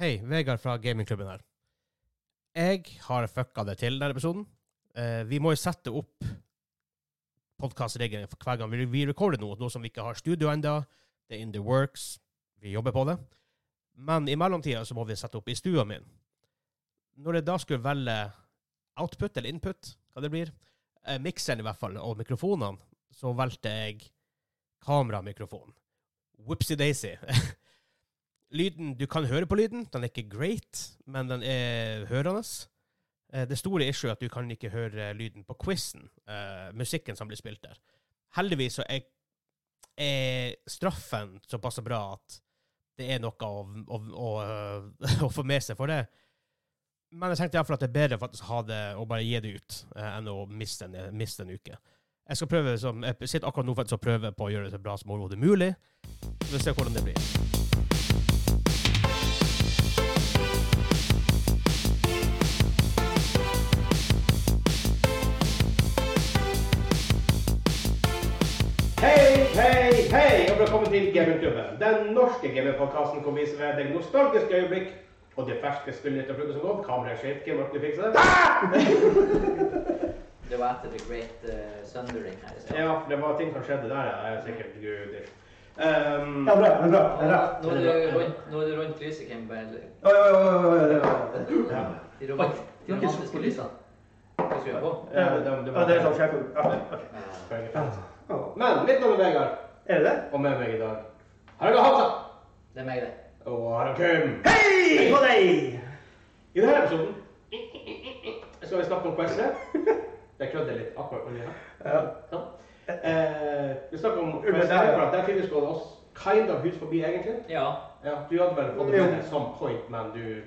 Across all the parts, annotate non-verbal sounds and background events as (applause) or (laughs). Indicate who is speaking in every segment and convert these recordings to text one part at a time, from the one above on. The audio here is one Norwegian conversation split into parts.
Speaker 1: Hei, Vegard fra gamingklubben her. Jeg har fucka det til denne episoden. Eh, vi må jo sette opp podkastreglene for hver gang vi, vi recorder noe, nå som vi ikke har studio ennå. Det er in the works. Vi jobber på det. Men i mellomtida så må vi sette opp i stua min. Når jeg da skulle velge output eller input, hva det blir, eh, mikseren i hvert fall, og mikrofonene, så valgte jeg kameramikrofon. Whoopsie-daisy. lyden, du kan høre på lyden. Den er ikke great, men den er hørende. Eh, Det store issue er at du kan ikke høre lyden på quizen, eh, musikken som blir spilt der. Heldigvis så er, er straffen såpass bra at det er noe å, å, å, eh, (laughs) å få med seg for det. Men jeg tenkte iallfall at det er bedre faktisk å ha det og bare gi det ut, eh, enn å miste en, miste en uke. Jeg skal prøve som, jeg sitter akkurat nå faktisk og prøver på å gjøre det så bra som overhodet mulig. Så vi får se hvordan det blir. Hei, hei, hei, og velkommen til Gamingklubben. Den norske gamingpodkasten hvor vi serverer deg nostalgiske øyeblikk og det ferske spillet etter flugget som gått. Kameraet shaker, Morten, du fikser det.
Speaker 2: Det var etter The Great eh, Sundering her i stad.
Speaker 1: Ja, det var ting som skjedde der, ja. Jeg er sikkert grudig. Um,
Speaker 3: Ja, bra. Det er bra. Det er bra.
Speaker 2: Nå er du rundt- nå er du rundt lyset, Kim. bare-
Speaker 3: Oi, oi, oi, oi, oi, det er bra.
Speaker 1: ja.
Speaker 2: De romant- de
Speaker 3: har ikke
Speaker 2: romantiske
Speaker 3: sett på
Speaker 2: lysene. Hva skal vi ha på? Eh,
Speaker 1: Ja, det- det- det var-
Speaker 3: Ja, det er sånn skjerping. Ja, ok. Ja.
Speaker 1: Men mitt navn er Vegard,
Speaker 3: Er det det?
Speaker 1: og med meg i dag har jeg Hansa
Speaker 2: Det er meg, det.
Speaker 1: og har jeg Kim.
Speaker 3: Hei på deg!
Speaker 1: I denne episoden skal vi snakke om quizet. (laughs) Jeg klødde litt akkurat under her.
Speaker 3: Ja.
Speaker 1: Ja. Sånn. Eh, vi snakker om
Speaker 3: Ulven
Speaker 1: Ulven
Speaker 3: der,
Speaker 1: der,
Speaker 3: ja.
Speaker 1: for at der finnes både oss kind of hus forbi, egentlig.
Speaker 2: Ja.
Speaker 1: Ja, du hadde vel fått det
Speaker 3: Jo.
Speaker 1: med deg som point, men du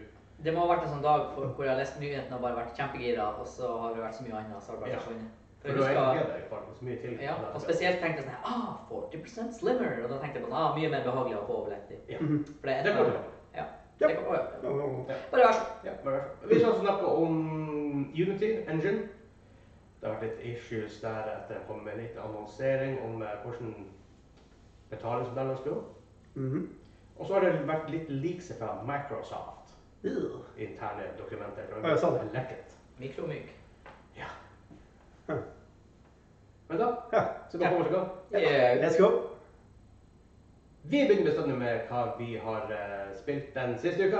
Speaker 2: Det må ha vært en sånn dag for, hvor jeg har lest nyhetene og bare vært kjempegira, og så har det vært så mye annet, så har det bare
Speaker 1: Ja.
Speaker 2: forsvunnet. For
Speaker 1: For
Speaker 2: jeg
Speaker 1: du har
Speaker 2: husker,
Speaker 1: egentlig deg faen så mye til.
Speaker 2: ja, og spesielt tenkte jeg sånn her, ah, 40 slimmer, og da tenkte jeg på sånn, ah, mye mer behagelig å få overlett i.
Speaker 1: Ja.
Speaker 3: Mhm.
Speaker 2: For det er
Speaker 1: Det
Speaker 2: et
Speaker 1: kan du.
Speaker 2: eller annet. Ja.
Speaker 3: Ja.
Speaker 2: Det kan du.
Speaker 3: Å, å, å.
Speaker 2: Bare vær så god.
Speaker 1: Ja, bare vær så god. Vi skal også snakke om Unity Engine. Det har vært litt issues der etter jeg kom med litt annonsering om eh, hvordan betalingsmodellen skulle gå.
Speaker 3: Mhm.
Speaker 1: Og så har det vært litt leaks fra Microsoft.
Speaker 3: Ugh.
Speaker 1: Interne dokumenter.
Speaker 3: Ja, jeg sa det.
Speaker 1: Lekket.
Speaker 2: Mikromyk.
Speaker 1: Ja.
Speaker 3: Hm.
Speaker 1: Men da
Speaker 3: Ja.
Speaker 1: så bare kommer vi i gang.
Speaker 2: Yeah.
Speaker 3: Let's go.
Speaker 1: Vi begynner bestandig med hva vi har eh, spilt den siste uka.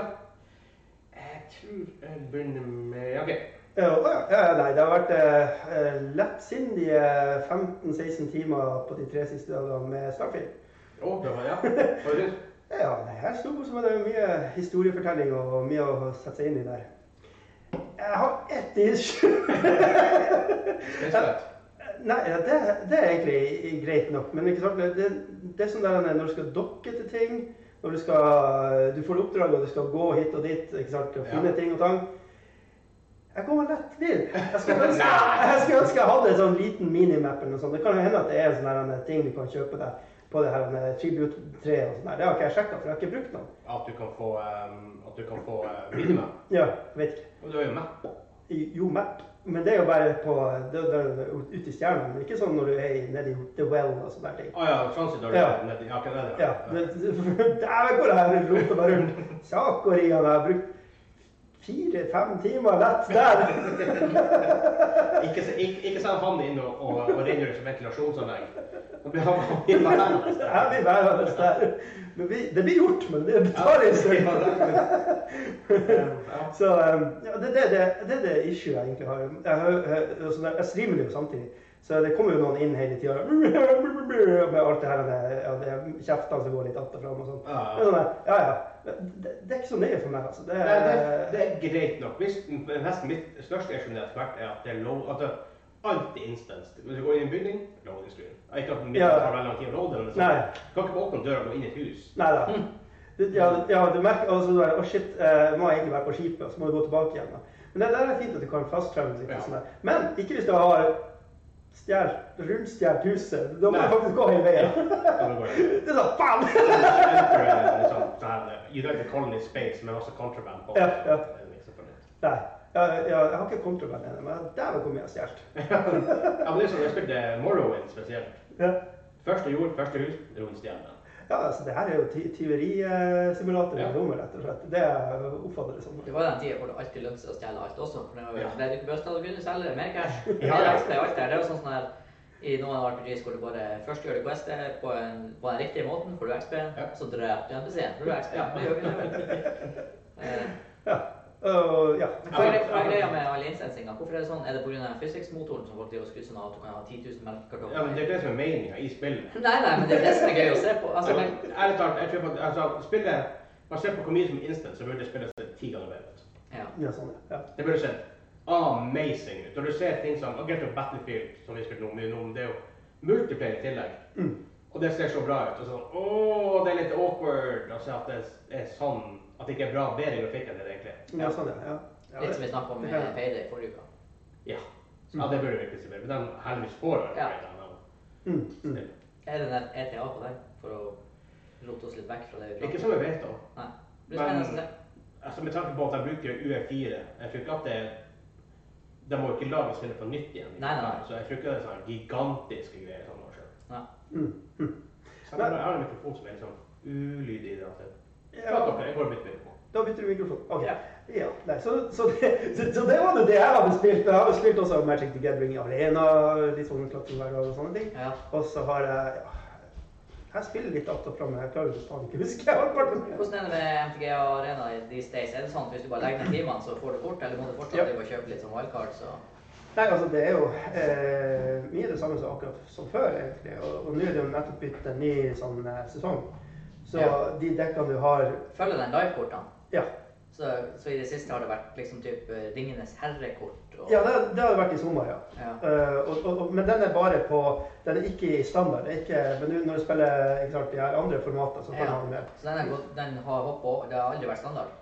Speaker 1: Jeg tror jeg begynner med ja, OK.
Speaker 3: Ja, å, ja, ja, nei, det har vært eh, eh, lettsindige 15-16 timer på de tre siste dagene med Starfield.
Speaker 1: Å, det var ja. Hva syns du?
Speaker 3: Ja, nei, her sto som at det er mye historiefortelling og mye å sette seg inn i der. Jeg har ett issue.
Speaker 1: Spesielt.
Speaker 3: Nei, ja, det, det er egentlig greit nok. Men ikke sant? Det, det er sånn der når du skal dokke til ting, når du, skal, du får oppdrag og du skal gå hit og dit ikke sant? og finne
Speaker 1: Ja.
Speaker 3: ting og tang. Jeg kommer lett vill. Jeg skulle ønske jeg, skulle ønske jeg hadde en sånn liten minimap eller noe sånt. Det kan jo hende at det er en sånn der en ting du kan kjøpe deg på det her en tribute-treet og sånn der. Det har ikke jeg sjekka, for jeg har ikke brukt noen.
Speaker 1: At du kan få, um, at du kan få eh, minimum.
Speaker 3: Ja, jeg vet ikke.
Speaker 1: Og det var jo meg.
Speaker 3: Jo, map. Men det er jo bare på, det, det, ute i stjernene. men Ikke sånn når du er i- nede i The Well og sånne der ting.
Speaker 1: Å ja, transit har du
Speaker 3: Ja.
Speaker 1: nedi. Ja, ikke det,
Speaker 3: Ja. (laughs) det- det- Dæven, hvor det her roter bare rundt. Sakoriene har brukt fire-fem timer lett der.
Speaker 1: Ikke, se- ikke, ikke send han inn og, og, og rengjøre som ventilasjonsanlegg. Da blir han han blir
Speaker 3: Det
Speaker 1: bare-
Speaker 3: her blir værende der. Men vi, det blir gjort, men det betaler ikke.
Speaker 1: Ja.
Speaker 3: Så um, ja, det, det, det, det er det issue jeg egentlig har. Jeg, hø- hø- og sånn der- jeg streamer jo samtidig, så det kommer jo noen inn hele tida med alt det her med ja, det er kjeftene som går litt att og fram og sånn.
Speaker 1: Ja, ja.
Speaker 3: Det er sånn der, ja, ja. Det, det er ikke så nøye for meg, altså. Det,
Speaker 1: Nei, det, det er greit nok. Hvis, men nesten mitt største issue med det etter hvert er at det er low, at det alt er instance. Hvis du går inn i en bygning, loading screen. Ikke at det
Speaker 3: Ja.
Speaker 1: tar veldig lang tid å loade, men sånn.
Speaker 3: Nei.
Speaker 1: du kan ikke bare åpne døra og gå inn i et hus.
Speaker 3: Nei da. Ja, ja, du merker altså, du er, Å, shit, eh, nå har jeg egentlig vært på skipet, og så må du gå tilbake igjen. Da. Men det der er fint at du kan fastklemme litt.
Speaker 1: Ja.
Speaker 3: og sånn der. Men ikke hvis du har stjert, rundstjert huset. Da må
Speaker 1: Nei.
Speaker 3: du faktisk gå hele veien. (laughs)
Speaker 1: Da går jeg.
Speaker 3: Det er sånn, faen!
Speaker 1: Enter, eh, liksom, sånn her, You don't have colony space, men også contraband på.
Speaker 3: Ja, ja.
Speaker 1: Det er liksom for litt.
Speaker 3: Nei. Ja, ja, jeg har ikke kontraband ennå, men dæven hvor mye jeg har stjålet.
Speaker 1: Ja, men det er sånn, jeg spilte eh, Morrowind spesielt.
Speaker 3: Ja.
Speaker 1: Første jord, første hus, rund stjerne.
Speaker 3: Ja, altså, det her er jo ty- tyverisimulator
Speaker 1: Ja.
Speaker 3: i rommet, rett og slett. Det oppfatter jeg som.
Speaker 2: Det var den tida hvor det alltid lønte seg å stjele alt også. For det var jo
Speaker 1: Ja.
Speaker 2: bedre Børstad og kunne selge mer cash.
Speaker 1: Ja,
Speaker 2: Mer
Speaker 1: ja.
Speaker 2: XP og alt der. Det var sånn sånn her i noen RPGs hvor du bare først gjør det questet på, en, på den riktige måten, får du XP,
Speaker 1: Ja.
Speaker 2: så dreper du NPC-en, får du XP. Det
Speaker 1: (laughs)
Speaker 2: gjør ikke det. Eh,
Speaker 3: Ja. Og, ja.
Speaker 2: Men hva er, det- hva er greia med all innsetsinga? Hvorfor er det sånn? Er det pga. physics-motoren som folk driver og skryter sånn av at du kan ha 10 000 melkekartonger?
Speaker 1: Ja, men det er det som er meninga i spillet.
Speaker 2: Nei, nei, men det er det som er gøy å se på. Altså,
Speaker 1: Altså,
Speaker 2: men,
Speaker 1: ærlig talt, jeg tror på, altså, spillet, basert på hvor mye som er instant, så burde spillet se ti ganger bedre ut.
Speaker 2: ja.
Speaker 3: Ja, sånn, ja.
Speaker 1: Det burde se amazing ut. Når du ser ting som Get to Battlefield, som vi spilte noe mye om, det er jo multiplayer i tillegg.
Speaker 3: Mm.
Speaker 1: Og det ser så bra ut. Og sånn Åh, det er litt awkward å se at det er sånn At det ikke er bra bedre grafikk enn det det egentlig er.
Speaker 3: ja, sånn, ja. ja. ja
Speaker 2: Litt som vi
Speaker 3: det-
Speaker 2: snakka om i
Speaker 3: det kan-
Speaker 2: Payday forrige uke.
Speaker 1: Ja. ja, det burde virkelig se bedre ut. Men de heldigvis får det.
Speaker 2: Ja.
Speaker 3: Mm, mm.
Speaker 1: Still.
Speaker 2: Er det den ETA på deg, for å rote oss litt vekk fra det vi
Speaker 1: Ikke
Speaker 2: prater om?
Speaker 1: som vi vet om.
Speaker 2: Nei. Det blir spennende å se.
Speaker 1: Altså, med tanke på at de bruker UE4 Jeg tror ikke at det De må ikke lage spillet på nytt igjen.
Speaker 2: Nei, nei, nei.
Speaker 1: Så jeg tror ikke det er sånne gigantiske greier. Sånn, år siden.
Speaker 2: Nei.
Speaker 3: Mm, mm.
Speaker 1: Så jeg har en mikrofon som er litt sånn ulydig. i det altså. at jeg-
Speaker 3: Ja,
Speaker 1: Prat dere, jeg går og bytter mikrofon.
Speaker 3: Da bytter du mikrofon. Ok.
Speaker 2: Ja.
Speaker 3: Ja, nei, så, så, det, så, så det var nå det jeg hadde spilt. Jeg hadde spilt også Magic the Gathering i arena, litt sånn klatring hver dag og sånne ting.
Speaker 2: Ja.
Speaker 3: Og så har jeg ja, Jeg spiller litt att og fram, men jeg klarer ikke faen ikke å huske. Jeg har vært-
Speaker 2: Hvordan er det med MTG og Arena i these days? Er det sånn at hvis du bare legger ned timene, så får du kort, eller må du fortsatt
Speaker 3: Ja.
Speaker 2: drive og kjøpe litt som wildcard, så
Speaker 3: Nei, altså det er jo eh, mye det samme som akkurat som før, egentlig. Og, og nå er det jo nettopp begynt en ny sånn eh, sesong. Så
Speaker 2: Ja.
Speaker 3: de dekkene du har
Speaker 2: følger den live-kortene?
Speaker 3: Ja,
Speaker 2: Så, så i det siste har det vært liksom typ eh, Ringenes herre-kort og
Speaker 3: ja det, det har vært i sommer, ja.
Speaker 2: Ja.
Speaker 3: Eh, og, og, og, men den er bare på Den er ikke i standard. Det er ikke, men nå når du spiller ikke sant, de her andre formater, så kan du
Speaker 2: Ja.
Speaker 3: ha den med.
Speaker 2: Så den, er gått, den har hoppa over. Det har aldri vært standard.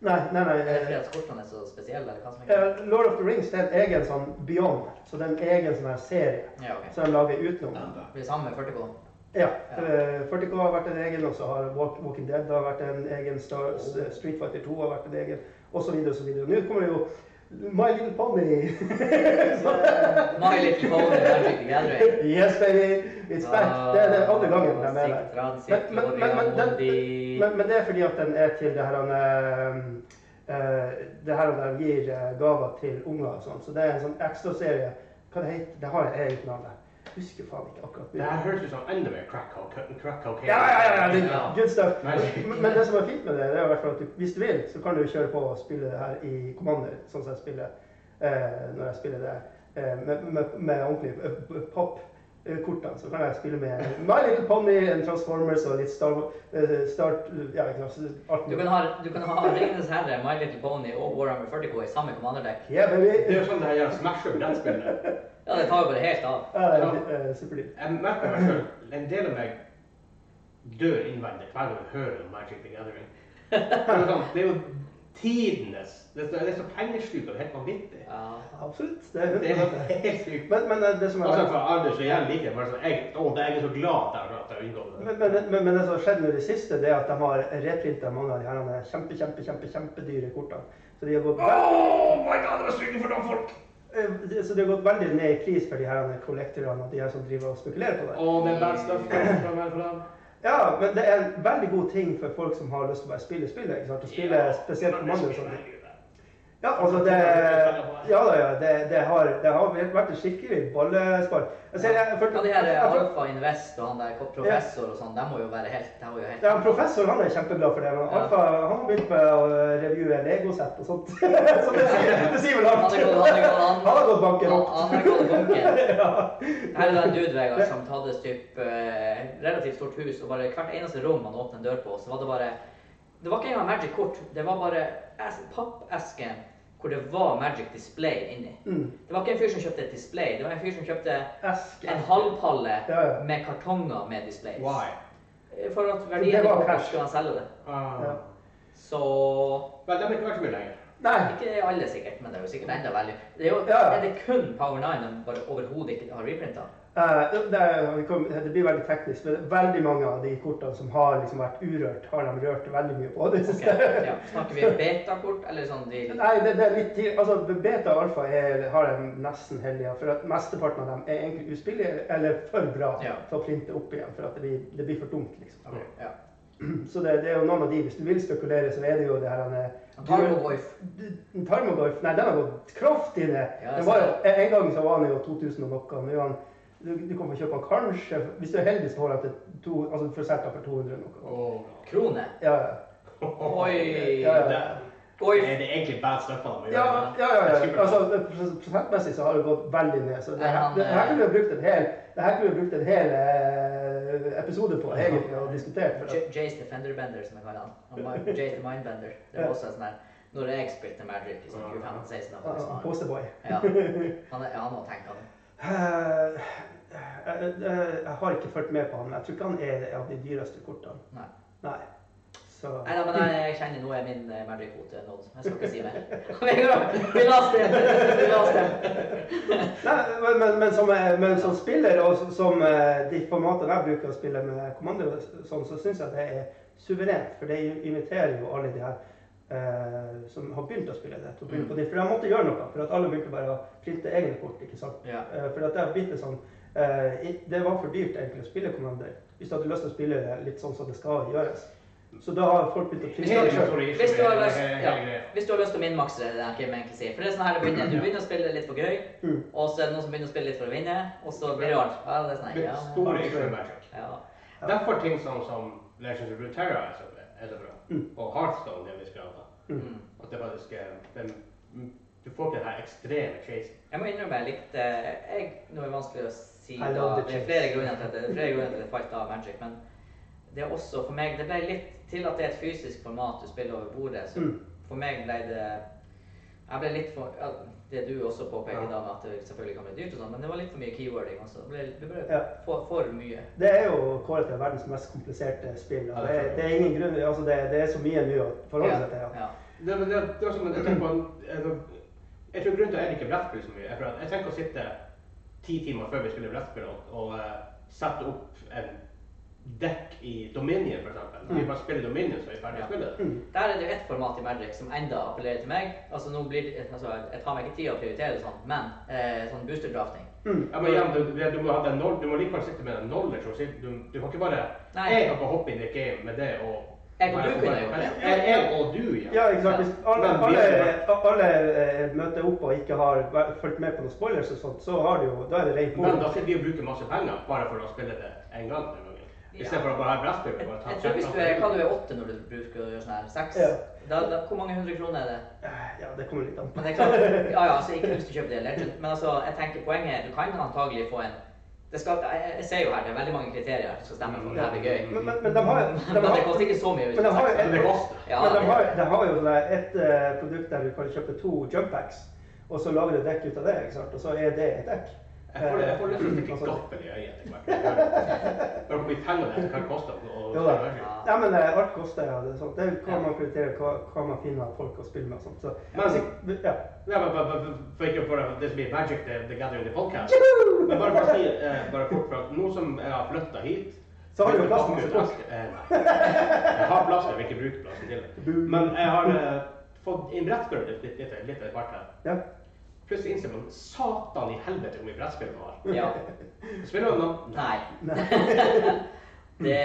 Speaker 3: Nei, nei, nei.
Speaker 2: Er det fordi
Speaker 3: eh,
Speaker 2: at kortene er så spesielle, eller hva som er
Speaker 3: eh, Lord of the Rings det er en egen sånn Beyond. Så det er en egen sånn her serie
Speaker 2: Ja, ok.
Speaker 3: som de lager utenom.
Speaker 2: Det blir samme med 40K.
Speaker 3: Ja. eh, 40K har vært en egen, og så har Walk, Walking Dead har vært en egen.
Speaker 2: Oh.
Speaker 3: Star, S- Street Fighter 2 har vært en egen, osv. osv. Nå kommer det jo My Little Pony. (laughs)
Speaker 2: My Little Pony Magic the Gathering.
Speaker 3: yes, baby! It's back!
Speaker 2: Ah.
Speaker 3: Det er den andre gangen de er med der.
Speaker 2: Transit,
Speaker 3: Men- men- men- men den- Men, men det er fordi at den er til det her han eh, eh, Det her han gir eh, gaver til unger og sånn. Så det er en sånn ekstraserie. Hva det heter det? har jeg eget navn der. Husker faen ikke akkurat.
Speaker 1: Det her høres ut som enda mer crack cocaine. Crack cocaine.
Speaker 3: Ja, ja, ja, ja, det er good stuff.
Speaker 1: Nei.
Speaker 3: Men, men det som er fint med det, det er i hvert fall at du, hvis du vil, så kan du jo kjøre på og spille det her i Commander, sånn som jeg spiller eh, når jeg spiller det eh, med, med, med ordentlig eh, b- pop eh, kortene, så kan jeg spille med My Little Pony and Transformers og litt Star, eh, Star Ja, ikke sant. alt
Speaker 2: Du
Speaker 3: mulig.
Speaker 2: kan ha, du kan ha Ringenes herre, My Little Pony og Warhammer 40K i samme kommanderdekk.
Speaker 3: Yeah,
Speaker 1: Det er
Speaker 3: baby!
Speaker 1: jo sånn det her gjør smash up brettspillet.
Speaker 2: Ja, det tar jo bare helt av.
Speaker 3: Ja, eh, Superdyr.
Speaker 1: Jeg merker meg selv, en del av meg dør innvendig hver gang jeg hører om Magic the Gathering. Det er jo sånn- Det er jo tidenes Det er så, det er så pengesluk og helt vanvittig.
Speaker 2: Ja.
Speaker 3: Absolutt. Det er
Speaker 1: Det er
Speaker 3: hundre.
Speaker 1: helt sykt.
Speaker 3: Men, men eh, det som er
Speaker 1: Altså, for Anders og jeg liker det, men sånn, jeg, å, det er jeg er så glad at jeg har- at jeg har unngått det.
Speaker 3: Men, men, men, men det som har skjedd nå i det siste, det er at de har reprinta mange av de her andre kjempe, kjempe, kjempe, kjempedyre kortene. Så de har gått, ve
Speaker 1: Oh my god, det var sykt for noen folk!
Speaker 3: eh, så de har gått veldig ned i pris for de her andre kollektorene og de her som driver og spekulerer på det.
Speaker 1: Å, det er bad stuff. det
Speaker 3: (clears throat)
Speaker 1: er bra, bra, bra.
Speaker 3: Ja, men det er en veldig god ting for folk som har lyst til å bare spille spillet. ikke sant? Å spille spesielt
Speaker 1: Men det
Speaker 3: kommander og
Speaker 1: spiller
Speaker 3: sånne
Speaker 1: jeg jo, da.
Speaker 3: Ja, altså det Ja da, ja. Det, det, har, det har vært et skikkelig ballespark. Jeg ser, jeg, jeg,
Speaker 2: Ja, de her eh,
Speaker 3: jeg- jeg-
Speaker 2: Alfa Invest og han der professor og sånn, de må jo være helt De må jo helt
Speaker 3: Ja, professor han er kjempeglad for det, men
Speaker 2: Ja.
Speaker 3: Alfa han har begynt med å revue Lego-sett og sånt. (laughs) Så det sier, det sier vel
Speaker 2: Han
Speaker 3: alt.
Speaker 2: har gått- han har gått- han-
Speaker 3: Han har gått banken
Speaker 2: Han-
Speaker 3: opp.
Speaker 2: han har gått banken.
Speaker 3: (laughs) Ja.
Speaker 2: Her er det en dude, Vegard, som hadde et typ, eh, relativt stort hus, og bare hvert eneste rom han åpnet en dør på, så var det bare Det var ikke engang Magic-kort, det var bare es pappesken hvor det var Magic Display inni.
Speaker 3: Mm.
Speaker 2: Det var ikke en fyr som kjøpte et display, det var en fyr som kjøpte
Speaker 3: Esk.
Speaker 2: en halvpalle
Speaker 3: Ja, ja.
Speaker 2: med kartonger med displays.
Speaker 1: Why?
Speaker 2: For at verdien
Speaker 3: Det var
Speaker 2: av kort
Speaker 3: cash.
Speaker 2: skulle han selge det.
Speaker 1: Ah.
Speaker 3: Ja.
Speaker 2: Så
Speaker 1: Vel, det har ikke vært så mye lenger.
Speaker 3: Nei.
Speaker 2: Ikke alle sikkert, men det er jo sikkert enda value. Det er jo
Speaker 3: Ja, ja. (laughs)
Speaker 2: er det kun Power 9 de bare overhodet ikke har reprinta.
Speaker 3: Eh, det, er- vi kom- det blir veldig teknisk, men veldig mange av de kortene som har liksom vært urørt, har de rørt veldig mye på. (laughs) Det,
Speaker 2: Ok,
Speaker 3: siste.
Speaker 2: ja. Snakker vi betakort, eller sånn de
Speaker 3: Nei, det, det er litt tidlig. Altså, beta og alfa er, har jeg nesten heldige, for at mesteparten av dem er egentlig uspillige eller for bra
Speaker 2: Ja.
Speaker 3: til å printe opp igjen, for at det blir, det blir for dumt, liksom.
Speaker 2: ja.
Speaker 3: (clears throat) Så det, det er jo noen av de, hvis du vil spekulere, så er det jo det her han er-
Speaker 2: Tarmogoyf.
Speaker 3: D- Tarmogoyf, nei, den har gått kraftig ned.
Speaker 2: Ja,
Speaker 3: det var jo, en gang så var han jo 2000 og noe. Nå er han, du, du kan få kjøpe han kanskje, hvis du er heldig, så får han til to, altså for selge han for 200 og noe.
Speaker 1: Og
Speaker 2: Krone.
Speaker 3: Ja, ja.
Speaker 2: Oi.
Speaker 3: Ja, ja.
Speaker 1: Det
Speaker 2: Goyf.
Speaker 1: er det egentlig bad stuff han
Speaker 3: Ja, ja, ja. ja. Altså, pros- prosentmessig så har det gått veldig ned. Så det
Speaker 2: Er
Speaker 3: her,
Speaker 2: han,
Speaker 3: det her
Speaker 2: eh,
Speaker 3: kunne vi brukt en hel, det her kunne vi brukt en hel eh, episode på egentlig og diskutert. For at,
Speaker 2: J- Jace the Fenderbender, som jeg kaller han. han. var Jace the Mindbender. Det var også en sånn her Når jeg spilte Magic i sånn 2015-16, da var det
Speaker 3: uh,
Speaker 2: sånn.
Speaker 3: Posterboy.
Speaker 2: Ja. Han er, han må tenke han.
Speaker 3: Eh, eh, eh, jeg har ikke fulgt med på han, men jeg tror ikke han er av de dyreste kortene.
Speaker 2: Nei.
Speaker 3: Nei. Så
Speaker 2: Nei, da, men jeg, jeg kjenner nå er min eh, Magic-kvote nådd. Jeg skal ikke si mer. Vi la oss det. Vi la oss det.
Speaker 3: Nei, men, men, men, som, eh, men som spiller, og som- som eh, de formatene jeg bruker å spille med kommando, sånn, så syns jeg det er suverent. For det inviterer jo alle de her eh, som har begynt å spille det. til å begynne på det. For jeg måtte gjøre noe, for at alle begynte bare å printe egne kort. ikke sant?
Speaker 2: Ja.
Speaker 3: Eh, for at det har blitt en sånn eh, i- Det var for dyrt egentlig å spille Commander. Hvis du hadde lyst til å spille det litt sånn som det skal gjøres. Så da har folk begynt å printe det sjøl.
Speaker 2: Hvis du har lyst, ja, hvis du har lyst til å minmakse det, der, Kim egentlig sier. For det er sånn her det begynner. Du begynner å spille litt for gøy,
Speaker 3: Mm.
Speaker 2: og så er det noen som begynner å spille litt for å vinne, og så blir det rart. Ja, det er sånn, her, ja,
Speaker 1: Store issue med Magic.
Speaker 2: ja.
Speaker 1: Derfor ting som, som Legends of Runeterra er så, er så bra.
Speaker 3: Mm.
Speaker 1: Og Hearthstone er en viss grad. da.
Speaker 2: Mm.
Speaker 1: At det faktisk er den- Du får ikke den her ekstreme chasen.
Speaker 2: Jeg må innrømme jeg likte jeg, Nå er det vanskelig å si
Speaker 3: I
Speaker 2: da,
Speaker 3: love the
Speaker 2: det er
Speaker 3: chase.
Speaker 2: flere grunner til at det det er flere grunner til at jeg falt av Magic, men det er også for meg Det ble litt til at det er et fysisk format du spiller over bordet, så
Speaker 3: Mm.
Speaker 2: for meg ble det Jeg ble litt for ja, Det du også påpeker
Speaker 1: Ja.
Speaker 2: da, med at det selvfølgelig kan bli dyrt og sånn, men det var litt for mye keywording også. Det ble, det ble
Speaker 3: Ja.
Speaker 2: for, for mye.
Speaker 3: Det er jo kåret til verdens mest kompliserte spill.
Speaker 1: Ja,
Speaker 3: og
Speaker 1: det
Speaker 3: Det,
Speaker 1: tror jeg.
Speaker 3: det er ingen grunn, altså det, det er så mye nå å forholde seg til. ja.
Speaker 2: Ja.
Speaker 1: Det, det, det, det er som jeg tenker på en- jeg tror- Jeg tror grunnen til at jeg liker brettspill så mye, er for at jeg tenker å sitte ti timer før vi spiller brettspill og, og eh, sette opp en dekk i Dominion, for eksempel.
Speaker 3: Mm.
Speaker 1: Vi bare spiller Dominion, så er vi ferdig
Speaker 2: Ja.
Speaker 1: å spille.
Speaker 2: Der er det jo ett format i Magic som enda appellerer til meg. Altså, nå blir det, altså, jeg tar meg ikke tid å prioritere det sånn, men eh, sånn boosterdrafting
Speaker 3: Mm.
Speaker 1: Ja, men igjen, du, du, må ha den knowl- du må likevel sitte med den knowledge. og si- Du, du kan ikke bare
Speaker 2: Nei.
Speaker 1: Jeg kan bare hoppe inn i et game med det og
Speaker 2: Jeg og
Speaker 1: Nei,
Speaker 2: du kunne gjort det.
Speaker 1: Jeg, jeg og du, ja.
Speaker 3: Ja, ikke sant. Hvis alle,
Speaker 1: Men
Speaker 3: alle,
Speaker 1: hvis-
Speaker 3: alle eh, møter opp og ikke har væ- fulgt med på noen spoilers og sånt, så har du jo, da er det rent
Speaker 1: Men
Speaker 3: bord.
Speaker 1: da sitter vi og bruker masse penger bare for å spille det en gang. den gangen. I
Speaker 2: Ja.
Speaker 1: stedet for å bare ha brettspill. og bare ta
Speaker 2: Jeg tror hvis du er, hva du er åtte når du bruker å gjøre sånn her, seks,
Speaker 3: Ja.
Speaker 2: da, da, hvor mange hundre kroner er det?
Speaker 3: Ja, det kommer litt an på.
Speaker 2: Men det er klart, ja, ja, altså, ikke hvis du kjøper det legend, men altså, jeg tenker poenget er, du kan antagelig få en, det skal, jeg, jeg ser jo her, det er veldig mange kriterier her som skal stemme for at det her blir gøy.
Speaker 3: Men, men, men Mm. de har, de
Speaker 2: Men det
Speaker 3: har,
Speaker 2: koster ikke så mye hvis
Speaker 3: men
Speaker 2: du
Speaker 3: de har
Speaker 2: har
Speaker 3: jo
Speaker 1: Men det
Speaker 3: et,
Speaker 1: koster.
Speaker 2: Ja,
Speaker 3: men de
Speaker 2: det-
Speaker 3: har, de har jo sånn der et eh, produkt der du kan kjøpe to jump packs, og så lager du dekk ut av det, ikke sant? og så er det et dekk.
Speaker 1: Jeg får, jeg får lyst til å stikke
Speaker 3: Altså,
Speaker 1: gaffel i øyet etter hvert. Bare hvor mye penger det er, hva det koster. Og,
Speaker 3: Jo
Speaker 1: og,
Speaker 3: da.
Speaker 2: Ja.
Speaker 3: Nei, men eh, alt koster ja, det er sånt. Det er hva
Speaker 2: Ja.
Speaker 3: man prioriterer, hva, hva man finner av folk å spille med og sånt. Så,
Speaker 1: Men-
Speaker 3: altså, ja.
Speaker 1: Nei, men bare- bare- for ikke for det som blir Magic the, the Gathering the Podcast. Men bare for å si eh, bare fort, for at nå som jeg har flytta hit
Speaker 3: Så har du jo plass til
Speaker 1: til
Speaker 3: masse
Speaker 1: plass. Eh, Jeg har plass, jeg vil ikke bruke plassen til det. Men jeg har eh, fått inn brettspill litt, litt, litt, litt etter hvert her.
Speaker 3: ja.
Speaker 1: Plutselig innser man satan i helvete hvor mye brettspill man har.
Speaker 2: Ja,
Speaker 1: Spiller man nå?
Speaker 2: nei,
Speaker 3: Nei.
Speaker 2: (laughs) det,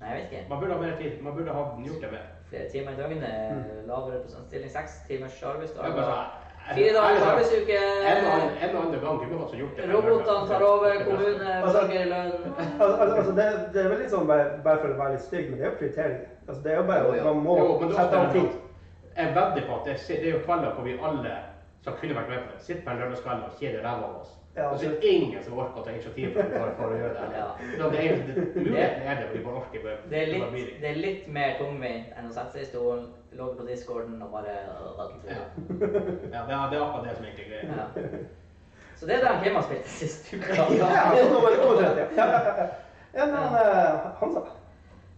Speaker 2: nei, jeg vet ikke.
Speaker 1: Man burde ha mer tid. Man burde ha gjort det mer.
Speaker 2: Flere timer i døgnet,
Speaker 3: Mm.
Speaker 2: lavere prosentstilling, seks timers
Speaker 1: Jeg
Speaker 2: arbeidsdag,
Speaker 1: bare
Speaker 2: og
Speaker 1: sa-
Speaker 2: fire
Speaker 1: Ærlig
Speaker 2: dagers
Speaker 1: talt,
Speaker 2: arbeidsuke.
Speaker 1: En og annen- en og annen gang kunne man også gjort det.
Speaker 2: Robotene tar over, kommune,
Speaker 3: Altså-
Speaker 2: borger i lønn.
Speaker 3: Altså, altså, altså, det, det er vel litt sånn, bare, bare for å være litt stygg, men det er jo prioritering. Altså, det er jo bare
Speaker 2: Jo, ja.
Speaker 3: Man må
Speaker 1: Jo, men det er også
Speaker 3: sette av
Speaker 1: det
Speaker 3: tid.
Speaker 1: at Jeg vedder på at det, er- det er jo kvelder hvor vi alle som kunne vært med på det, sitter på en lørdagskveld og kjeder ræva av oss.
Speaker 3: Ja,
Speaker 1: og så er det ingen som orker å ta initiativ for, for, for å gjøre det.
Speaker 2: Ja.
Speaker 1: Så det er, det, muligheten er det, vi bare orker bare.
Speaker 2: Det er,
Speaker 1: bare
Speaker 2: litt,
Speaker 1: blir-
Speaker 2: det er litt mer tungvint enn å sette seg i stolen, logge på discorden og bare øh, vente.
Speaker 1: Ja. ja, det er det er akkurat det som egentlig er greia.
Speaker 2: Ja. Så det er det Kim har spilt sist uka.
Speaker 3: Ja, altså, nå var det overdrevet, ja. Ja, ja, ja. Ja, men eh, Hansa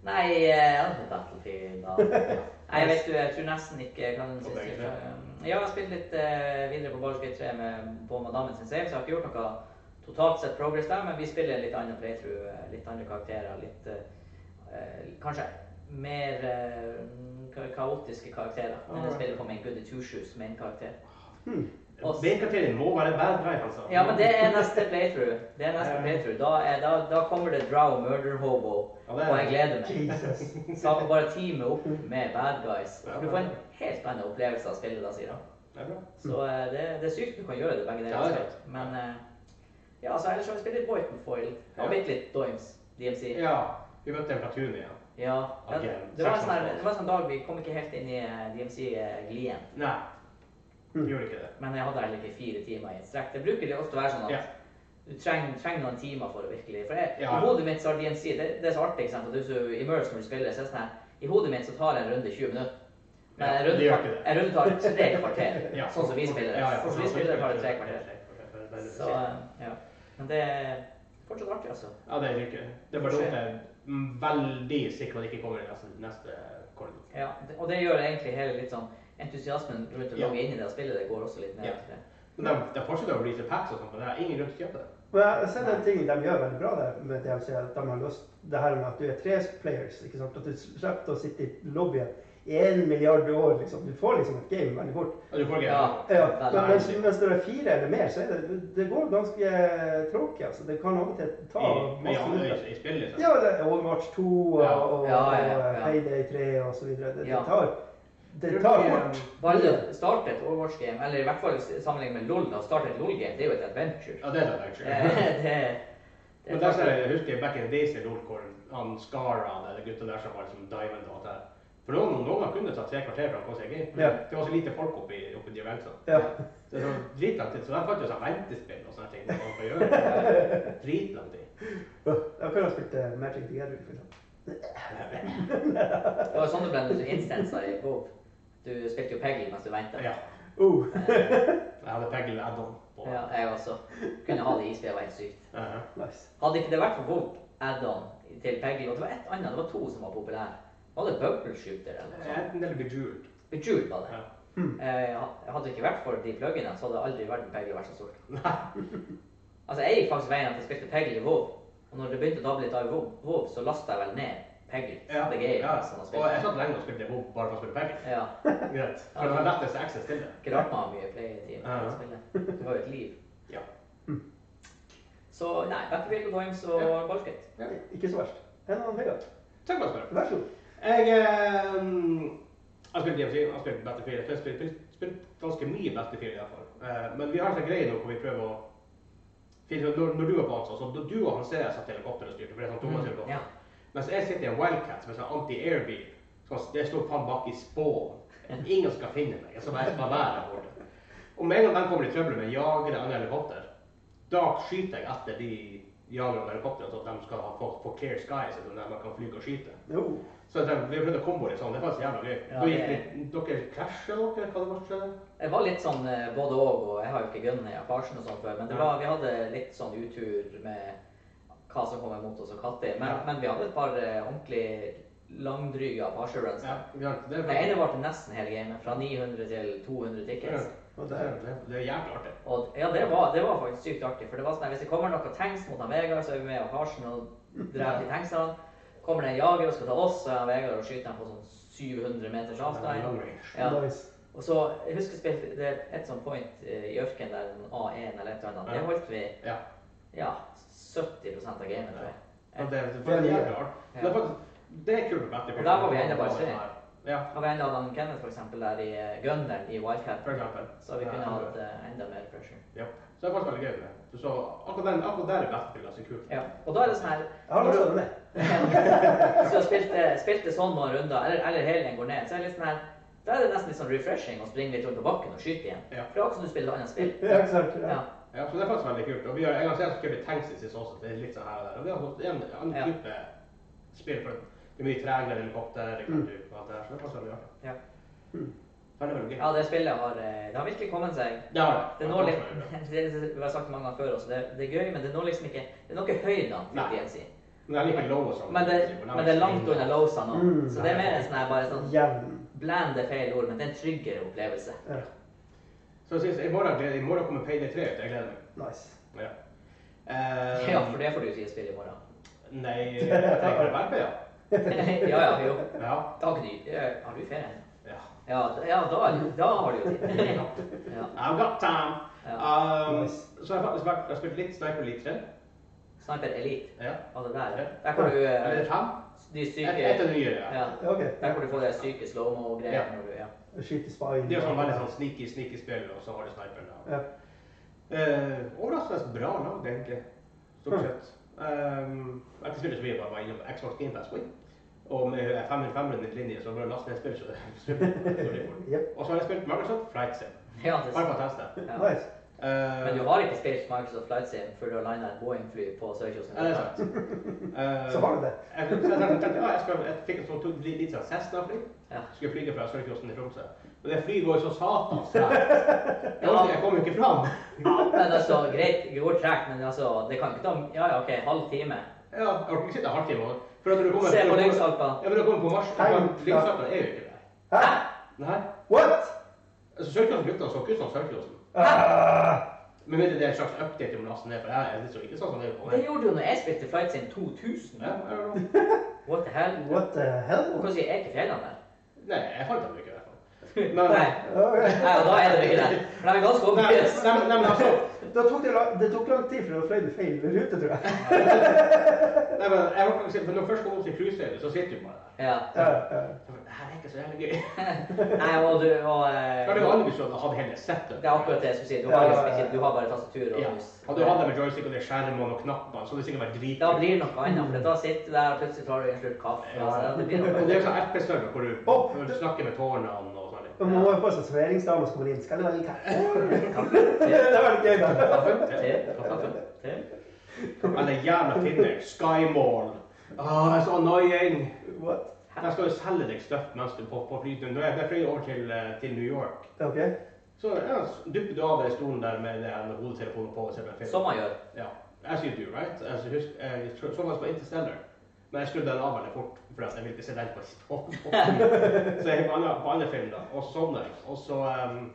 Speaker 2: Nei, eh, Battlefield
Speaker 1: (laughs)
Speaker 2: da. Nei, jeg vet du, jeg tror nesten ikke jeg kan Um, den
Speaker 1: På begge
Speaker 2: siste uka. Ja, Jeg har spilt litt eh, videre på Baldur's Gate 3 med, på madammen sin save, så jeg har ikke gjort noe totalt sett progress der, men vi spiller litt annen playthrough, eh, litt andre karakterer, litt eh, eh, Kanskje mer eh, ka- kaotiske karakterer. Men jeg
Speaker 1: Alright.
Speaker 2: spiller på med en Goody Two Shoes med en karakter. Og-
Speaker 1: B-karakteren må være bad guy, altså.
Speaker 2: Ja, men det er neste playthrough. Det er neste playthrough. Da, er, da, da kommer det Drow Murder Hobo,
Speaker 1: Ja, det er-
Speaker 2: og jeg gleder meg.
Speaker 3: Jesus.
Speaker 2: Så han får bare teame opp med bad guys. Du får en helt annen opplevelse av spillet da, sier han.
Speaker 1: Det er bra.
Speaker 2: Så eh, det, det er sykt du kan gjøre det begge
Speaker 1: Ja,
Speaker 2: deler.
Speaker 1: det er
Speaker 2: Ja, Men eh, ja, altså, ellers har vi spilt litt Boytonfoil
Speaker 1: Ja.
Speaker 2: og bitte litt Doims. DMC.
Speaker 1: Ja, vi møtte en platoon igjen.
Speaker 2: Ja. ja,
Speaker 1: Ok,
Speaker 2: Det var en sånn, her-
Speaker 1: seks
Speaker 2: det var en sånn dag vi kom ikke helt inn i eh, DMC-glien.
Speaker 1: Nei,
Speaker 2: Mm.
Speaker 1: vi gjorde ikke det.
Speaker 2: Men jeg hadde heller ikke fire timer i et strekk. Det bruker litt ofte å være sånn at
Speaker 1: Ja.
Speaker 2: du trenger, trenger noen timer for å virkelig For jeg,
Speaker 1: Ja.
Speaker 2: i hodet mitt så har DMC det, det er så artig, ikke sant. At du er så immersed når du spiller. Så er det sånn her I hodet mitt så tar jeg en runde i 20 minutter. Men
Speaker 1: Ja,
Speaker 2: en
Speaker 1: det
Speaker 2: runde,
Speaker 1: gjør
Speaker 2: tar-
Speaker 1: ikke det.
Speaker 2: en runde tar tre kvarter.
Speaker 1: (laughs) Ja.
Speaker 2: Sånn som vi spiller det.
Speaker 1: Ja, ja.
Speaker 2: Sånn som vi spiller det, tar det tre
Speaker 1: Ja,
Speaker 2: kvarter.
Speaker 1: det er
Speaker 2: Så eh, ja. Men det er fortsatt artig, altså.
Speaker 1: Ja, det er ikke. Det er bare dumt. Jeg er veldig sikker på at det ikke kommer i neste, neste korn.
Speaker 2: Ja, det- og det gjør egentlig hele litt sånn entusiasmen rundt å
Speaker 1: Ja.
Speaker 2: logge inn i det og spille det går også litt ned.
Speaker 1: Ja.
Speaker 2: Ja.
Speaker 1: Men de, de fortsetter å release packs og sånt, men det er ingen grunn til å kjøpe det.
Speaker 3: Men eh, jeg har sett en ting de gjør veldig bra der med DMC, at de har løst det her med at du er tre players. ikke sant? At du slipper å sitte i lobbyen i en milliard år. liksom. Du får liksom et game veldig fort.
Speaker 1: Og du får ikke
Speaker 2: Ja.
Speaker 3: Ja,
Speaker 2: Veldig
Speaker 3: men mens,
Speaker 2: ærlig.
Speaker 3: mens det er fire eller mer, så er det, det går ganske tråkig. altså. Det kan av og til ta
Speaker 1: I- med
Speaker 3: masse
Speaker 1: andre
Speaker 3: minutter.
Speaker 1: i, i spill, liksom.
Speaker 3: Ja, det er Overwatch 2 og,
Speaker 1: Ja.
Speaker 3: og,
Speaker 2: Ja, ja, ja.
Speaker 3: og Payday 3 og så videre. Det,
Speaker 2: Ja.
Speaker 3: det tar, det tar fort.
Speaker 2: Bare det å starte et Overwatch-game, eller i hvert fall sammenlignet med LOL, da, å starte et LOL-game, det er jo et adventure.
Speaker 1: Ja, det er det, actually.
Speaker 2: det, det, det
Speaker 1: Men der ser jeg, jeg husker back in the days i LoL hvor han Skara, de gutta der som var liksom diamond og alt det her. For noen, noen ganger kunne det ta tre kvarter fra å få seg game.
Speaker 3: Ja.
Speaker 1: Det var så lite folk oppi, oppi de eventene.
Speaker 3: Ja.
Speaker 1: Så det var dritlang tid. Så der fant jo sånn ventespill og sånne ting. som man kan gjøre. Dritlang tid.
Speaker 3: Jeg kunne ha spilt eh, Magic Together. for eksempel.
Speaker 2: det var sånn det ble instanser i WoW. Du spilte jo Peggy mens du ventet.
Speaker 1: Ja.
Speaker 3: Uh.
Speaker 1: Jeg hadde Peggle add-on på.
Speaker 2: Ja, jeg også. Kunne ha det i spillet, var helt sykt.
Speaker 1: Eh,
Speaker 3: Nice.
Speaker 2: Hadde ikke det vært for WoW add-on til Peggy, og det var ett annet, det var to som var populære. Var det Bubble Shooter eller noe sånt?
Speaker 1: Enten eller bejeweled.
Speaker 2: Bejeweled var det.
Speaker 1: Ja.
Speaker 2: Eh, hadde det ikke vært for de pluggene, så hadde aldri verden Peggy
Speaker 1: (laughs)
Speaker 2: vært så stor. Altså, jeg gikk faktisk veien at jeg spilte Peggy i WoW. Og når det begynte å dabbe litt av i WoW, WoW, så lasta jeg vel ned Peggy.
Speaker 1: Ja.
Speaker 2: Det game,
Speaker 1: ja.
Speaker 2: som jeg
Speaker 1: Og jeg
Speaker 2: spilte.
Speaker 1: satt lenge og spilte WoW bare for å spille Peggle.
Speaker 2: Sånn Ja.
Speaker 1: Greit. For det var lettest access til det.
Speaker 2: Ikke rart man har mye playtid når
Speaker 1: Ja.
Speaker 2: man spiller. Du har jo et liv.
Speaker 1: Ja.
Speaker 2: Så nei, Battlefield og Dimes og
Speaker 1: Ja.
Speaker 2: Balket.
Speaker 3: Ikke så verst. En annen høyere.
Speaker 1: Takk for spørsmålet.
Speaker 3: Vær så god.
Speaker 1: Jeg eh, har spilt DMC, jeg har spilt Battlefield. Jeg har spilt, spilt, spilt ganske mye Battlefield i hvert fall. Eh, men vi har en sånn greie nå hvor vi prøver å finne ut når, når du var på Hansa, så du og han ser jeg satt i helikopter og styrte, for det er sånn Thomas helikopter.
Speaker 2: Ja.
Speaker 1: Mens jeg sitter i en Wildcat som er sånn anti-airbil. Så det står faen bak i spån. Ingen skal finne meg. Jeg skal bare, bare være der borte. Og med en gang de kommer i trøbbel med jagere eller andre helikopter, da skyter jeg etter de jagerne og helikoptrene, så at de skal ha- få, få clear skies, eller der man kan fly og skyte.
Speaker 3: Jo.
Speaker 1: Så jeg tenkte, vi prøvde å komme litt sånn, det er faktisk jævla gøy.
Speaker 2: Ja,
Speaker 1: Da
Speaker 2: det-
Speaker 1: gikk vi, dere krasja dere, hva det var skjedde?
Speaker 2: Jeg var litt sånn eh, både òg, og jeg har jo ikke gunnet i Apachen og sånn før, men det var, vi hadde litt sånn utur med hva som kom imot oss og katter. Men,
Speaker 1: Ja.
Speaker 2: men vi hadde et par eh, ordentlig langdryge Apache-runs.
Speaker 1: Ja,
Speaker 2: da.
Speaker 1: ikke sant? det er
Speaker 2: Det ene varte nesten hele gamet, fra 900 til 200
Speaker 1: Ja,
Speaker 2: tickets.
Speaker 3: Og
Speaker 1: det
Speaker 3: der.
Speaker 1: er- det er jævlig artig.
Speaker 2: Og ja, det var, det var faktisk sykt artig. For det var sånn at hvis det kommer noen tanks mot han Vegard, så er vi med og Karsten og drar til tanksene. Kommer det en jager og skal ta oss, så er han Vegard og skyter han på sånn 700 meters
Speaker 1: Det er
Speaker 2: avstand.
Speaker 1: long range.
Speaker 2: Ja.
Speaker 3: Nice.
Speaker 2: Og så, jeg husker jeg spilte det er et sånt point eh, i ørkenen der, en A1 eller et eller annet. Det holdt vi
Speaker 1: Ja.
Speaker 2: ja, 70 av gamet, tror jeg.
Speaker 1: Ja, det, er- det er jævlig artig. Men Det er faktisk, det er kult med Battlefield.
Speaker 2: Og der var vi enda bare tre.
Speaker 1: Ja,
Speaker 2: Og vi enda hadde Kenneth for eksempel der i eh, Gunneren i Wildcat,
Speaker 1: for eksempel.
Speaker 2: så vi
Speaker 1: Ja,
Speaker 2: kunne
Speaker 1: ja.
Speaker 2: hatt eh, enda mer pressure.
Speaker 1: Ja. Så det er faktisk veldig gøy med det. Så akkurat, den, akkurat der er Battlefield ganske kult.
Speaker 2: Ja, og da er det sånn her... (laughs)
Speaker 3: Jeg har lyst til å ned.
Speaker 2: Så spilte, spilte sånn noen runder, eller, eller hele den går ned, så er det litt sånn her Da er det nesten litt sånn refreshing å springe litt rundt på bakken og skyte igjen.
Speaker 1: Ja.
Speaker 2: For det er også som du spiller et annet spill.
Speaker 3: Ja, ikke sant?
Speaker 2: Ja.
Speaker 3: Ja.
Speaker 1: Ja, så det er faktisk veldig kult. Og vi har en gang siden så kjøpte vi tanks i sist også, det er litt sånn her og der. Og vi har fått en annen
Speaker 2: Ja.
Speaker 1: type spill for det. Det er mye tregere helikopter, det kan du, og alt det der. Så det er faktisk veldig artig.
Speaker 2: Ja.
Speaker 3: Hmm.
Speaker 1: Veldig, veldig gøy.
Speaker 2: Mm. ja, det spillet har eh, Det har virkelig kommet seg.
Speaker 1: Det har det.
Speaker 2: Det når litt det, det, Vi har sagt det mange ganger før også, det, det er gøy, men det når liksom ikke Det er noe høydene
Speaker 1: Nei.
Speaker 2: til DNC.
Speaker 1: Men det er like low og sånn.
Speaker 2: Men det, men det er langt unna lowsa nå.
Speaker 3: Mm.
Speaker 2: Så det er mer en sånn her bare sånn
Speaker 3: Jevn.
Speaker 2: Bland er feil ord, men det er en tryggere opplevelse.
Speaker 3: Ja.
Speaker 1: Så jeg synes, i morgen, i morgen kommer Payday 3 ut. Jeg gleder meg.
Speaker 3: Nice.
Speaker 1: Ja. Eh,
Speaker 2: (laughs) Ja, for det får du si i spillet i morgen. (laughs)
Speaker 1: Ehm, Nei, jeg tenker på arbeid,
Speaker 2: ja, ja, jo.
Speaker 1: ja. Ja.
Speaker 2: Da har ikke du eh, Har du ferie? (laughs)
Speaker 1: ja.
Speaker 2: Ja, d- ja da, er du- da har du jo tid. ja,
Speaker 1: I've got time.
Speaker 2: ja.
Speaker 1: Um,
Speaker 3: Nice.
Speaker 1: Så jeg har faktisk vært- jeg har spilt litt Sniper Elite 3.
Speaker 2: Sniper Elite.
Speaker 1: Ja.
Speaker 2: Ja, det der. Der kan du eh,
Speaker 1: Eller 5.
Speaker 2: De
Speaker 1: Et et av
Speaker 2: syke
Speaker 1: de nyere. ja.
Speaker 2: ja.
Speaker 3: Ja, ok.
Speaker 2: Der kan du få de syke slow-mo-greiene
Speaker 1: Ja.
Speaker 2: når du ja.
Speaker 3: Skyte spy.
Speaker 1: Det er jo sånn veldig sånn sneaky, sneaky spill, og så har du sniperen. Ja.
Speaker 3: Ja.
Speaker 1: Eh, overraskende bra lag, egentlig.
Speaker 2: Hmm.
Speaker 1: Stort sett. Um, jeg har ikke spilt så mye, bare var innom Xbox Game Pass. oi. Og med eh, 500-500 i linje, så bør du laste ned spillet. så (laughs) det- så det går fort.
Speaker 3: Yep.
Speaker 1: Og så har jeg spilt Microsoft Flight Sim.
Speaker 2: ja, det
Speaker 1: Bare for å teste.
Speaker 2: ja.
Speaker 3: Nice.
Speaker 1: Eh,
Speaker 2: Men du har ikke spilt Microsoft Flight Sim før du har landa et Boeing-fly på Sørkjosen?
Speaker 1: Ja, det er sant. Eh,
Speaker 3: Så har du det.
Speaker 1: Jeg, jeg, jeg, tenkte, ja, jeg, skal, jeg fikk en sånn to- litt, litt sånn Cessna-fly.
Speaker 2: Ja.
Speaker 1: Skulle flyge fra Sørkjosen til Tromsø. Men det flyet går jo så satans tregt. Jeg orker- jeg kommer jo ikke fram.
Speaker 2: Ja, men altså, greit, det går tregt, men altså, det kan ikke ta Ja ja, OK, halv time.
Speaker 1: Ja, jeg orker ikke sitte en halvtime. og- For at når du kommer, når
Speaker 2: Se på
Speaker 1: du kommer-
Speaker 2: lyngsalpa.
Speaker 1: Ja, men når du kommer på Mars,
Speaker 3: Hei.
Speaker 1: lyngsalpa er jo ikke der.
Speaker 3: Hæ?
Speaker 1: Nei.
Speaker 3: What?
Speaker 1: Altså, Sørkjosen-guttene så ikke ut som Sørkjosen.
Speaker 3: Ah,
Speaker 1: Men mindre det er en slags update om lasten er, for jeg er litt så ikke sånn som det er på
Speaker 2: Det
Speaker 1: meg.
Speaker 2: gjorde du når jeg spilte Flight Sim 2000.
Speaker 1: Ja, I don't know.
Speaker 2: What the hell?
Speaker 3: what the
Speaker 2: Og
Speaker 3: hell?
Speaker 2: hva sier jeg ikke fjellene der?
Speaker 1: Nei, jeg fant dem ikke i hvert fall.
Speaker 2: Nei.
Speaker 3: Ok.
Speaker 2: Nei, og da er det ikke det. For de er ganske
Speaker 1: Nei, nei,
Speaker 2: overbevist.
Speaker 1: nei, men altså,
Speaker 3: Da tok det, lang, det tok lang tid før du fløy med feil rute, tror jeg.
Speaker 1: nei, men jeg orker ikke sitte, for når du først kommer opp til cruiseøyet, så sitter du bare der.
Speaker 2: Ja.
Speaker 3: Ja, ja.
Speaker 1: Så jeg bare, Det her er ikke så jævlig gøy.
Speaker 2: Nei, og du og, eh,
Speaker 1: Det er jo vanligvis sånn at jeg hadde hele settet.
Speaker 2: Det er akkurat det jeg skulle si. Du har, liksom ikke, du har bare tastatur og
Speaker 1: Ja.
Speaker 2: mus.
Speaker 1: Hadde du hatt det med joystick og de skjermene og knappene, så hadde det sikkert vært drit.
Speaker 2: Da blir det noe annet, for da sitter du der og plutselig tar du en slurk kaffe.
Speaker 1: Ja.
Speaker 2: Altså, det blir
Speaker 1: Og (laughs) det er
Speaker 2: noe.
Speaker 1: jo sånn RP-server hvor du,
Speaker 3: Å!
Speaker 1: hvor du snakker med tårnene og sånn.
Speaker 3: Og man må jo få seg serveringsdame som kommer inn. Skal du ha litt kaffe?
Speaker 2: Kaffe, te,
Speaker 3: Det var litt gøy, da.
Speaker 2: kaffe, te, kaffe, te.
Speaker 1: Eller jævla Tinder. Skymall. Ah, det er så annoying.
Speaker 3: What?
Speaker 1: Jeg skal jo selge deg støtt mens du er på, på flyturen. Når jeg jeg fløy over til, eh, til New York,
Speaker 3: Ok.
Speaker 1: så ja, så dupper du av den stolen der med den hodetelefonen på og ser på en film.
Speaker 2: Som man gjør.
Speaker 1: Ja. As you do, right? As you husk, eh, jeg tror- sånn var det på Interstellar. Men jeg skrudde den av veldig fort, for at jeg ville ikke se den på på- på- Så jeg gikk på andre, på andre film, da, og så sovna jeg. Og så ehm,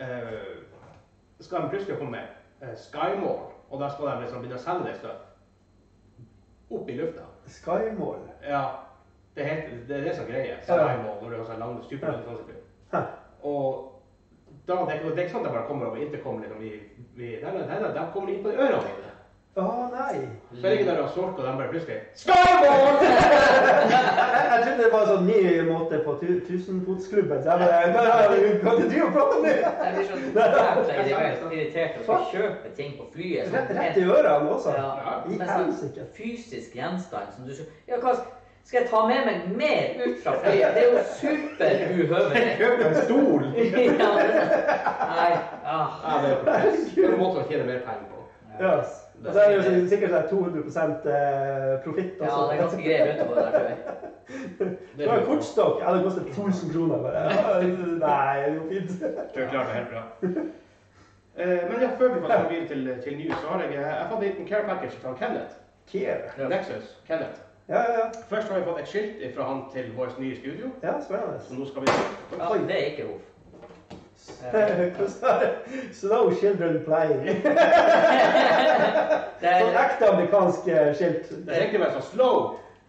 Speaker 1: eh, skal de plutselig komme med eh, Skymall, og da skal de liksom begynne å selge deg støtt. Opp i lufta.
Speaker 3: Skymål.
Speaker 1: Ja, det, heter, det er det som er greia.
Speaker 3: Ja.
Speaker 1: Skymål, når du har sånn lang stupende distansebil.
Speaker 3: Hæ.
Speaker 1: Og da, det, er ikke- det er ikke sånn at jeg bare kommer over intercom liksom, vi, vi, nei, nei, nei, nei, de kommer inn på ørene mine.
Speaker 3: Å nei.
Speaker 1: Så jeg ligger der og snorker, og de bare plutselig Skymål!
Speaker 3: Jeg, jeg trodde det var en sånn ny måte på tu- tusenfotsklubben. Så jeg bare "Hva er det- Hva er det du driver og prater om nå?
Speaker 2: Jeg blir så jævla irritert- irritert og skal kjøpe ting på flyet.
Speaker 3: Rett,
Speaker 2: som
Speaker 3: rett i ørene også.
Speaker 2: Ja.
Speaker 3: I
Speaker 2: Men sånn
Speaker 3: helsike.
Speaker 2: fysisk gjenstand som du skal Ja, hva skal jeg ta med meg mer ut fra flyet? Det er jo superuhøvelig.
Speaker 1: Kjøp en stol!
Speaker 2: Ja, nei, ah.
Speaker 1: (laughs) Ja, det er protest. Det er en måte å tjene mer penger på.
Speaker 3: Ja. Og så er det jo sikkert sånn 200 eh, profitt
Speaker 2: ja, det er
Speaker 3: også.
Speaker 2: ganske grei rute på det der, tror jeg.
Speaker 1: Det
Speaker 3: Det var en kortstokk. Ja, det kostet 1000 kroner bare. (laughs) Nei, det går fint.
Speaker 1: Du klarer det helt bra. (laughs) Eh, men ja, før vi faktisk går videre til, til news, så har jeg, eh, jeg har fått en liten care package fra Kenneth.
Speaker 3: Care.
Speaker 2: Ja.
Speaker 1: Nexus. Kenneth.
Speaker 3: Ja, ja, ja.
Speaker 1: Først har vi fått et skilt fra han til vårt nye studio.
Speaker 3: Ja, spennende. (laughs)
Speaker 1: Så nå skal vi
Speaker 2: Ja, det er ikke hov.
Speaker 3: Hvordan er det? Slow children
Speaker 2: (laughs)
Speaker 3: playing.
Speaker 2: Det
Speaker 3: Sånn
Speaker 2: er,
Speaker 3: ekte amerikansk eh, skilt.
Speaker 1: Det er egentlig bare sånn slow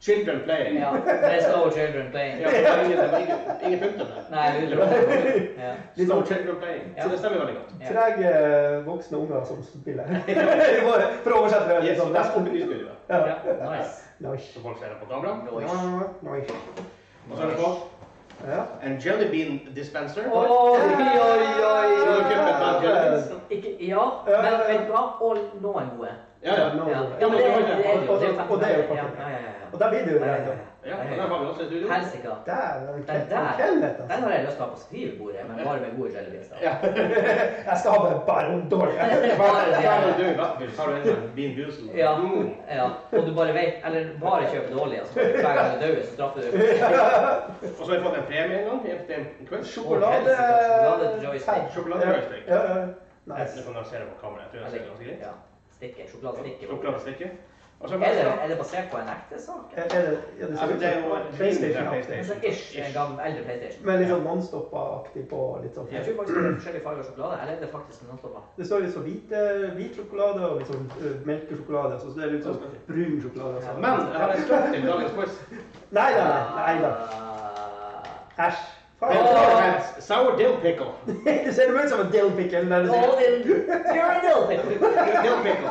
Speaker 1: children playing.
Speaker 2: ja, det er slow children playing.
Speaker 1: Ja, for ingen, ingen, ingen fulgte det.
Speaker 2: Nei, det er bra. Ja.
Speaker 3: Litt
Speaker 1: Slow
Speaker 3: sånn
Speaker 1: children playing.
Speaker 2: Ja.
Speaker 1: Så det stemmer veldig godt.
Speaker 2: Ja.
Speaker 3: trege eh, voksne unger som
Speaker 2: (laughs)
Speaker 3: spiller. (laughs) Bare For å oversette det.
Speaker 1: Yes,
Speaker 3: Liksom.
Speaker 1: og der kommer vi i studio.
Speaker 3: Ja.
Speaker 2: Ja, nice.
Speaker 3: Nice.
Speaker 1: Så folk ser det på kamera.
Speaker 3: Ja,
Speaker 2: Nice.
Speaker 3: nice.
Speaker 1: Og så er det på
Speaker 3: Ja.
Speaker 1: en jelly bean dispenser.
Speaker 2: Oi, oi, oi,
Speaker 1: Du har
Speaker 2: oi.
Speaker 1: kjøpt et par jelly beans.
Speaker 2: Ikke, ja, men vet du hva? Og nå er noe.
Speaker 1: Ja, ja.
Speaker 3: Nå-
Speaker 2: Ja, ja, men det er det er jo det er jo
Speaker 3: Og det er jo
Speaker 2: Ja, ja, ja, ja.
Speaker 3: Og der blir det jo greit. da.
Speaker 1: Ja, og der har vi også et studio.
Speaker 2: Helsika.
Speaker 3: Dæven,
Speaker 2: Den
Speaker 3: Ken-
Speaker 2: der
Speaker 3: Kenneth,
Speaker 2: den
Speaker 3: altså.
Speaker 2: har jeg lyst til å ha på skrivebordet, men bare med gode jellybeanser.
Speaker 1: Ja.
Speaker 3: Jeg skal ha med bare dårlige.
Speaker 2: (laughs) Bare
Speaker 1: Der er
Speaker 2: de-
Speaker 1: du i Vattenfall, så har du en sånn bean boozled.
Speaker 2: Ja,
Speaker 1: Mm.
Speaker 2: ja. Og du bare vet Eller bare kjøpe dårlige. Altså. Hver gang du dør, så straffer du.
Speaker 1: Og så har vi fått en premie en gang. en- En kveld.
Speaker 3: Sjokolade...
Speaker 2: Sjokolade joystick.
Speaker 1: Sjokoladejoystick.
Speaker 3: Ja, ja, ja.
Speaker 1: Nice.
Speaker 3: Nice.
Speaker 1: Jeg kan lansere på kamera. Jeg tror jeg ser ganske greit.
Speaker 2: Ja. Stikke. Sjokoladestikke.
Speaker 1: Sjokoladestikke. Og så
Speaker 2: Er det, er det basert på en ekte sak?
Speaker 3: Er er det, ja, det, ser
Speaker 1: Altså,
Speaker 3: ut
Speaker 1: det er
Speaker 3: som
Speaker 1: jo-
Speaker 3: PlayStation.
Speaker 1: det er
Speaker 3: aktig.
Speaker 1: PlayStation.
Speaker 2: Altså, ish, en gammel eldre PlayStation.
Speaker 3: Men litt sånn nonstoppa-aktig på litt sånn
Speaker 2: Jeg tror faktisk det er forskjellige farger sjokolade. Eller er det faktisk noen stopper?
Speaker 3: Det står litt sånn hvit, eh, hvit sjokolade og litt sånn eh, melkesjokolade. og Så ser det ut som brun sjokolade. Altså.
Speaker 1: Men jeg har en stopp til dagens quiz.
Speaker 3: Nei da, nei da. Æsj.
Speaker 1: Det
Speaker 3: Faen.
Speaker 1: er Sour dill pickle.
Speaker 3: (laughs) Det ser ut som en dill pickle. der det
Speaker 2: All
Speaker 3: ser-
Speaker 2: in you're a little bit.
Speaker 1: Dill pickle.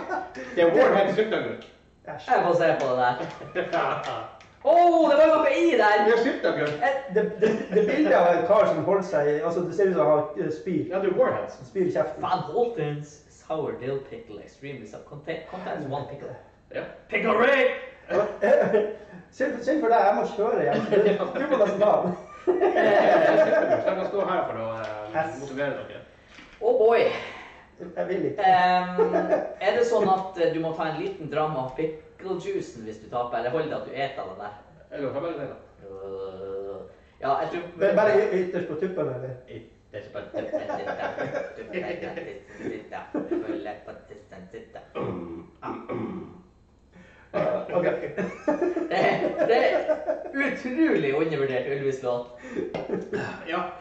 Speaker 1: Det er Warhead sylteagurk.
Speaker 3: Æsj.
Speaker 2: Jeg får se på det der.
Speaker 1: Vi
Speaker 2: Å, det var noe i der!
Speaker 1: har sylteagurk.
Speaker 2: Et-
Speaker 3: Det, det, det bildet av en kar som holder seg altså Det ser ut som han har eh, spyr.
Speaker 1: Ja, det er Warheads.
Speaker 3: Spyr i kjeften.
Speaker 2: Van Holten's sour dill pickle extremely sub contain- contains one pickle.
Speaker 1: Ja.
Speaker 2: Pickle ring!
Speaker 3: Synd synd for deg, jeg må kjøre hjem.
Speaker 1: (laughs)
Speaker 3: Du- Du må nesten ta den.
Speaker 1: Jeg skal stå her for å eh, motivere dere.
Speaker 2: (laughs) Oh boy.
Speaker 3: Jeg vil ikke.
Speaker 2: Ehm, er det sånn at eh, du må ta en liten dram av picklejuicen hvis du taper, eller holder det at du eter den der?
Speaker 1: Eller hva var det da?
Speaker 2: Øh, ja, jeg tror
Speaker 3: Men Bare y- ytterst på tuppen, eller?
Speaker 2: Det er bare-
Speaker 1: Mm,
Speaker 3: Ok.
Speaker 2: Det- Det er utrolig undervurdert Ylvis-låt.
Speaker 1: Ja.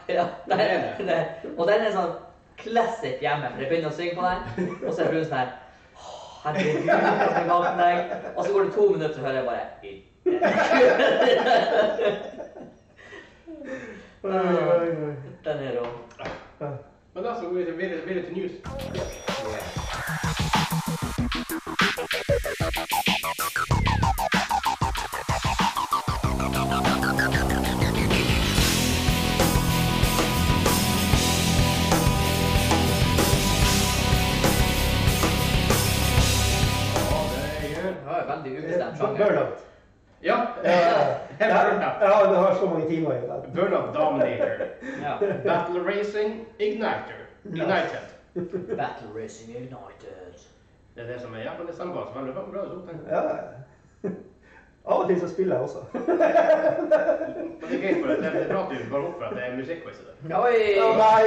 Speaker 2: Ja, det er det. Og den er sånn classic hjemme, for jeg begynner å synge på den, og så er fruen sånn her «Åh, Herregud, jeg skal våkne deg. Og så går det to minutter, så hører jeg bare
Speaker 3: Oi, oi, oi.
Speaker 2: Den er rå. Ah.
Speaker 1: Men da så går vi til videre, videre til news.
Speaker 2: Det var jo veldig ubestemt sjanger. (laughs)
Speaker 3: Burnout.
Speaker 1: Ja. eh,
Speaker 3: Ja,
Speaker 1: Helt
Speaker 3: ja,
Speaker 1: burnout.
Speaker 3: ja, du har så mange timer igjen. der.
Speaker 1: Burnout nou. Dominator.
Speaker 2: Ja.
Speaker 1: Battle Racing Igniter. Ignited.
Speaker 2: Battle Racing United.
Speaker 1: Det er det som er jævlig sangbar. Så veldig bra- bra du tok den.
Speaker 3: Ja. (laughs) Av og til så spiller jeg også.
Speaker 1: Men det er gøy for det. Det er bra at du bare opp for at det er musikkquiz i det.
Speaker 2: Oi!
Speaker 3: nei!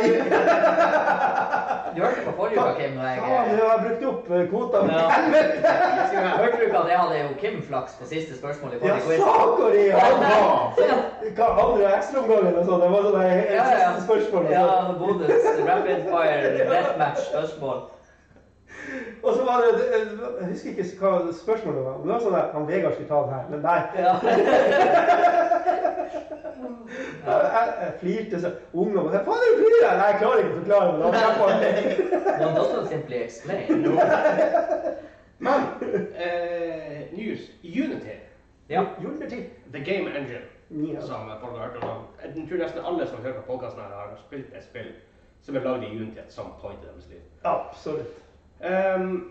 Speaker 2: Du hørte på forrige uke, Kim, når
Speaker 3: Faen,
Speaker 2: jeg
Speaker 3: nå har jeg brukt opp eh, kvota mi.
Speaker 2: Ja.
Speaker 3: Helvete!
Speaker 2: Hørte du ikke at jeg hadde jo Kim-flaks på siste spørsmål i
Speaker 3: Ja,
Speaker 2: forrige quiz?
Speaker 3: saker i
Speaker 2: Ja,
Speaker 3: han!
Speaker 2: ja.
Speaker 3: Hva andre ekstraomgangen og sånn? Det var sånn et
Speaker 2: Ja, ja.
Speaker 3: siste spørsmål. og
Speaker 2: Ja,
Speaker 3: sånn.
Speaker 2: bonus. Rapid fire, deathmatch-spørsmål.
Speaker 3: Og så var det, det Jeg husker ikke hva spørsmålet var. men Det var sånn at han Vegard skulle ta den her, men nei.
Speaker 2: Ja.
Speaker 3: Jeg, jeg, jeg flirte så ungdom og sa Faen, du flirer! jeg?" Nei, jeg klarer ikke å forklare det. Da var jeg på-
Speaker 2: One doesn't simply explain.
Speaker 1: Men eh, news. Unity.
Speaker 2: Ja.
Speaker 3: Gjorde det til. altså.
Speaker 1: The Game Engine.
Speaker 3: Ja.
Speaker 1: Som folk har hørt om. Jeg tror nesten alle som hører på podkasten her, har spilt et spill som er lagd i Unity at some point i deres liv.
Speaker 3: Absolutt.
Speaker 1: Ehm,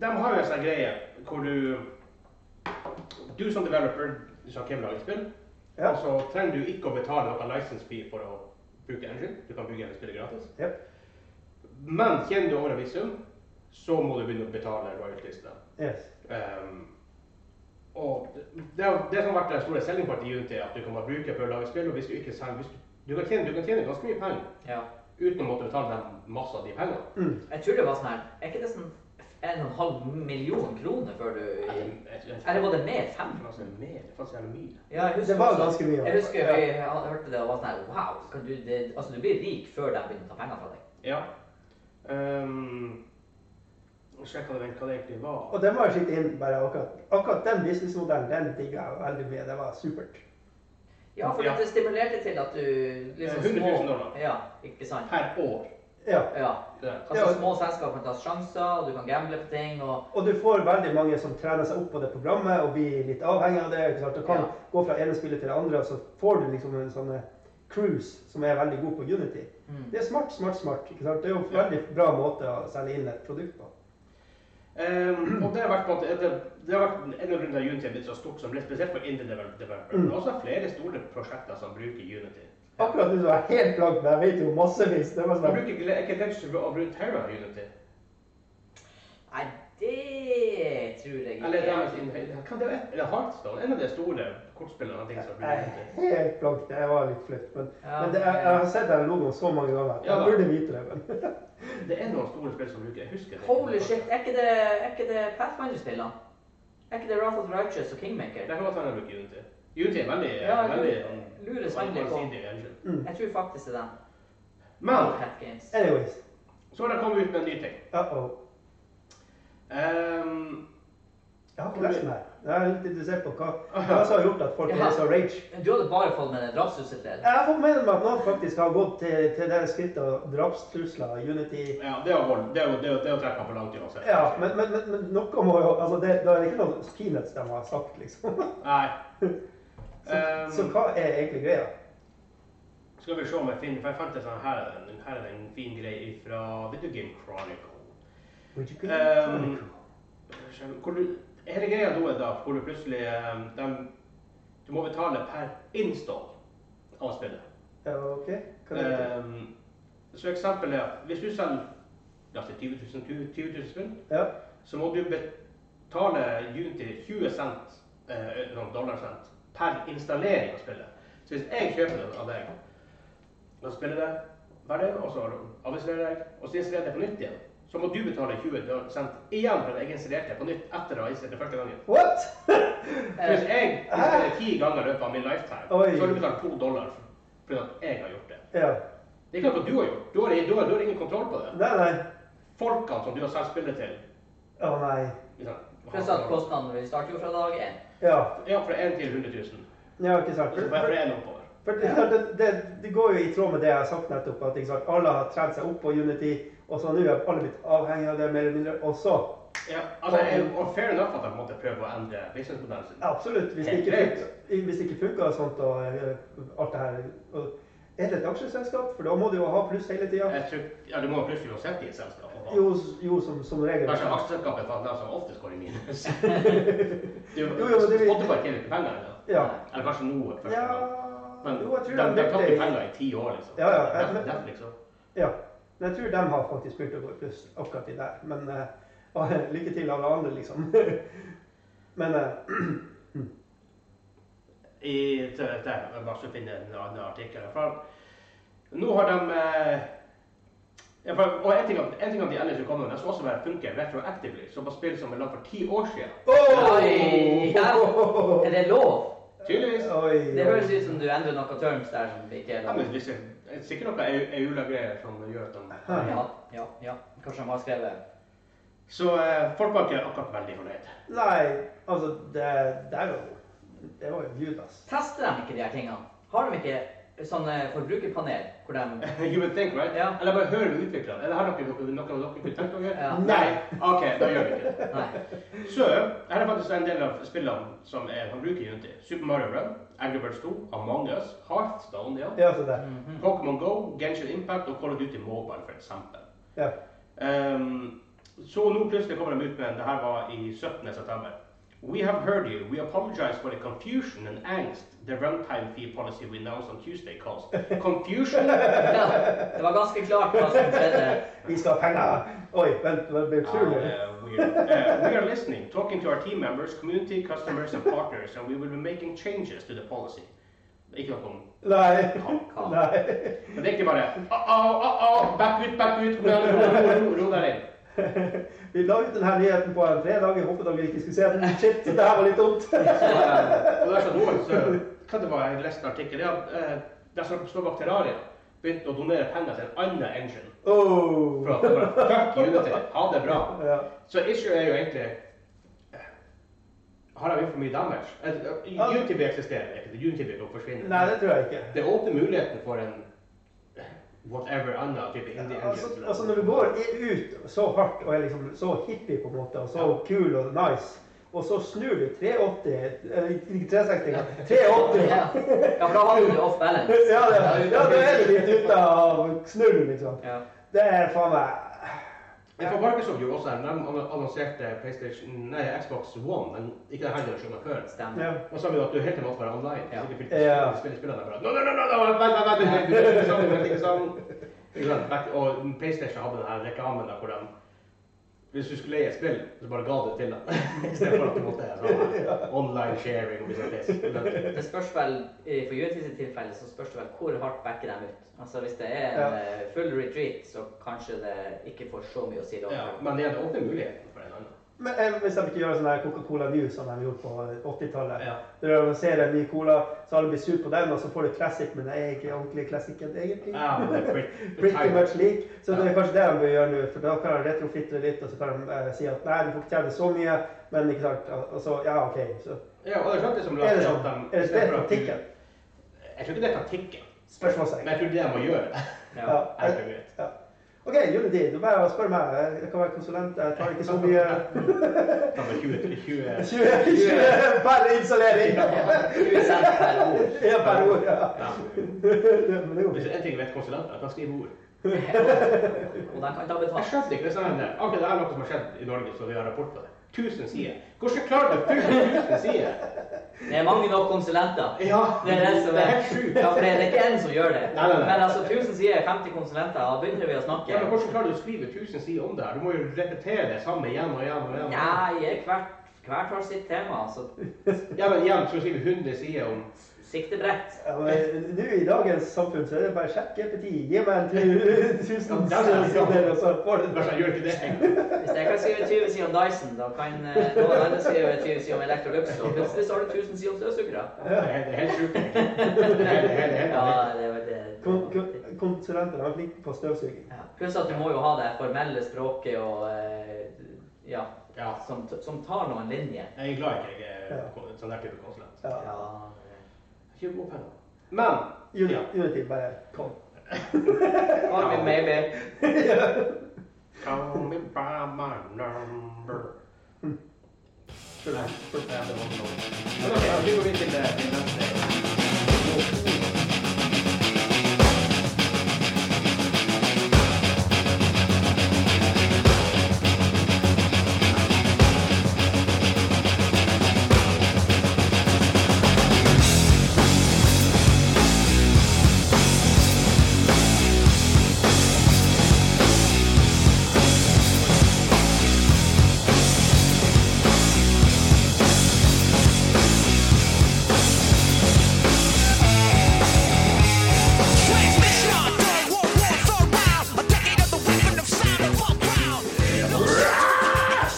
Speaker 1: de har jo en sånn greie hvor du Du som developer som kan lage spill,
Speaker 3: Ja.
Speaker 1: og så trenger du ikke å betale noe license fee for å bruke engine. Du kan bygge hele spillet gratis.
Speaker 3: Ja.
Speaker 1: Men tjener du over en viss sum, så må du begynne å betale royalties. da.
Speaker 3: Yes.
Speaker 1: Ehm, og det, er jo det som har vært den store selling party i Unity, er at du kan bare bruke for å lage spill. og hvis Du ikke selger, hvis du, du, kan tjene, du kan tjene ganske mye penger
Speaker 2: ja.
Speaker 1: uten å måtte betale dem masse av de pengene.
Speaker 3: Mm.
Speaker 2: Jeg tror det var sånn her Er ikke det sånn en og en halv million kroner før du Eller
Speaker 1: Eller
Speaker 2: var det mer? Fem?
Speaker 1: Altså, mer, det fantes jævlig mye.
Speaker 2: Ja, jeg
Speaker 3: Det var ganske mye.
Speaker 2: Jeg husker vi hørte det og var sånn her Wow. Kan du, det, altså, du blir rik før de begynner å ta penger fra deg.
Speaker 1: Ja. Um, Sjekk hva det hva det egentlig var.
Speaker 3: Og den var skitt inn bare akkurat. Akkurat den businessmodellen den digga jeg veldig mye. Det var supert.
Speaker 2: Ja, for
Speaker 1: Ja.
Speaker 2: det stimulerte til at du liksom
Speaker 1: 100 000
Speaker 2: små-
Speaker 1: dollar.
Speaker 2: Ja, ikke sant?
Speaker 1: Per år.
Speaker 3: Ja.
Speaker 2: Ja.
Speaker 1: Det er.
Speaker 2: Altså,
Speaker 3: Ja.
Speaker 2: små selskaper kan ta sjanser, og du kan gamble på ting, og
Speaker 3: Og du får veldig mange som trener seg opp på det programmet og blir litt avhengig av det. ikke sant? Du kan
Speaker 2: Ja.
Speaker 3: gå fra ene spillet til det andre, og så får du liksom en sånn eh, cruise som er veldig god på Unity.
Speaker 2: Mm.
Speaker 3: Det er smart, smart, smart. ikke sant? Det er jo en
Speaker 1: Ja.
Speaker 3: veldig bra måte å selge inn et produkt på.
Speaker 1: Um, og det har vært, på en måte- det, det har vært en av grunnene til at Unity er blitt så stort som blitt, spesielt for indie develop- developer. Men også flere store prosjekter som bruker Unity.
Speaker 3: Akkurat nå så er jeg helt blank, men jeg vet jo massevis. Det var
Speaker 1: Man
Speaker 3: sånn,
Speaker 1: bruker ikke- er ikke Legends of Runeterra Unity.
Speaker 2: Nei, det tror jeg ikke.
Speaker 1: Eller deres in- kan det være et- eller Heartstone, en av de store kortspillene og ting som bruker
Speaker 3: jeg
Speaker 1: Unity.
Speaker 3: er helt blank. Det var litt flaut. Men,
Speaker 2: Ja.
Speaker 3: men det, jeg, jeg har sett den logoen så mange ganger.
Speaker 1: Ja da.
Speaker 3: Jeg burde vite det, men
Speaker 1: Det er noen store spill som bruker Jeg husker det.
Speaker 2: Holy shit, er ikke det, er ikke det Pathfinder-spillene? Er ikke det Wrath of the Righteous og Kingmaker?
Speaker 1: Det kan godt være han bruker Unity. Unity er veldig,
Speaker 2: Ja, jeg
Speaker 1: veldig
Speaker 2: lurer-
Speaker 1: sånn-
Speaker 2: lurer Sven litt på.
Speaker 1: allsidig engine.
Speaker 3: Mm.
Speaker 2: Jeg tror faktisk det er den.
Speaker 1: Men
Speaker 2: Wildcat Games.
Speaker 3: Anyways.
Speaker 1: så har de kommet ut med en ny ting.
Speaker 3: Uh-oh.
Speaker 1: Ehm,
Speaker 3: Jeg har ikke lest den her. Jeg er litt interessert på hva, hva som har gjort at folk er så rage.
Speaker 2: Du hadde bare fått med den drapshuset til.
Speaker 3: Jeg har fått med meg at noen faktisk har gått til, til det skrittet og drapstrusler og Unity
Speaker 1: ja, det er å holde- det er å- det er å- det er å trekke han for langt uansett.
Speaker 3: Ja, men, men, men, men noe må jo Altså, det, det er ikke noen peanuts de har sagt, liksom. (laughs)
Speaker 1: Nei.
Speaker 3: Så,
Speaker 1: Ehm,
Speaker 3: så hva er egentlig greia?
Speaker 1: Skal vi se om jeg finner For jeg fant en sånn her er den, her er det en fin greie fra Video Game Chronicle.
Speaker 3: Would you
Speaker 1: Ehm, hvor du, hele greia da er da hvor du plutselig ehm, dem- Du må betale per install av spillet.
Speaker 3: Ja, OK. Hva er det?
Speaker 1: Ehm, så eksempelet er at hvis du selger la oss si 20 000, 20 000 spill,
Speaker 3: Ja.
Speaker 1: så må du betale Unity 20 cent, eh, noen dollarcent per installering av spillet. Så hvis jeg kjøper det av deg, da spiller det ferdig, og så avinstallerer jeg, og så installerer jeg det på nytt igjen, så må du betale 20 cent igjen for at jeg installerte det på nytt etter å ha installert det første gangen.
Speaker 3: What?! (laughs)
Speaker 1: Så hvis jeg installerer ti ganger i løpet av min lifetime,
Speaker 3: Oi.
Speaker 1: så har du betalt to dollar for- fordi at jeg har gjort det.
Speaker 3: ja.
Speaker 1: Det er ikke noe du har gjort. Du har, du har, du har ingen kontroll på det.
Speaker 3: Nei, nei.
Speaker 1: Folkene som du har solgt spillet til
Speaker 3: Å, nei.
Speaker 1: liksom,
Speaker 2: Pluss at kostnaden vil starte jo fra dag én.
Speaker 3: Ja.
Speaker 1: Ja, fra 1 til 100 000.
Speaker 3: Ja, ikke sant?
Speaker 1: Altså, bare fra én oppover.
Speaker 3: For det, det, det, det går jo i tråd med det jeg har sagt nettopp, at ikke sant, alle har trent seg opp på Unity, og så nå er alle blitt avhengig av det mer eller mindre. Og så,
Speaker 1: Ja, altså, jeg, og fair enough at de måtte prøve å endre businessmodellen sin.
Speaker 3: absolutt, hvis det ikke, fun- hvis det ikke funker og sånt og eh, alt det her og, Er det et aksjeselskap? For da må du jo ha pluss hele tida.
Speaker 1: Jeg tror, ja, Du må jo plutselig uansett i et selskap. og faen.
Speaker 3: Jo, s- jo som, som regel.
Speaker 1: Kanskje aksjeselskapet fant dem som oftest går i
Speaker 3: (laughs)
Speaker 1: minus. Du
Speaker 3: Jo, jo, men det vil-
Speaker 1: Spotify tjener ikke penger ennå.
Speaker 3: Ja.
Speaker 1: Eller kanskje nå. første
Speaker 3: ja.
Speaker 1: gang. Men
Speaker 3: Jo, jeg
Speaker 1: de
Speaker 3: tror
Speaker 1: de
Speaker 3: de
Speaker 1: har tatt
Speaker 3: virkelig-
Speaker 1: i penger i ti år, liksom.
Speaker 3: Ja, ja, jeg-
Speaker 1: Nettopp, nettopp, liksom.
Speaker 3: Ja. Men jeg tror de har faktisk begynt å gå i pluss akkurat i der. Men eh, og, (laughs) lykke til alle andre, liksom. (laughs) Men eh,
Speaker 1: i til dette. Jeg bare skal finne en annen artikkel herfra. Nå har de eh, ja, for, Og en ting, at- en ting at de ellers vil komme med, det skal også være funke retroactively, som på spill som er lagd for ti år siden.
Speaker 2: Oi, ja. Er det lov?
Speaker 1: Tydeligvis.
Speaker 3: Oi,
Speaker 2: Det høres ut som du endrer noen terms der som ikke er
Speaker 1: Ja,
Speaker 2: lov.
Speaker 1: men hvis det det er sikkert noe EU-greier som gjør at de
Speaker 2: Ja, ja, ja. Kanskje de har skrevet
Speaker 1: Så eh, folk var ikke akkurat veldig fornøyd. (laughs)
Speaker 3: Nei, altså det, det er jo Det var jo Gud, ass.
Speaker 2: Tester de ikke de her tingene? Har de ikke sånne forbrukerpanel hvor de
Speaker 1: You would think, right?
Speaker 2: Ja.
Speaker 1: Eller bare hør med utviklerne. Er det her noe noe- noe dere kunne tenkt dere?
Speaker 2: Ja.
Speaker 1: Nei. OK, da gjør vi ikke det.
Speaker 2: Nei.
Speaker 1: Så her er faktisk en del av spillene som er han bruker i Unity. Super Mario Run, Angry Birds 2, Among Us, Hearthstone, ja.
Speaker 3: Ja, så det.
Speaker 1: Pokémon Go, Genshin Impact og Call of Duty Mobile, for eksempel.
Speaker 3: Ja.
Speaker 1: Ehm, så nå plutselig kommer de ut med en, det her var i 17. september. We have heard you. We apologize for the confusion and angst the runtime fee policy we announced on Tuesday caused. Confusion?
Speaker 2: Ja, det var ganske klart hva som skjedde.
Speaker 3: Vi skal ha penger! Oi, vent, det blir utrolig.
Speaker 1: Uh, we, are, uh, we are listening, talking to our team members, community, customers, and partners, and we will be making changes to the policy. Ikke noe om
Speaker 3: Nei. (laughs)
Speaker 2: Hva?
Speaker 3: Nei.
Speaker 1: Men det er ikke bare uh -oh, uh -oh, back ut, back ut, ro, ro, ro, ro, ro der inn.
Speaker 3: Vi la ut denne nyheten på en fredag. Jeg håpet dere ikke skulle se den. Shit, det her var litt
Speaker 2: (laughs)
Speaker 3: dumt.
Speaker 1: Så, eh, og det er så dårlig, så hva det var jeg leste en artikkel, det er at eh, de som står bak Terraria, begynte å donere penger til en annen engine. For
Speaker 3: Oh.
Speaker 1: at det var fuck Unity, ha det bra.
Speaker 3: Ja.
Speaker 1: Så issue er jo egentlig eh, har de gjort for mye damage? Eh,
Speaker 3: Ja.
Speaker 1: Unity vil eksistere ikke, Unity vil ikke forsvinne.
Speaker 3: Nei, det tror jeg ikke.
Speaker 1: Det åpner muligheten for en whatever annen type indie
Speaker 3: Altså,
Speaker 1: engine.
Speaker 3: altså Når du går i- ut så hardt og er liksom så hippie på en måte, og så kul og nice, og så snur du 380 eh, ikke 360 (laughs) engang. 380!
Speaker 2: Ja, ja for da hadde du off balance.
Speaker 3: Ja, det, ja, da er du litt ute av snurren, liksom.
Speaker 2: Ja.
Speaker 3: Det er faen meg
Speaker 1: Men for Microsoft gjorde også det. De annon- annonserte PlayStation, nei, Xbox One, men ikke den her generasjonen før.
Speaker 3: ja.
Speaker 2: Stemmer.
Speaker 1: Og så sa vi jo at du helt måtte være online.
Speaker 2: Ja.
Speaker 1: Ja. Ikke
Speaker 3: Ja.
Speaker 1: spille, spille, spille, spille. No, no, no, no, no, vent, vent, vent, vent, vent, ikke sammen, vent, ikke sammen. Ikke sant? Back- Og PlayStation hadde den her reklamen da, hvor de, hvis du skulle leie et spill, så bare ga du det til dem. I stedet for at du måtte sånn, online sharing. og liksom det.
Speaker 2: Det spørs vel, eh, For Unity sitt tilfelle så spørs det vel hvor hardt backer dem ut. Altså Hvis det er en
Speaker 3: Ja.
Speaker 2: eh, full retreat, så kanskje det ikke får så mye å si. da.
Speaker 1: Ja, men det er det åpne muligheten for en annen.
Speaker 3: Men eh, hvis de ikke gjør sånn her Coca-Cola New som de gjorde på 80-tallet.
Speaker 1: Ja.
Speaker 3: Du lanserer en ny cola, så alle blir sur på den, og så får du classic, men det er ikke ordentlig classic egentlig.
Speaker 1: Ja, men det er Ah, pretty-
Speaker 3: Pretty much lik. Så det
Speaker 1: Ja.
Speaker 3: er kanskje det de bør gjøre nå, for da kan de retrofitte litt, og så kan de eh, si at nei, du får ikke tjene så mye, men ikke sant, al- altså, ja, ok. Så
Speaker 1: Ja, og det er sant det som
Speaker 3: er
Speaker 1: Lars
Speaker 3: det
Speaker 1: sier,
Speaker 3: sånn,
Speaker 1: at de-
Speaker 3: er
Speaker 1: istedenfor
Speaker 3: det spilt
Speaker 1: at du-
Speaker 3: på tikken?
Speaker 1: Jeg tror ikke det er taktikken, men
Speaker 3: Spørsmålstegn.
Speaker 1: jeg tror det er det man gjør.
Speaker 3: Ja.
Speaker 2: Ja.
Speaker 1: Jeg tror det.
Speaker 3: ja. Ok, juletid, du bare spør meg, jeg kan være konsulent, jeg tar ikke så
Speaker 1: (laughs)
Speaker 3: mye...
Speaker 1: Da var 20 til 20
Speaker 3: 20, 20 per installering!
Speaker 2: Usendt per ord.
Speaker 3: Ja, per ord, ja.
Speaker 1: Ja.
Speaker 3: Men det går
Speaker 1: Hvis det
Speaker 3: fint.
Speaker 1: er en ting jeg vet konsulenter, at de skriver ord.
Speaker 2: Og de kan ta
Speaker 1: Jeg
Speaker 2: betalt.
Speaker 1: skjønte ikke det som hender. Ok, det er noe som har skjedd i Norge, så vi har rapport på det. 1000 sider. Hvordan klarer du å fylle 1000 sider?
Speaker 2: Det er mange nok konsulenter.
Speaker 1: Ja,
Speaker 2: Det er det som
Speaker 1: det er
Speaker 2: er
Speaker 1: helt sjukt.
Speaker 2: Ja, for det er ikke én som gjør det.
Speaker 1: Nei, nei, nei.
Speaker 2: Men altså, 1000 sider, 50 konsulenter, da begynner vi
Speaker 1: Ja,
Speaker 2: å snakke.
Speaker 1: men hvordan klarer du å skrive 1000 sider om det her? Du må jo repetere det samme igjen og igjen. og igjen.
Speaker 2: Ja, jeg hvert, hvert har sitt tema, så
Speaker 1: Ja, men igjen, så skriver 100 sider om
Speaker 2: sikte bredt.
Speaker 3: Ja, men eh, Nå i dagens samfunn så er det bare sjekk E GPT, gi meg en tu- tusen
Speaker 1: Ja, det er det.
Speaker 3: sider, og så får du
Speaker 1: Lars, jeg gjør ikke det.
Speaker 2: Hvis jeg kan skrive 20 sider om Dyson, da kan eh, noen andre skrive 20 sider om Electrolux, og plutselig så har du 1000 sider om støvsugere.
Speaker 1: Det er det er helt sjukt. Det er det er helt
Speaker 2: Ja,
Speaker 1: helt-
Speaker 2: det er vel det.
Speaker 3: Kon- kon- Konsulenter er flinke på støvsuging.
Speaker 2: Ja. Pluss at du må jo ha det formelle språket og eh, ja,
Speaker 1: Ja,
Speaker 2: som, t- som tar noen linjer.
Speaker 1: jeg er glad ikke jeg er kon- sånn der type konsulent.
Speaker 3: Ja.
Speaker 2: Ja.
Speaker 1: Ikke god penn. Men, ja.
Speaker 3: Juni- Unity bare kom.
Speaker 2: Call me maybe.
Speaker 1: (laughs)
Speaker 2: (laughs)
Speaker 1: Call me by my number. Tror jeg. Ja, det var noe. Men ok, vi går videre til det til neste.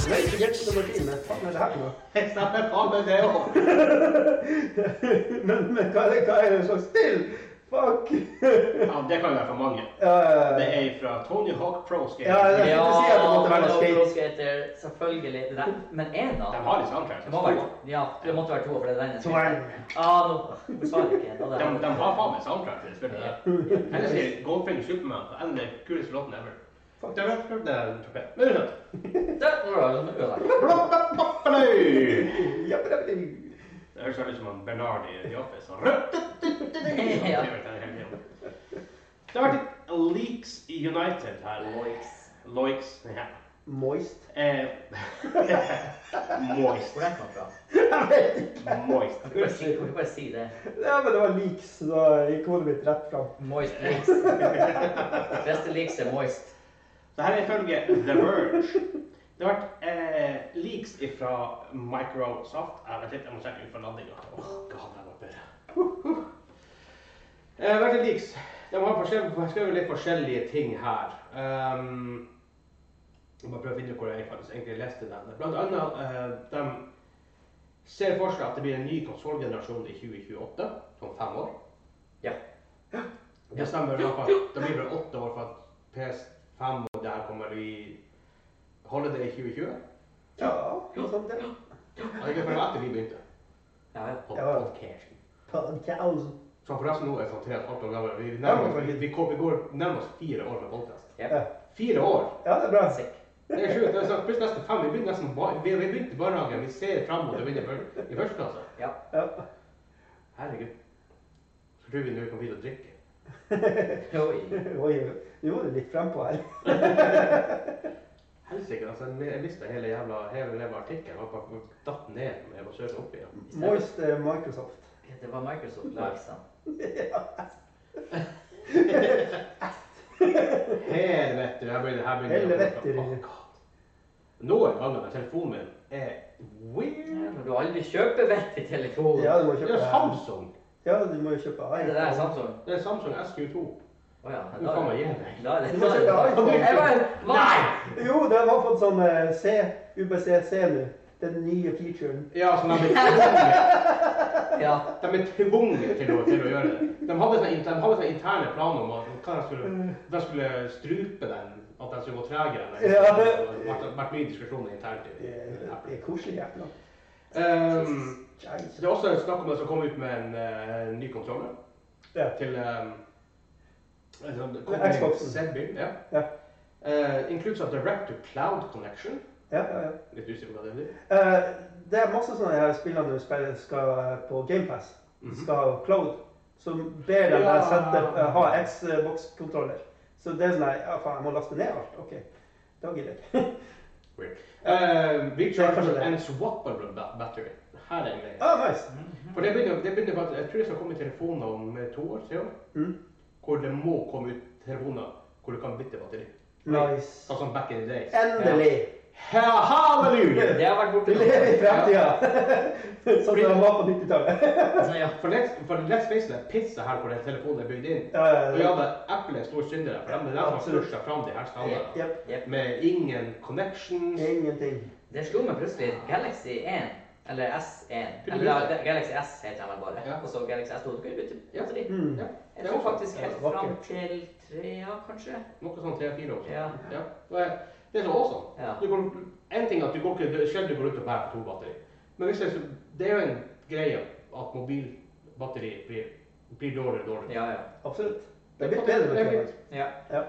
Speaker 3: Nei, ikke helt nummer ti, men faen er det her for noe?
Speaker 1: Jeg stemmer faen med det også.
Speaker 3: (laughs) Men, men hva, er det- hva er det slags spill? Fuck! (laughs)
Speaker 1: Ja, det kan jo være for mange.
Speaker 3: Ja,
Speaker 1: Det er fra Tony Hawk Pro Skater.
Speaker 3: Ja, det-
Speaker 2: Ja,
Speaker 3: Jeg skulle si at det måtte være noe skate.
Speaker 2: Pro Skater, selvfølgelig. Det der. Men én, da?
Speaker 1: De har litt soundtrack.
Speaker 2: Det må være Ja, det måtte være to, for det er den.
Speaker 3: To er-
Speaker 2: Ah, nå hun svarer ikke. Da,
Speaker 1: De, de har faen meg soundtrack til det spillet der. Ellers sier Goldfinger Superman på en av de kuleste låtene ever.
Speaker 3: Fuck.
Speaker 1: Det er rett og slett en torped. Men uansett.
Speaker 2: Da, nå er det- nå er det der.
Speaker 1: Bloppapappaløy!
Speaker 3: Jappalappi.
Speaker 1: Det høres veldig ut som han Bernard i The Office. Han rødt-
Speaker 2: Ja.
Speaker 1: Det har vært et Leaks United her. Loiks. Loiks. Ja.
Speaker 3: Moist.
Speaker 1: Eh, (laughs) moist.
Speaker 2: Hvor er den fra?
Speaker 3: Jeg vet ikke.
Speaker 1: Moist.
Speaker 2: Kan du bare si- kan du bare si det?
Speaker 3: Ja, men det var leaks, så da gikk hodet mitt rett fram.
Speaker 2: Moist leaks. Beste leaks er moist.
Speaker 1: Det her er ifølge The Verge. Det har vært eh, leaks fra Microsoft. Jeg vet ikke, jeg må sjekke ut for landinga. Åh, god, jeg var bedre. Eh, veldig leaks. De har forskjell- forskrevet litt forskjellige ting her. Um, jeg må bare prøve å finne ut hvor jeg faktisk egentlig leste den. Blant annet, eh, de ser for seg at det blir en ny konsollgenerasjon i 2028, om fem år.
Speaker 2: Ja.
Speaker 1: Det stemmer. i hvert fall. Det blir vel åtte år for at PS5 og der kommer vi Holiday i 2020.
Speaker 3: Ja, noe sånt, ja.
Speaker 1: Og det er for etter vi begynte
Speaker 2: Ja, ja.
Speaker 1: på
Speaker 3: Ja.
Speaker 1: podcasten.
Speaker 3: Podcast.
Speaker 1: Så forresten nå er jeg sånn tre og et halvt år gammel. Vi nærmer oss, vi, vi kom- vi går nærmer oss fire år med podcast.
Speaker 2: Ja.
Speaker 1: Fire år!
Speaker 3: Ja, det er bra.
Speaker 2: Sick.
Speaker 1: Det er sjukt. Det er snart plutselig nesten fem. Vi begynte nesten ba- vi, vi begynte i barnehagen. Vi ser fram mot å begynne i fyr- i første klasse.
Speaker 2: Ja.
Speaker 3: Ja.
Speaker 1: Herregud. Så tror vi nå vi kan begynne å drikke.
Speaker 2: Oi.
Speaker 3: Oi, nå var du litt frempå her.
Speaker 1: Helsike, altså. Jeg mista hele jævla, hele jævla artikkelen. Jeg bare datt ned når jeg var søren opp igjen.
Speaker 3: Moist eh, Microsoft.
Speaker 2: Det var Microsoft Likes, da.
Speaker 1: Helvete, her begynner her begynner
Speaker 3: Helvete,
Speaker 1: Å,
Speaker 3: Rune.
Speaker 1: God. Noen ganger når telefonen min er
Speaker 2: Ja,
Speaker 1: weird.
Speaker 2: Når du aldri kjøper vettig telefon.
Speaker 3: Ja, du må
Speaker 1: Det
Speaker 3: kjøpe
Speaker 1: er Samsung.
Speaker 3: Ja, du må jo kjøpe
Speaker 2: Er det
Speaker 3: iPhone.
Speaker 2: der Samsung?
Speaker 1: Det er Samsung SQ2.
Speaker 2: Å ja.
Speaker 1: Nå får man gi deg.
Speaker 2: Da er det
Speaker 3: Du må sette iPhone.
Speaker 2: Jeg bare Nei!
Speaker 3: Jo, de har fått sånn eh, C, UBC-C nå. Den nye featuren.
Speaker 1: Ja, så de er tvunget-
Speaker 2: Ja.
Speaker 1: de er tvunget til, å- til å gjøre det. De hadde sånne, inter- de hadde sånne interne planer om at hva de skulle, de skulle strupe den, at den skulle gå tregere. enn den.
Speaker 3: Ja.
Speaker 1: Det har vært, vært mye diskusjoner internt i
Speaker 3: Det er det
Speaker 1: Apple.
Speaker 3: er koselig jævla.
Speaker 1: Ehm,
Speaker 3: Jesus.
Speaker 1: det er også snakk om at det skal komme ut med en eh, ny kontroller.
Speaker 3: Ja.
Speaker 1: til um,
Speaker 3: Xboxen.
Speaker 1: Ja.
Speaker 3: Ja.
Speaker 1: Eh, includes a direct to cloud connection.
Speaker 3: Ja, ja, ja.
Speaker 1: Litt usikker på hva det betyr.
Speaker 3: Eh, det er masse sånne her spillene du spiller skal eh, på GamePass. Skal ha cloud. Så ber de deg
Speaker 1: Ja.
Speaker 3: sette, eh, ha Xbox-kontroller. Så det er sånn her, ja faen, jeg må laste ned alt. OK. Da gidder jeg.
Speaker 1: Weird. Eh, rechargeable
Speaker 3: Det er kanskje det.
Speaker 1: and swappable ba- battery. Her er en greie.
Speaker 3: (laughs) ah, nice.
Speaker 1: For det begynner, det begynner faktisk, Jeg tror det skal komme telefoner om eh, to år, tre år.
Speaker 3: Mm.
Speaker 1: Hvor det må komme ut telefoner hvor du kan bytte batteri.
Speaker 3: Nice.
Speaker 1: Sånn som back in the days.
Speaker 3: Endelig.
Speaker 1: Ja. Ha- Halleluja!
Speaker 3: (laughs)
Speaker 2: Det har vært
Speaker 3: Vi
Speaker 2: borte
Speaker 3: lever (laughs) i fremtida! Sånn som
Speaker 1: Fordi-
Speaker 3: den var på 90-tallet.
Speaker 2: Altså, Ja.
Speaker 1: For let's, for let's face it, pizza her hvor den telefonen er bygd inn.
Speaker 3: Ja, ja,
Speaker 1: Og
Speaker 3: ja.
Speaker 1: ja, men Apple er stor synder der, for de- det er de som har
Speaker 3: Absolutt.
Speaker 1: pusha fram de her standardene.
Speaker 3: Jep.
Speaker 2: Jep.
Speaker 1: Med ingen connections.
Speaker 3: Ingenting.
Speaker 2: Det slo meg plutselig. Galaxy 1, eller S1
Speaker 1: Kunne
Speaker 2: Eller
Speaker 1: du
Speaker 2: ja,
Speaker 1: bytte?
Speaker 2: det- Galaxy S heter den vel bare.
Speaker 1: Ja.
Speaker 2: Og så Galaxy S2. Du kunne bytte
Speaker 1: Ja.
Speaker 2: batteri.
Speaker 3: Mm.
Speaker 1: Ja,
Speaker 2: Jeg
Speaker 1: det
Speaker 2: tror
Speaker 1: var
Speaker 2: faktisk helt fram
Speaker 3: vakkert.
Speaker 2: til trea, kanskje.
Speaker 1: Noe sånn tre-fire år.
Speaker 2: Ja.
Speaker 1: Ja. Og, eh, Det er så awesome.
Speaker 2: Ja.
Speaker 1: Du går, en ting er at du går ikke, det er sjelden du går ut og bærer på to batteri. Men hvis det, er så- det er jo en greie at mobilbatteri blir, blir dårligere og dårligere.
Speaker 2: Ja, ja.
Speaker 3: Absolutt. Det er blitt bedre
Speaker 1: Det
Speaker 3: med
Speaker 1: er
Speaker 3: tida.
Speaker 1: blitt-
Speaker 2: ja.
Speaker 3: Ja.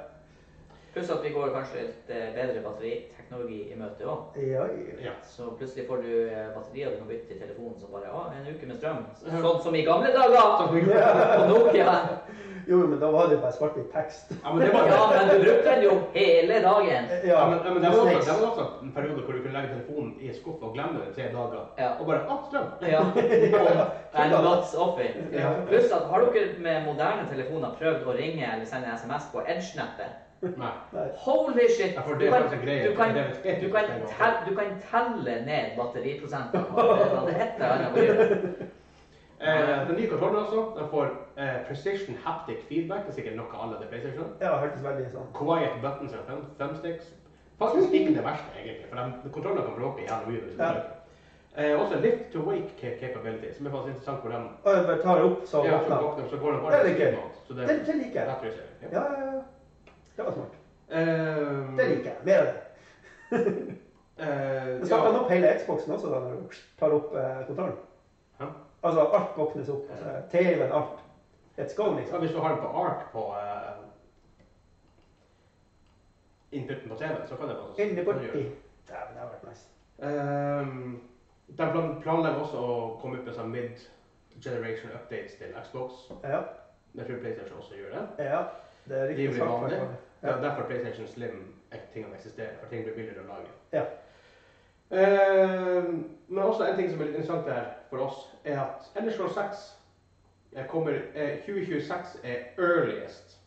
Speaker 2: Pluss at vi går kanskje litt eh, bedre batteriteknologi i møte òg.
Speaker 3: Ja, ja.
Speaker 1: Ja.
Speaker 2: Så plutselig får du eh, batterier du kan bytte i telefonen som bare Å, en uke med strøm. Sånn som i gamle dager! På Nokia.
Speaker 3: Jo, men da var det jo bare svart-hvitt tekst.
Speaker 1: Ja, men det var
Speaker 2: Ja,
Speaker 1: ja,
Speaker 2: men du brukte den jo hele dagen.
Speaker 3: Ja,
Speaker 1: men, ja, men det var også, det var også en periode hvor du kunne legge telefonen i en skuff og glemme den i tre dager.
Speaker 2: Ja.
Speaker 1: Og bare ah, strøm!
Speaker 2: Ja. And lots of it.
Speaker 1: Ja.
Speaker 2: Pluss at har dere med moderne telefoner prøvd å ringe eller sende SMS på Edge-nettet?
Speaker 1: Nei.
Speaker 3: Nei.
Speaker 2: Holy shit!
Speaker 1: Ja, for
Speaker 2: Du
Speaker 1: det er
Speaker 2: kan,
Speaker 1: faktisk en greie.
Speaker 2: du kan,
Speaker 1: Det er vel et-
Speaker 2: du kan, tel- du kan telle ned
Speaker 1: (laughs)
Speaker 2: batteriprosenten. Det hadde et eller annet å gjøre.
Speaker 1: Eh, den nye kontrollen også, den får eh, precision haptic feedback. Det er sikkert noe alle til PlayStation.
Speaker 3: Ja, hørtes veldig sånn.
Speaker 1: Quiet buttons og thumb thumbsticks. Faktisk ikke det verste, egentlig, for de, kontrollene kan bråke jævlig mye. hvis du
Speaker 3: Ja.
Speaker 1: prøver. Eh, også lift to wake ca- capability, som er faktisk interessant hvor de
Speaker 3: Og jeg bare tar opp, så
Speaker 1: ja, så
Speaker 3: åpner
Speaker 1: våkner, så går de
Speaker 3: Det
Speaker 1: bare
Speaker 3: er litt
Speaker 1: sleep
Speaker 3: gøy.
Speaker 1: mode, så
Speaker 3: Det det liker
Speaker 1: det
Speaker 3: jeg.
Speaker 1: tror jeg ser,
Speaker 3: Ja, ja, ja. Det var smart.
Speaker 1: Eh,
Speaker 3: Det liker jeg. Mer av det.
Speaker 1: eh,
Speaker 3: Jeg
Speaker 1: ja.
Speaker 3: starter opp hele Xboxen også da, når du tar opp eh, kontrollen.
Speaker 1: Hæ?
Speaker 3: Altså, alt våknes opp. Altså, TV-en, alt. Let's go,
Speaker 1: Ja,
Speaker 3: liksom.
Speaker 1: hvis du har den på ARC på eh, inputen på TV-en, så kan det faktisk
Speaker 3: Inni
Speaker 1: kan du gjøre det.
Speaker 3: borti. Dæven, det har vært nice.
Speaker 1: Ehm, de plan- planlegger også å komme ut med sånn mid-generation updates til Xbox.
Speaker 3: Ja,
Speaker 1: Jeg tror PlayStation også gjør det.
Speaker 3: ja. Det er
Speaker 1: De
Speaker 3: riktig
Speaker 1: blir
Speaker 3: smart.
Speaker 1: vanlige. Det
Speaker 3: Ja.
Speaker 1: er derfor PlayStation Slim er tingene eksisterer, for ting blir billigere å lage.
Speaker 3: Ja.
Speaker 1: Ehm, men også en ting som er litt interessant her for oss, er at Elderscore 6 eh, kommer, eh, 2026 er earliest.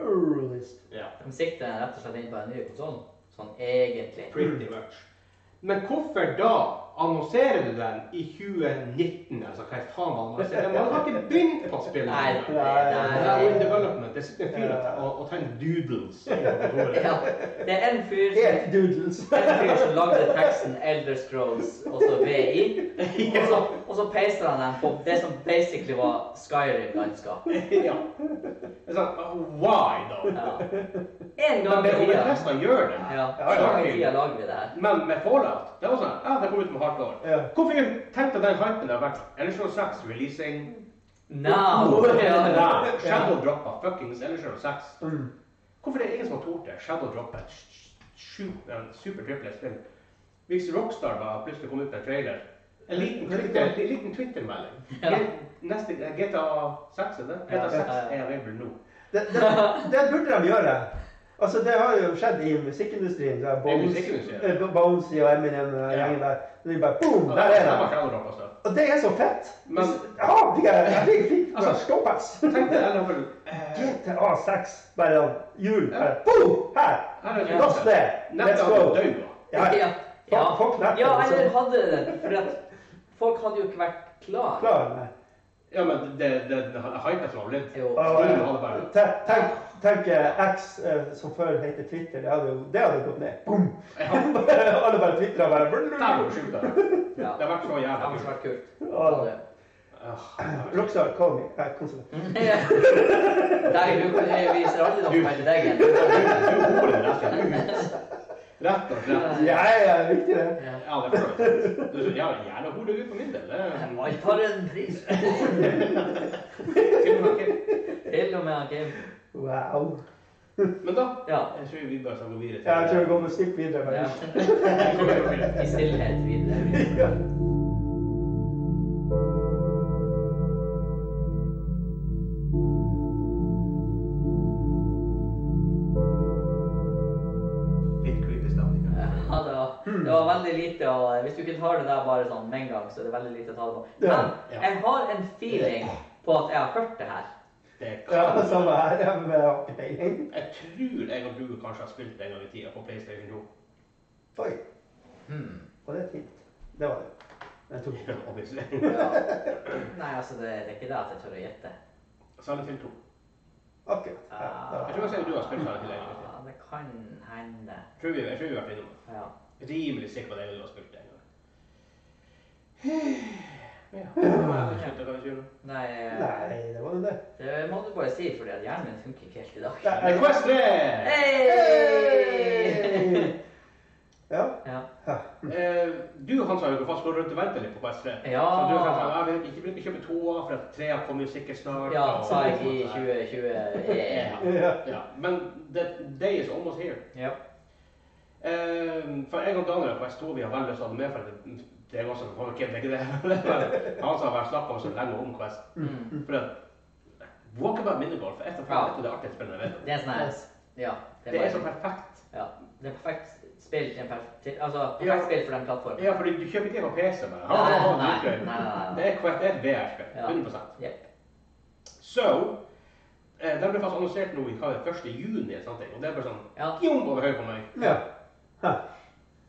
Speaker 3: Earliest.
Speaker 1: Ja,
Speaker 2: De sikter rett og slett inn på en ny konsoll. Sånn
Speaker 1: (laughs)
Speaker 2: egentlig.
Speaker 1: pretty much. Men hvorfor da annonserer du den i 2019? Altså, hva faen man annonserer? Man har ikke begynt på spillet!
Speaker 2: Nei,
Speaker 1: engang.
Speaker 2: det
Speaker 1: Det er jo in
Speaker 2: er-
Speaker 1: development. Det sitter en fyr og- og, og tegner doodles. på kontoret.
Speaker 2: Ja, det er en fyr som
Speaker 3: Helt doodles.
Speaker 2: en fyr som lagde teksten Elder Scrolls og så
Speaker 1: (laughs)
Speaker 2: VI, og så, og så paster han den på det som basically var Skyrim-landskap.
Speaker 1: ja. Det er sånn, uh, why, da?
Speaker 2: Ja. En
Speaker 1: Men
Speaker 2: gang i
Speaker 1: det er
Speaker 2: tida.
Speaker 1: nesten gjør det.
Speaker 2: Ja,
Speaker 3: Ja,
Speaker 2: en
Speaker 3: ja,
Speaker 2: gang i
Speaker 1: ja.
Speaker 2: tida lager vi det her.
Speaker 1: Men med Fallout, det var sånn, ja, det kom ut med hardcore.
Speaker 3: Ja.
Speaker 1: Hvorfor tenkte den hypen det har vært? Ellers var 6 releasing.
Speaker 2: Now! Ah, Ja, ja.
Speaker 1: Nei, Shadow droppa fuckings Ellers var 6.
Speaker 3: Mm.
Speaker 1: Hvorfor det er ingen som har tort det? Shadow droppet et sju- en super triple spill. Hvis Rockstar bare plutselig kom ut med en trailer En liten Twitter- en liten Twitter-melding.
Speaker 2: Ja.
Speaker 1: Twitter Neste GTA 6 er det? GTA 6 er available nå.
Speaker 3: Det, det, det burde de gjøre. Altså, det har jo skjedd i musikkindustrien. Det er
Speaker 1: I
Speaker 3: Bones,
Speaker 1: musikkindustrien.
Speaker 3: eh, Bonesy og Eminem og
Speaker 1: Ja.
Speaker 3: gjengen der. Det er bare boom,
Speaker 1: Og
Speaker 3: der er
Speaker 1: var
Speaker 3: det.
Speaker 1: Shadow droppet også.
Speaker 3: Og det er så fett.
Speaker 1: Men-
Speaker 3: Hvis- ja, fikk jeg jeg fikk fikk
Speaker 1: (laughs) Altså,
Speaker 3: altså, ståpass.
Speaker 1: Tenk deg level eh,
Speaker 3: GTA 6, bare sånn jul.
Speaker 1: Ja.
Speaker 3: bare Boom! Her!
Speaker 1: Her er
Speaker 3: Lost
Speaker 1: det.
Speaker 3: there. Let's
Speaker 1: Nettet
Speaker 3: go.
Speaker 1: hadde daua.
Speaker 3: Ja,
Speaker 2: Ja.
Speaker 3: Fuck- fuck that,
Speaker 2: ja,
Speaker 3: liksom.
Speaker 2: eller hadde det. For at folk hadde jo ikke vært klar.
Speaker 3: Klar, nei.
Speaker 1: Ja, men det, det, det hypen som har blitt
Speaker 2: Jo.
Speaker 3: Ja,
Speaker 1: Skulle ha det bare.
Speaker 3: te- Tenk, tenk eh, X, eh, som før heter Twitter, det hadde, jo- det hadde gått ned. Boom!
Speaker 1: Ja,
Speaker 3: (laughs) Alle bare twitra bare brr,
Speaker 1: Det
Speaker 3: brr,
Speaker 1: er jo
Speaker 3: brr.
Speaker 1: sjukt, det.
Speaker 2: Ja.
Speaker 1: Det har vært så
Speaker 2: Det har
Speaker 1: jævla
Speaker 2: kanskje
Speaker 1: kult.
Speaker 2: vært kult.
Speaker 3: Ja.
Speaker 2: Både. (laughs)
Speaker 1: Ah.
Speaker 3: Rockstar, call me. Nei, konsulent.
Speaker 2: Deg, du kan jeg viser alderdom på hele deg
Speaker 1: Du
Speaker 2: igjen.
Speaker 1: holder det rett og slett ut. Rett og slett.
Speaker 3: Ja, ja, viktig det.
Speaker 2: Ja.
Speaker 1: Ja, det er flott. Du ja, gjerne hodet ut for min del. Det er
Speaker 2: Alt har en pris.
Speaker 1: til og med ok.
Speaker 2: Til og med han Kim.
Speaker 3: Wow.
Speaker 1: Men da
Speaker 2: Ja.
Speaker 1: jeg tror vi bare skal gå videre. til-
Speaker 3: Ja, jeg tror vi går med snipp videre.
Speaker 2: ja.
Speaker 3: Bare.
Speaker 2: I stillhet videre.
Speaker 3: Ja.
Speaker 1: Litt creepy stemning.
Speaker 2: Ja, det var,
Speaker 1: Hmm.
Speaker 2: det var veldig lite å Hvis du ikke tar det der bare sånn med en gang, så er det veldig lite å ta det på.
Speaker 3: Ja.
Speaker 2: Men jeg har en feeling på at jeg har hørt det her.
Speaker 1: Det
Speaker 3: Ja,
Speaker 1: kan
Speaker 3: samme her. Ja, men jeg har ikke peiling.
Speaker 1: Jeg tror jeg og du kanskje har spilt det en gang i tida på PlayStation 2.
Speaker 3: Oi,
Speaker 2: Hmm.
Speaker 3: var det fint? Det var det. Jeg tok det.
Speaker 1: (laughs) Obviously.
Speaker 2: Ja. Nei, altså, det, det er ikke det at jeg tør å gjette.
Speaker 1: Silent Hill 2.
Speaker 3: Akkurat. Ja,
Speaker 2: Ah,
Speaker 3: det var
Speaker 1: Jeg
Speaker 3: det.
Speaker 1: tror kanskje jeg og du har spilt Silent Hill en gang i tida.
Speaker 2: Ja, det kan hende.
Speaker 1: Jeg tror vi jeg tror vi har vært innom det.
Speaker 2: Ja.
Speaker 1: Rimelig sikker på at jeg og du har spilt det en gang. Ja. Kan vi slutte, kan vi ikke gjøre noe?
Speaker 2: Nei,
Speaker 3: Nei, det var jo det.
Speaker 2: det må du bare si, fordi at hjernen min funker ikke helt i dag.
Speaker 3: Nei.
Speaker 1: Men Quest 3!
Speaker 2: Hey!
Speaker 3: Ja.
Speaker 2: Ja.
Speaker 3: ja.
Speaker 1: Eh, du Hans har jo fast gått rundt og ventet litt på PS3.
Speaker 2: Ja.
Speaker 1: Så du kan ta, ja, vi ikke bruker kjøpe to, for at trea kommer jo sikkert snart.
Speaker 2: ja,
Speaker 1: og-
Speaker 2: sa jeg i e- 2020. Yeah.
Speaker 1: Ja. ja. Men the day is almost here.
Speaker 2: Ja.
Speaker 1: Eh, for jeg og Daniel har PS2 vi har veldig lyst til å ha det med, for det, det (laughs) er jo også folk ikke tenker det. Han som har vært snakket om så lenge om Quest.
Speaker 2: Mm.
Speaker 1: For at Walkabout minigolf er et av
Speaker 2: Ja.
Speaker 1: faen, det er det artigste spillene jeg vet om.
Speaker 2: Det er sånn her. Ja.
Speaker 1: Det er
Speaker 2: bare- sånn.
Speaker 1: så perfekt.
Speaker 2: Ja. Det er perfekt spill til en perf til, altså, perfekt
Speaker 1: Ja.
Speaker 2: spill for den plattformen.
Speaker 1: Ja, fordi du kjøper ikke det på PC bare.
Speaker 2: Nei,
Speaker 1: Ha, ha, ha,
Speaker 2: nei,
Speaker 1: utgøy.
Speaker 2: nei, nei, nei.
Speaker 1: Det er Quest, det er et VR-spill.
Speaker 2: Ja.
Speaker 1: 100
Speaker 2: Jep.
Speaker 1: So, eh, den ble faktisk annonsert nå i hva er det, 1. juni, eller sånt, og det er bare sånn
Speaker 2: Ja.
Speaker 1: jung over høyre på meg.
Speaker 3: ja. Hæ.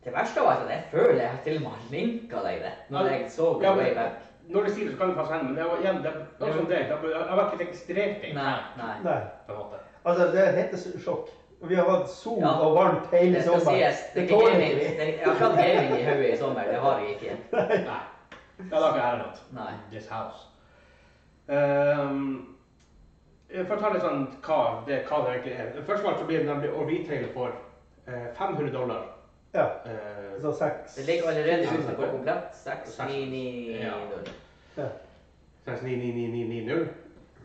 Speaker 2: Det verste var at jeg føler jeg til og med har linka deg det, når jeg så det
Speaker 1: Ja, men-
Speaker 2: way back.
Speaker 1: Når du sier det, så kan det faktisk hende, men det var igjen, det er noe som det, det er- jeg var ikke registrert det.
Speaker 2: Nei, nei.
Speaker 3: Nei.
Speaker 1: På en måte.
Speaker 3: Altså, det heter sjokk. Vi har hatt sol
Speaker 2: Ja.
Speaker 3: og varmt hele
Speaker 2: Det
Speaker 1: sånn,
Speaker 2: skal
Speaker 3: sommeren.
Speaker 2: sies, det er ikke gaming. Det er- Jeg har ikke hatt gaming i hodet i sommer, det har jeg ikke.
Speaker 1: Nei. Det er da ikke her noe.
Speaker 2: Nei.
Speaker 1: This house. Ehm, for å ta litt sånn hva det, hva det egentlig er. Først og fremst så blir det nemlig å retaile for eh, 500 dollar.
Speaker 3: Ja.
Speaker 1: Eh,
Speaker 3: Så seks.
Speaker 2: Det ligger allerede ute på komplett 6990.
Speaker 1: Ja. 699990.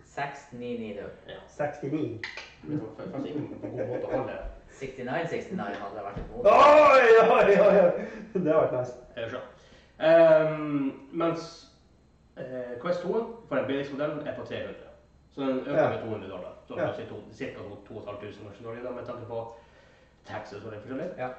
Speaker 2: 6990.
Speaker 1: Ja.
Speaker 3: 69.
Speaker 1: Det var fa- faktisk ingen god måte å holde
Speaker 2: 6969 hadde det vært et
Speaker 3: Oi,
Speaker 2: mål.
Speaker 3: oi, oi, oi. Det har vært nice.
Speaker 1: det eh, sjøl. Um, mens eh, Quest 2 for den billigste modellen er på 300. Så den øker
Speaker 3: Ja.
Speaker 1: med 200 dollar. Så
Speaker 3: Ja.
Speaker 1: ja. ca. 2500 norske dollar da, med tanke på taxes og det forskjellige.
Speaker 2: Ja.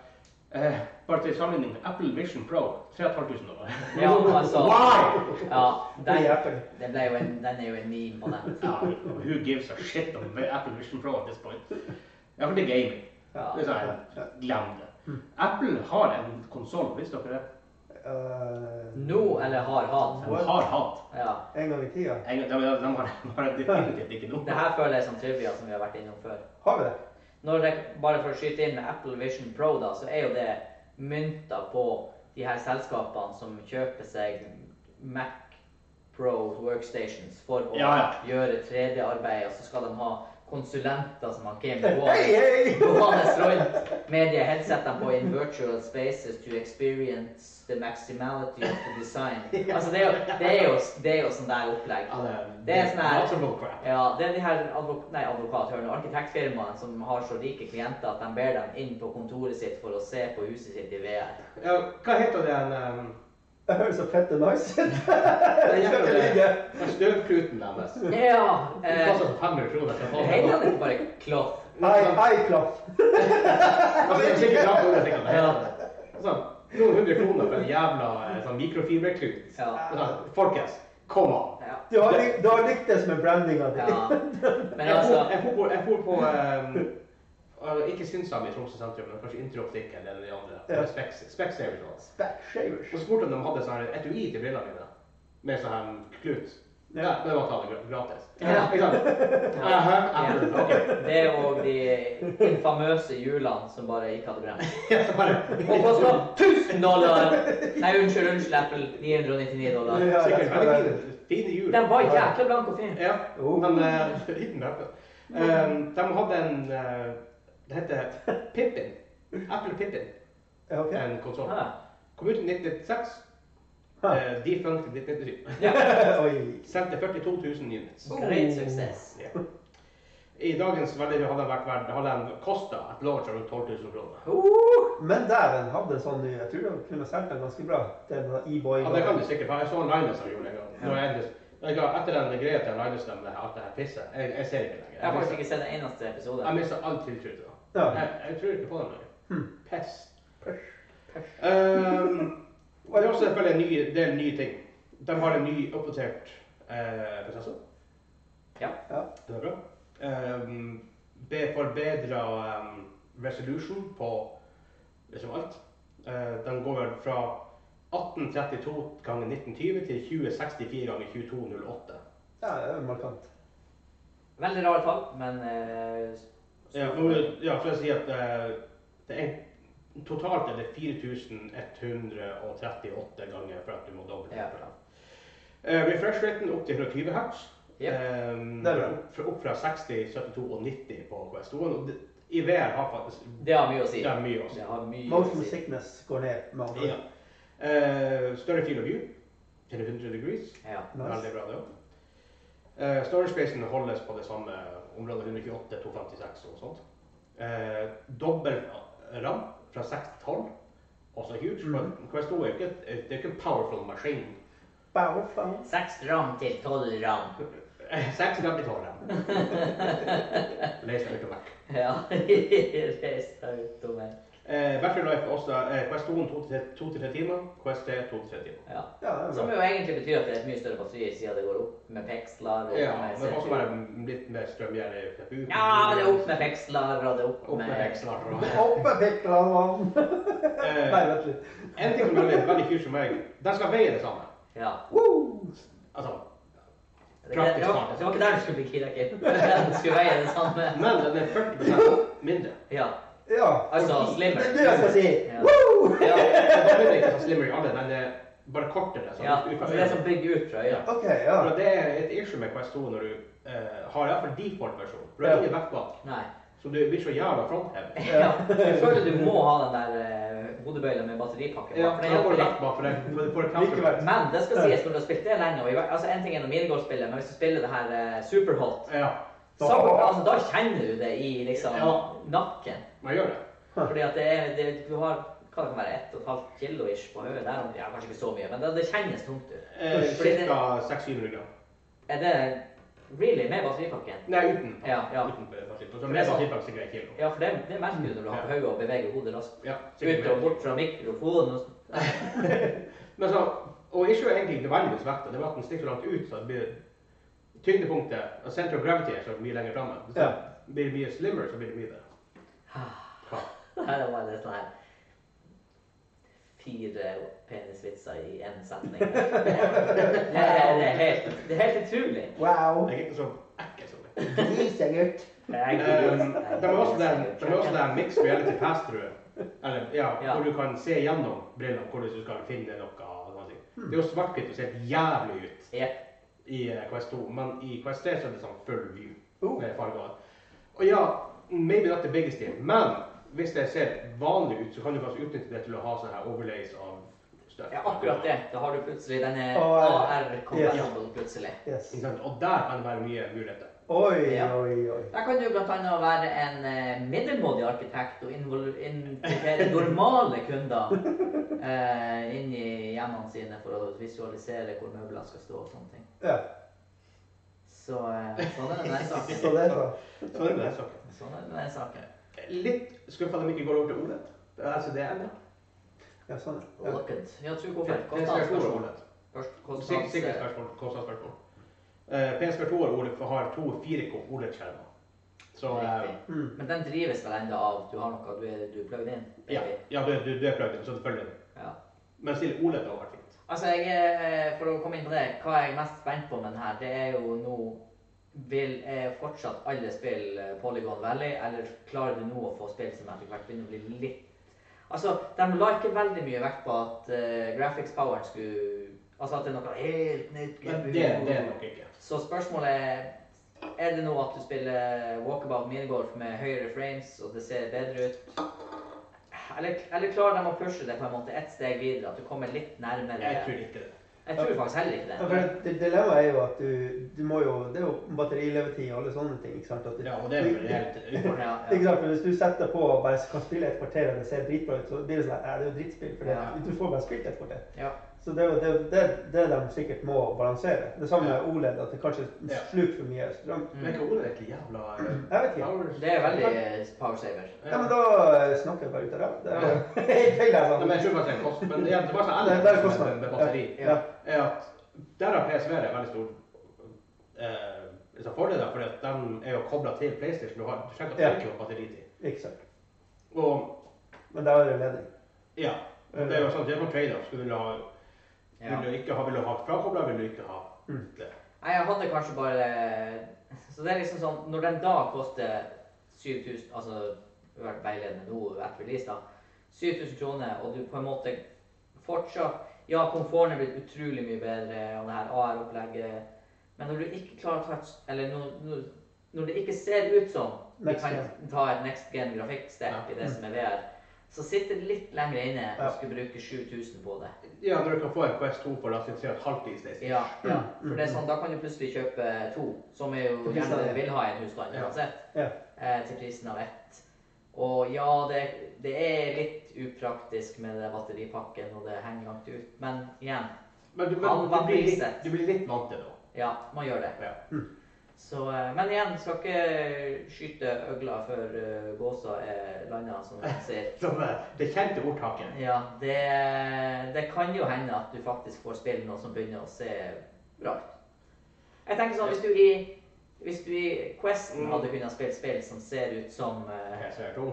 Speaker 1: Eh, bare til sammenligning, Apple Vision Pro, 3500 dollar.
Speaker 2: ja, altså
Speaker 1: Why?
Speaker 2: Ja,
Speaker 3: Det er
Speaker 2: den,
Speaker 3: Apple.
Speaker 2: det ble jo en, den er jo en meme på nett.
Speaker 1: Ja, who gives a shit om Apple Vision Pro at this point? Ja, for det er gaming.
Speaker 2: Ja.
Speaker 1: Det er sånn, glem det. Apple har en konsoll, visste dere det?
Speaker 3: Eh,
Speaker 2: Nå eller har hatt.
Speaker 1: De har hatt.
Speaker 2: Ja.
Speaker 3: en gang i tida.
Speaker 1: En- De, de, de har, de har definitivt ikke noe.
Speaker 2: Det her føler jeg som trivia som vi har vært innom før.
Speaker 3: Har vi det?
Speaker 2: Når jeg, bare for å skyte inn med Apple Vision Pro, da, så er jo det mynta på de her selskapene som kjøper seg Mac Pro workstations for å
Speaker 1: Ja, ja.
Speaker 2: gjøre 3D-arbeid, og så skal de ha konsulenter som har Game
Speaker 3: Hei, hei!
Speaker 2: Johannes rundt med de headsetene på in virtual spaces to experience the maximality of the design. Altså, det er jo, det er jo, det er jo sånn der opplegg.
Speaker 1: Ja,
Speaker 2: Det er sånn her-
Speaker 1: Multiple crap.
Speaker 2: Ja, det er de her advok nei, advokathørene, arkitektfirmaene som har så rike klienter at de ber dem inn på kontoret sitt for å se på huset sitt i VR.
Speaker 1: Ja, hva heter den um,
Speaker 3: Det høres så fette nice ut.
Speaker 1: den
Speaker 3: skal
Speaker 1: jævla-
Speaker 3: ligge.
Speaker 1: den Støvkluten deres.
Speaker 2: Ja!
Speaker 1: Den
Speaker 2: Eh,
Speaker 1: koster 500 kroner. for faen.
Speaker 2: Heter det ikke bare Cloth?
Speaker 3: Hei, hei, klaff.
Speaker 1: Altså, det er sikkert bra på det, tenker jeg.
Speaker 2: Ja.
Speaker 1: Altså, noen hundre kroner for en jævla eh, sånn mikrofiberklut.
Speaker 2: Ja.
Speaker 1: Altså, folkens, kom an!
Speaker 2: ja.
Speaker 3: Du har, lik- du har likt det som er brandinga di.
Speaker 2: ja. Men
Speaker 1: Jeg bor-
Speaker 2: altså
Speaker 1: jeg bor på, jeg bor på ehm, altså, ikke Synsam i Tromsø sentrum, men kanskje Interoptikken eller de andre.
Speaker 3: Ja.
Speaker 1: Specs- Specs er jo sånn.
Speaker 3: Backshavers.
Speaker 1: Og så spurte jeg om de hadde sånn her etui til brillene mine, med sånn her klut. Ja, men man tar det gra- gratis.
Speaker 2: Ja.
Speaker 1: Ikke sant? Aha, Apple, ok.
Speaker 2: Det og de infamøse hjulene som bare ikke hadde brent.
Speaker 1: Ja, så bare-
Speaker 2: Og kosta 1000 dollar! Nei, unnskyld, unnskyld, Apple. 999 dollar.
Speaker 3: Ja,
Speaker 1: Sikkert
Speaker 3: det skal
Speaker 1: veldig
Speaker 3: være-
Speaker 1: fine- fine hjul.
Speaker 2: Den var jækla blank og fin.
Speaker 1: Ja,
Speaker 3: Jo.
Speaker 1: men eh, (laughs) liten Apple. Ehm, de hadde en eh, Det heter Pippin. Apple Pippin,
Speaker 3: Ja, ok. (laughs)
Speaker 1: en konsoll.
Speaker 2: Ja.
Speaker 1: Kom ut i 1996.
Speaker 3: Ha.
Speaker 1: Eh, Defunct i 1997.
Speaker 3: Oi.
Speaker 1: Sendte 42 000 units.
Speaker 2: Great success.
Speaker 1: Ja. I dagens verdi hadde den vært verdt Hadde den kosta et launch rundt 12 000 kroner.
Speaker 2: Uh,
Speaker 3: Men dæven, hadde sånn Jeg tror de kunne solgt den ganske bra til en E-boy.
Speaker 1: Ja, det kan du sikkert, for jeg så en Linus som gjorde det en gang. Når jeg endelig- jeg ga- Etter den greia til Linus om det her- at det her pisset, jeg, jeg ser ikke lenger.
Speaker 2: jeg har
Speaker 1: Jeg
Speaker 2: faktisk
Speaker 1: mistet-
Speaker 2: ikke sett en eneste episode.
Speaker 1: Jeg mista all tiltro til det.
Speaker 3: Ja.
Speaker 1: Jeg, jeg tror ikke på det lenger.
Speaker 2: Hm.
Speaker 1: Pest. Ehm, og det er også selvfølgelig en ny, del nye ting. De har en ny oppdatert eh, prosessor.
Speaker 2: Ja.
Speaker 3: Ja.
Speaker 1: Det er bra. Um, be forbedra um, resolution på liksom alt. Eh, den går vel fra 1832 ganger 1920 til 2064 ganger 2208.
Speaker 3: Ja, det er markant.
Speaker 2: Veldig rare tall, men eh,
Speaker 1: Ja, for, ja, for å si at eh, det er totalt er det 4138 ganger for at du må doble
Speaker 2: Ja.
Speaker 1: det. Eh, refresh raten opp til 120 hertz.
Speaker 2: Yep.
Speaker 1: Ehm,
Speaker 3: Det er bra.
Speaker 1: opp, fra, opp fra 60, 72 og 90 på Quest-toen. Og det, I VR har faktisk
Speaker 2: det har mye å si.
Speaker 1: det er mye å si.
Speaker 2: Det har mye å
Speaker 3: Motion
Speaker 2: si.
Speaker 3: sickness går ned. med andre ord.
Speaker 1: Ja. Eh, større field of view til 100 degrees.
Speaker 2: Ja.
Speaker 3: Nice.
Speaker 1: Veldig bra, det òg. Uh, Storage-spacen holdes på det samme området 128 256 og sånt. Eh, dobbel ram fra 6 til 12, også huge. Men Quest 2 er jo ikke, det er ikke en powerful (laughs) maskin.
Speaker 3: Bow, bow.
Speaker 2: Seks ram til tolv ram.
Speaker 1: 6 gram til 12 ram. Les deg ut og vekk.
Speaker 2: (laughs) Ja. (laughs) Reis deg ut, Tommy.
Speaker 1: Eh, battery life er også eh, Quest 2 2-3 timer, Quest 3 2-3 timer.
Speaker 2: Ja.
Speaker 3: Ja, det er
Speaker 2: Som
Speaker 3: bra.
Speaker 2: jo egentlig betyr at det er et mye større batteri siden det går opp med peksler. Og
Speaker 1: Ja,
Speaker 2: med
Speaker 1: men det
Speaker 2: CPU.
Speaker 1: også være litt mer strømgjerde i CPU.
Speaker 2: ja, men det er opp med peksler, og det er opp,
Speaker 1: Opp med veksler. og-
Speaker 3: Oppe pikla han
Speaker 1: Eh,
Speaker 3: (laughs) Nei, vent litt.
Speaker 1: En ting som er veldig, veldig kult for meg, den skal veie det samme.
Speaker 2: Ja.
Speaker 3: Woo!
Speaker 1: Altså,
Speaker 2: Det, det, det, var, det var ikke der du skulle bli (laughs) kidnappet. Den skulle veie det samme.
Speaker 1: men den er 40 mindre.
Speaker 2: Ja.
Speaker 3: Ja.
Speaker 2: Altså
Speaker 3: Det
Speaker 2: slimmer.
Speaker 3: er det jeg skal si.
Speaker 2: Ja.
Speaker 3: Woo!
Speaker 1: (laughs)
Speaker 2: Ja.
Speaker 1: Den er ikke så slimmer i alle, den er bare kortere. Sånn,
Speaker 2: ja.
Speaker 1: ut fra
Speaker 2: Altså, det er som
Speaker 1: øyet.
Speaker 2: bygger ut fra øya.
Speaker 3: OK, ja.
Speaker 1: For Det er et issue med Quest 2 når du eh, har iallfall default-versjon. For du har
Speaker 3: Ja.
Speaker 1: ingen backback,
Speaker 2: Nei.
Speaker 1: så du blir så jævla frontheavy.
Speaker 2: Ja. Jeg føler du må ha den der eh, hodebøylen med batteripakke.
Speaker 1: Ja,
Speaker 2: for
Speaker 1: for
Speaker 2: den
Speaker 1: da går
Speaker 2: hjelper
Speaker 1: du
Speaker 2: litt.
Speaker 1: backback for deg. For, for
Speaker 3: Likevel.
Speaker 2: Men det skal sies, når du har spilt det lenge og i hver- altså En ting er når minigolfspillet, men hvis du spiller det her eh, superhot,
Speaker 1: Ja,
Speaker 3: Da-
Speaker 2: så, altså, da kjenner du det i liksom
Speaker 1: Ja.
Speaker 2: nakken.
Speaker 1: man gjør det.
Speaker 2: Fordi at det er det, Du har hva det kan være, 1,5 kilo ish på hodet der. Ja, kanskje ikke så mye, men det, det kjennes tungt ut.
Speaker 1: Eh, Ca. 600-700 gram.
Speaker 2: Er det really med batteripakken?
Speaker 1: Nei, uten.
Speaker 2: Ja, ja.
Speaker 1: uten backpack. Så med sånn
Speaker 2: sånn-
Speaker 1: backpack så greier jeg kilo.
Speaker 2: Ja, for det, det merker du når du har på hodet og beveger hodet raskt.
Speaker 1: Ja,
Speaker 2: Ut og
Speaker 1: sikkert.
Speaker 2: bort fra mikrofonen. og sånn.
Speaker 1: Men så, og ikke egentlig ikke vanligvis vekta, det var at den stikker så langt ut, så det blir tyngdepunktet og center of gravity er så mye lenger framme. Så
Speaker 3: Ja.
Speaker 1: blir det mye slimmer, så blir det mye bedre. Ja.
Speaker 2: (sighs) Her var det sånn her Fire penisvitser i én
Speaker 1: (laughs)
Speaker 2: setning. Det er, det er, helt, det er helt utrolig.
Speaker 3: Wow.
Speaker 1: Det er ikke så ekkelt som det.
Speaker 3: Grisegutt.
Speaker 2: Det er ikke
Speaker 1: Um,
Speaker 2: det er
Speaker 1: det var også
Speaker 2: ikke
Speaker 1: den,
Speaker 2: det.
Speaker 1: det var også den mixed reality pass-through. Eller, ja,
Speaker 2: Ja.
Speaker 1: hvor du kan se gjennom brillene hvordan du skal finne noe. og sånne ting.
Speaker 2: Hmm.
Speaker 1: Det er jo svart-hvitt og ser helt jævlig ut
Speaker 2: Jep.
Speaker 1: i eh, Quest 2, men i Quest 3 så er det sånn full view.
Speaker 3: Oh.
Speaker 1: med farger. Og ja, maybe not the biggest deal, men hvis det ser vanlig ut, så kan du kanskje utnytte det til å ha sånne her overlays av støv.
Speaker 2: Ja, akkurat det. Da har du plutselig denne
Speaker 3: Å, ja.
Speaker 2: AR-kompatibel plutselig.
Speaker 3: Yes.
Speaker 1: Ikke sant? Og der kan det være mye muligheter.
Speaker 3: Oi,
Speaker 2: Ja.
Speaker 3: oi, oi.
Speaker 2: Der kan du bl.a. være en eh, middelmådig arkitekt og invol- invitere normale
Speaker 1: (laughs)
Speaker 2: kunder eh, inn i hjemmene sine for å visualisere hvor møbler skal stå og sånne ting.
Speaker 3: Ja,
Speaker 2: Så eh, sånn
Speaker 1: (laughs)
Speaker 2: er den
Speaker 3: så
Speaker 2: saken.
Speaker 3: det er så.
Speaker 1: Så det er den saken.
Speaker 2: Sånn er den saken.
Speaker 1: Litt skuffa at de ikke går over til OLED. Det er altså det ennå.
Speaker 3: Ja, sånn. Ja.
Speaker 2: Looked. Ja, tro hvorfor.
Speaker 1: PS2 er
Speaker 2: Kostnadsspørsmål.
Speaker 1: OLED.
Speaker 2: Først
Speaker 1: Sik-
Speaker 2: kostnads...
Speaker 1: E Sikkerhetsspørsmål. Kostnadsspørsmål. Eh, PS2 er OLED for har to 4K OLED-skjermer. E Så eh,
Speaker 2: Riktig.
Speaker 3: Mm.
Speaker 2: Men den drives vel enda av du har noe du er, du er plugget inn?
Speaker 1: ja,
Speaker 2: baby.
Speaker 1: ja, du, du, du er plugget, så selvfølgelig.
Speaker 2: ja.
Speaker 1: Men still, E OLED har vært fint.
Speaker 2: Altså, jeg, er- for å komme inn på det, hva jeg er mest spent på med den her, det er jo nå vil, Er fortsatt alle spill eh, Polygon Valley, eller klarer du nå å få spill som etter hvert begynner å bli litt Altså, de la ikke veldig mye vekt på at eh, graphics poweren skulle Altså at det er noe helt nytt.
Speaker 1: Men det, det er nok ikke.
Speaker 2: Så spørsmålet er Er det nå at du spiller walkabout minigolf med høyere frames, og det ser bedre ut? Eller, eller klarer de å pushe det på en måte ett steg videre? At du kommer litt nærmere?
Speaker 1: Jeg tror ikke det.
Speaker 2: Jeg tror faktisk heller ikke
Speaker 3: Ja, for
Speaker 2: det.
Speaker 3: det- det- Dilemmaet er jo at du, du må jo Det er jo batterilevetid og alle sånne ting. ikke sant? At du,
Speaker 1: Ja, og det er vel helt utfordrende.
Speaker 2: Ja,
Speaker 3: Ikke
Speaker 2: ja.
Speaker 3: sant? For Hvis du setter på og bare kan spille et kvarter og det ser dritbra ut, så blir det sånn at, "Nei, det er jo drittspill. For det,
Speaker 2: Ja.
Speaker 3: du får bare spilt et kvarter.
Speaker 2: ja.
Speaker 3: Så det er jo det, det, det de sikkert må balansere. Det samme med OLED, at det kanskje
Speaker 1: Ja.
Speaker 3: sluker for mye strøm.
Speaker 1: (laughs) Men er ikke ordet egentlig jævla øh,
Speaker 3: Jeg vet ikke.
Speaker 2: Det er veldig eh, power saver.
Speaker 3: Ja, men da eh, snakker jeg bare ut av ræva. (laughs) Det er jo helt feil,
Speaker 1: Ja, men
Speaker 3: altså.
Speaker 1: jeg tror faktisk det er en kost, men det er bare sånn
Speaker 3: Det
Speaker 1: ellers
Speaker 3: det er
Speaker 1: med, med batteri,
Speaker 3: kostnad. Ja.
Speaker 1: er at der har PSV en veldig stor eh, liksom fordel, for den er jo kobla til PlayStation. Du, har, du trenger ikke
Speaker 3: Ja.
Speaker 1: å tenke på batteritid.
Speaker 3: Ja, ikke sant.
Speaker 1: Og
Speaker 3: Men der er det ledning.
Speaker 1: ja, det er jo sånn, det er noen trade-offs. Du vil ha,
Speaker 2: Ja.
Speaker 1: vil du ikke ha, vil du ha frakobla, vil du ikke ha
Speaker 3: Mm.
Speaker 1: det.
Speaker 2: Nei, jeg hadde kanskje bare Så det er liksom sånn Når den da koster 7000 Altså det har vært veiledende nå etter release, da. 7000 kroner, og du på en måte fortsatt Ja, komforten er blitt utrolig mye bedre, og det her AR-opplegget Men når du ikke klarer å ta et Eller når, når, når det ikke ser ut som vi
Speaker 3: Next
Speaker 2: kan
Speaker 3: gen.
Speaker 2: ta et next gen grafikkstrekk i det som er VR, så sitter det litt lenger inne å
Speaker 3: Ja.
Speaker 2: skulle bruke 7000 på det.
Speaker 1: Ja, når du kan få en Quest 2 for la oss si tre og et halvt i stedet.
Speaker 2: Ja, ja. For det er sånn, da kan du plutselig kjøpe eh, to, som er jo
Speaker 3: Til prisen
Speaker 2: gjerne
Speaker 3: av
Speaker 2: det
Speaker 3: ett.
Speaker 2: vil ha i en husstand
Speaker 1: Ja.
Speaker 2: uansett,
Speaker 3: Ja.
Speaker 2: eh, til prisen av ett. Og ja, det, det er litt upraktisk med den batteripakken, og det henger langt ut, men igjen,
Speaker 1: Men, du, men
Speaker 2: Han
Speaker 1: du,
Speaker 2: var
Speaker 1: blir litt,
Speaker 2: priset.
Speaker 1: du blir litt vant til det. da.
Speaker 2: ja, man gjør det. Mm.
Speaker 1: Ja.
Speaker 2: Så, eh, men igjen, skal ikke skyte øgla før eh, gåsa er landa, som man sier.
Speaker 1: Så det, eh, det kjente ordtaket.
Speaker 2: Ja, det, det kan jo hende at du faktisk får spille noe som begynner å se bra ut. Jeg tenker sånn, hvis du i, hvis du i Questen hadde kunnet spille spill som ser ut som eh,
Speaker 1: PSV 2.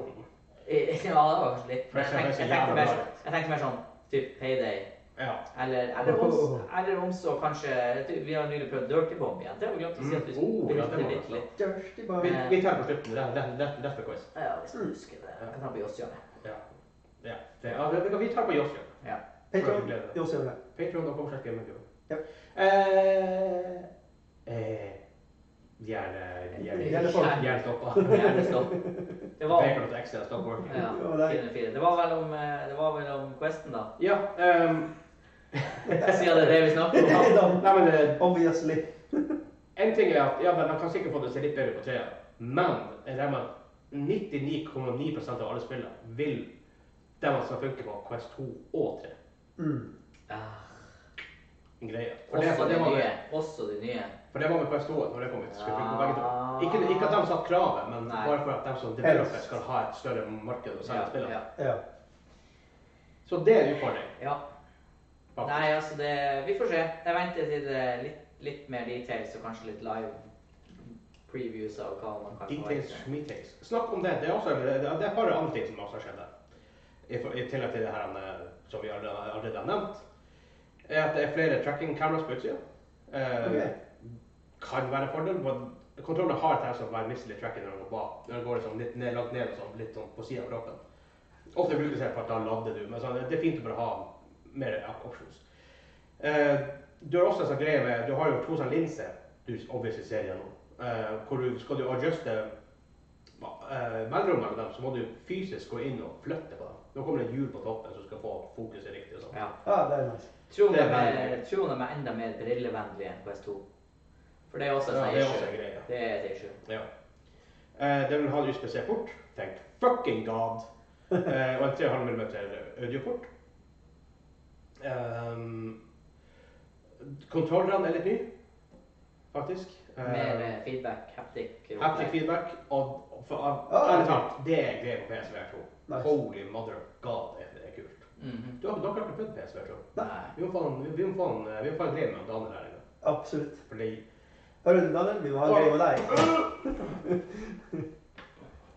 Speaker 2: i- Ja, det var kanskje litt Men jeg tenk- jeg tenkte mer, sånn- jeg tenkte mer sånn typ Payday.
Speaker 1: Ja.
Speaker 2: Eller, eller,
Speaker 1: Oh.
Speaker 2: om, eller om så kanskje Vi har nylig prøvd Dirty Bomb igjen. Det har vi glemt å si at vi
Speaker 1: Mm. Oh, ja, det
Speaker 2: brukte
Speaker 1: var det.
Speaker 2: litt. litt.
Speaker 3: Dirty bar.
Speaker 1: Vi, vi tar på slutten. Det er- det er- det er- det er for Quest.
Speaker 2: Ja, hvis du husker det. Jeg kan ta på Jåsshjørnet.
Speaker 1: Ja. ja. Det, ja det, vi tar på Jossi.
Speaker 2: Ja.
Speaker 3: Patreon, jo, ser du det.
Speaker 1: Patreon.com slags gamercube.
Speaker 3: Ja.
Speaker 1: Eh, eh, Gjerne
Speaker 3: Gjerne folk.
Speaker 1: Gjerne
Speaker 3: (laughs)
Speaker 1: stoppa.
Speaker 2: Gjerne stopp. Det var
Speaker 1: Patreon.exe stop working.
Speaker 2: Ja,
Speaker 3: Det var der.
Speaker 2: 404. Det var vel om, eh, det var vel om Questen,
Speaker 1: (laughs)
Speaker 2: da.
Speaker 1: Ja. ehm,
Speaker 2: Siden det er det vi snakker om.
Speaker 1: (laughs)
Speaker 2: da.
Speaker 1: nei, men eh,
Speaker 3: Obviously.
Speaker 1: en ting er at ja, men de kan sikkert få det til å se litt bedre ut på treet, men jeg regner med at 99,9 av alle spillene vil dem som funker på Quest 2 og 3.
Speaker 3: Mm.
Speaker 2: Ah,
Speaker 1: Greier. For det,
Speaker 2: Også
Speaker 1: for
Speaker 2: de
Speaker 1: det var
Speaker 2: nye.
Speaker 1: det.
Speaker 2: Også de nye.
Speaker 1: For det var med Quest 2 når det kom ut. Skulle funke på begge to.
Speaker 2: Ja.
Speaker 1: Ikke, ikke at de satt kravet, men
Speaker 2: Ah. Nei.
Speaker 1: bare for at de som developer skal ha et større marked å selge spillene.
Speaker 2: ja.
Speaker 3: Ja.
Speaker 1: Så det er en utfordring.
Speaker 2: ja.
Speaker 1: faktisk.
Speaker 2: Nei, altså det Vi får se. Jeg venter til det er litt, litt mer details og kanskje litt live previews av hva man kan
Speaker 1: Details, meetings. Snakk om det. Det er, også, det er det er et par andre ting som også har skjedd der. I, for- I tillegg til det her eh, som vi allerede, allerede har nevnt, er at det er flere tracking cameras på utsida. Eh,
Speaker 3: Ok.
Speaker 1: Kan være en fordel. men Kontrollene har et tendens til å være mistelig tracking når de går bak. Når de går liksom litt ned, langt ned og sånn, litt sånn på sida av kroppen. Ofte brukes det for at da lader du, men sånn, det er fint å bare ha mer ja, options. Eh, du har også en sånn greie med Du har jo to sånne linser du obviously ser gjennom. Eh, hvor du, skal du adjuste eh, mellomrommet mellom dem, så må du fysisk gå inn og flytte på dem. Nå kommer det et hjul på toppen som skal få fokuset riktig. og sånn.
Speaker 2: Ja.
Speaker 3: Ah, det er nice.
Speaker 2: Tror de
Speaker 1: Det er
Speaker 2: er,
Speaker 1: veldig-
Speaker 2: tror de er enda mer brillevennlige enn Quest 2. For det er også et
Speaker 1: Ja,
Speaker 2: sånt
Speaker 1: det er også en
Speaker 2: issue.
Speaker 1: greie.
Speaker 2: Det er et issue.
Speaker 1: Ja. Eh, det vil ha en USB-C-port. Thank fucking god! Eh, og en 3,5 mm audioport. Um, Kontrollerne er litt nye, faktisk.
Speaker 2: Mer
Speaker 1: Eh,
Speaker 2: eh, feedback, haptic
Speaker 1: Haptic feedback. Og, og for, av-
Speaker 3: Ah.
Speaker 1: ærlig talt, det er greia på PSVR2.
Speaker 3: Nice.
Speaker 1: Holy mother of god, det det er kult.
Speaker 2: Mhm.
Speaker 1: Du har, dere har ikke prøvd PSVR2?
Speaker 2: Nei.
Speaker 1: Vi må få en, vi må få en, eh, vi må få en greie med Daniel her inne.
Speaker 3: Absolutt.
Speaker 1: Fordi
Speaker 3: Hører du, Daniel? Vi må ha en greie med deg.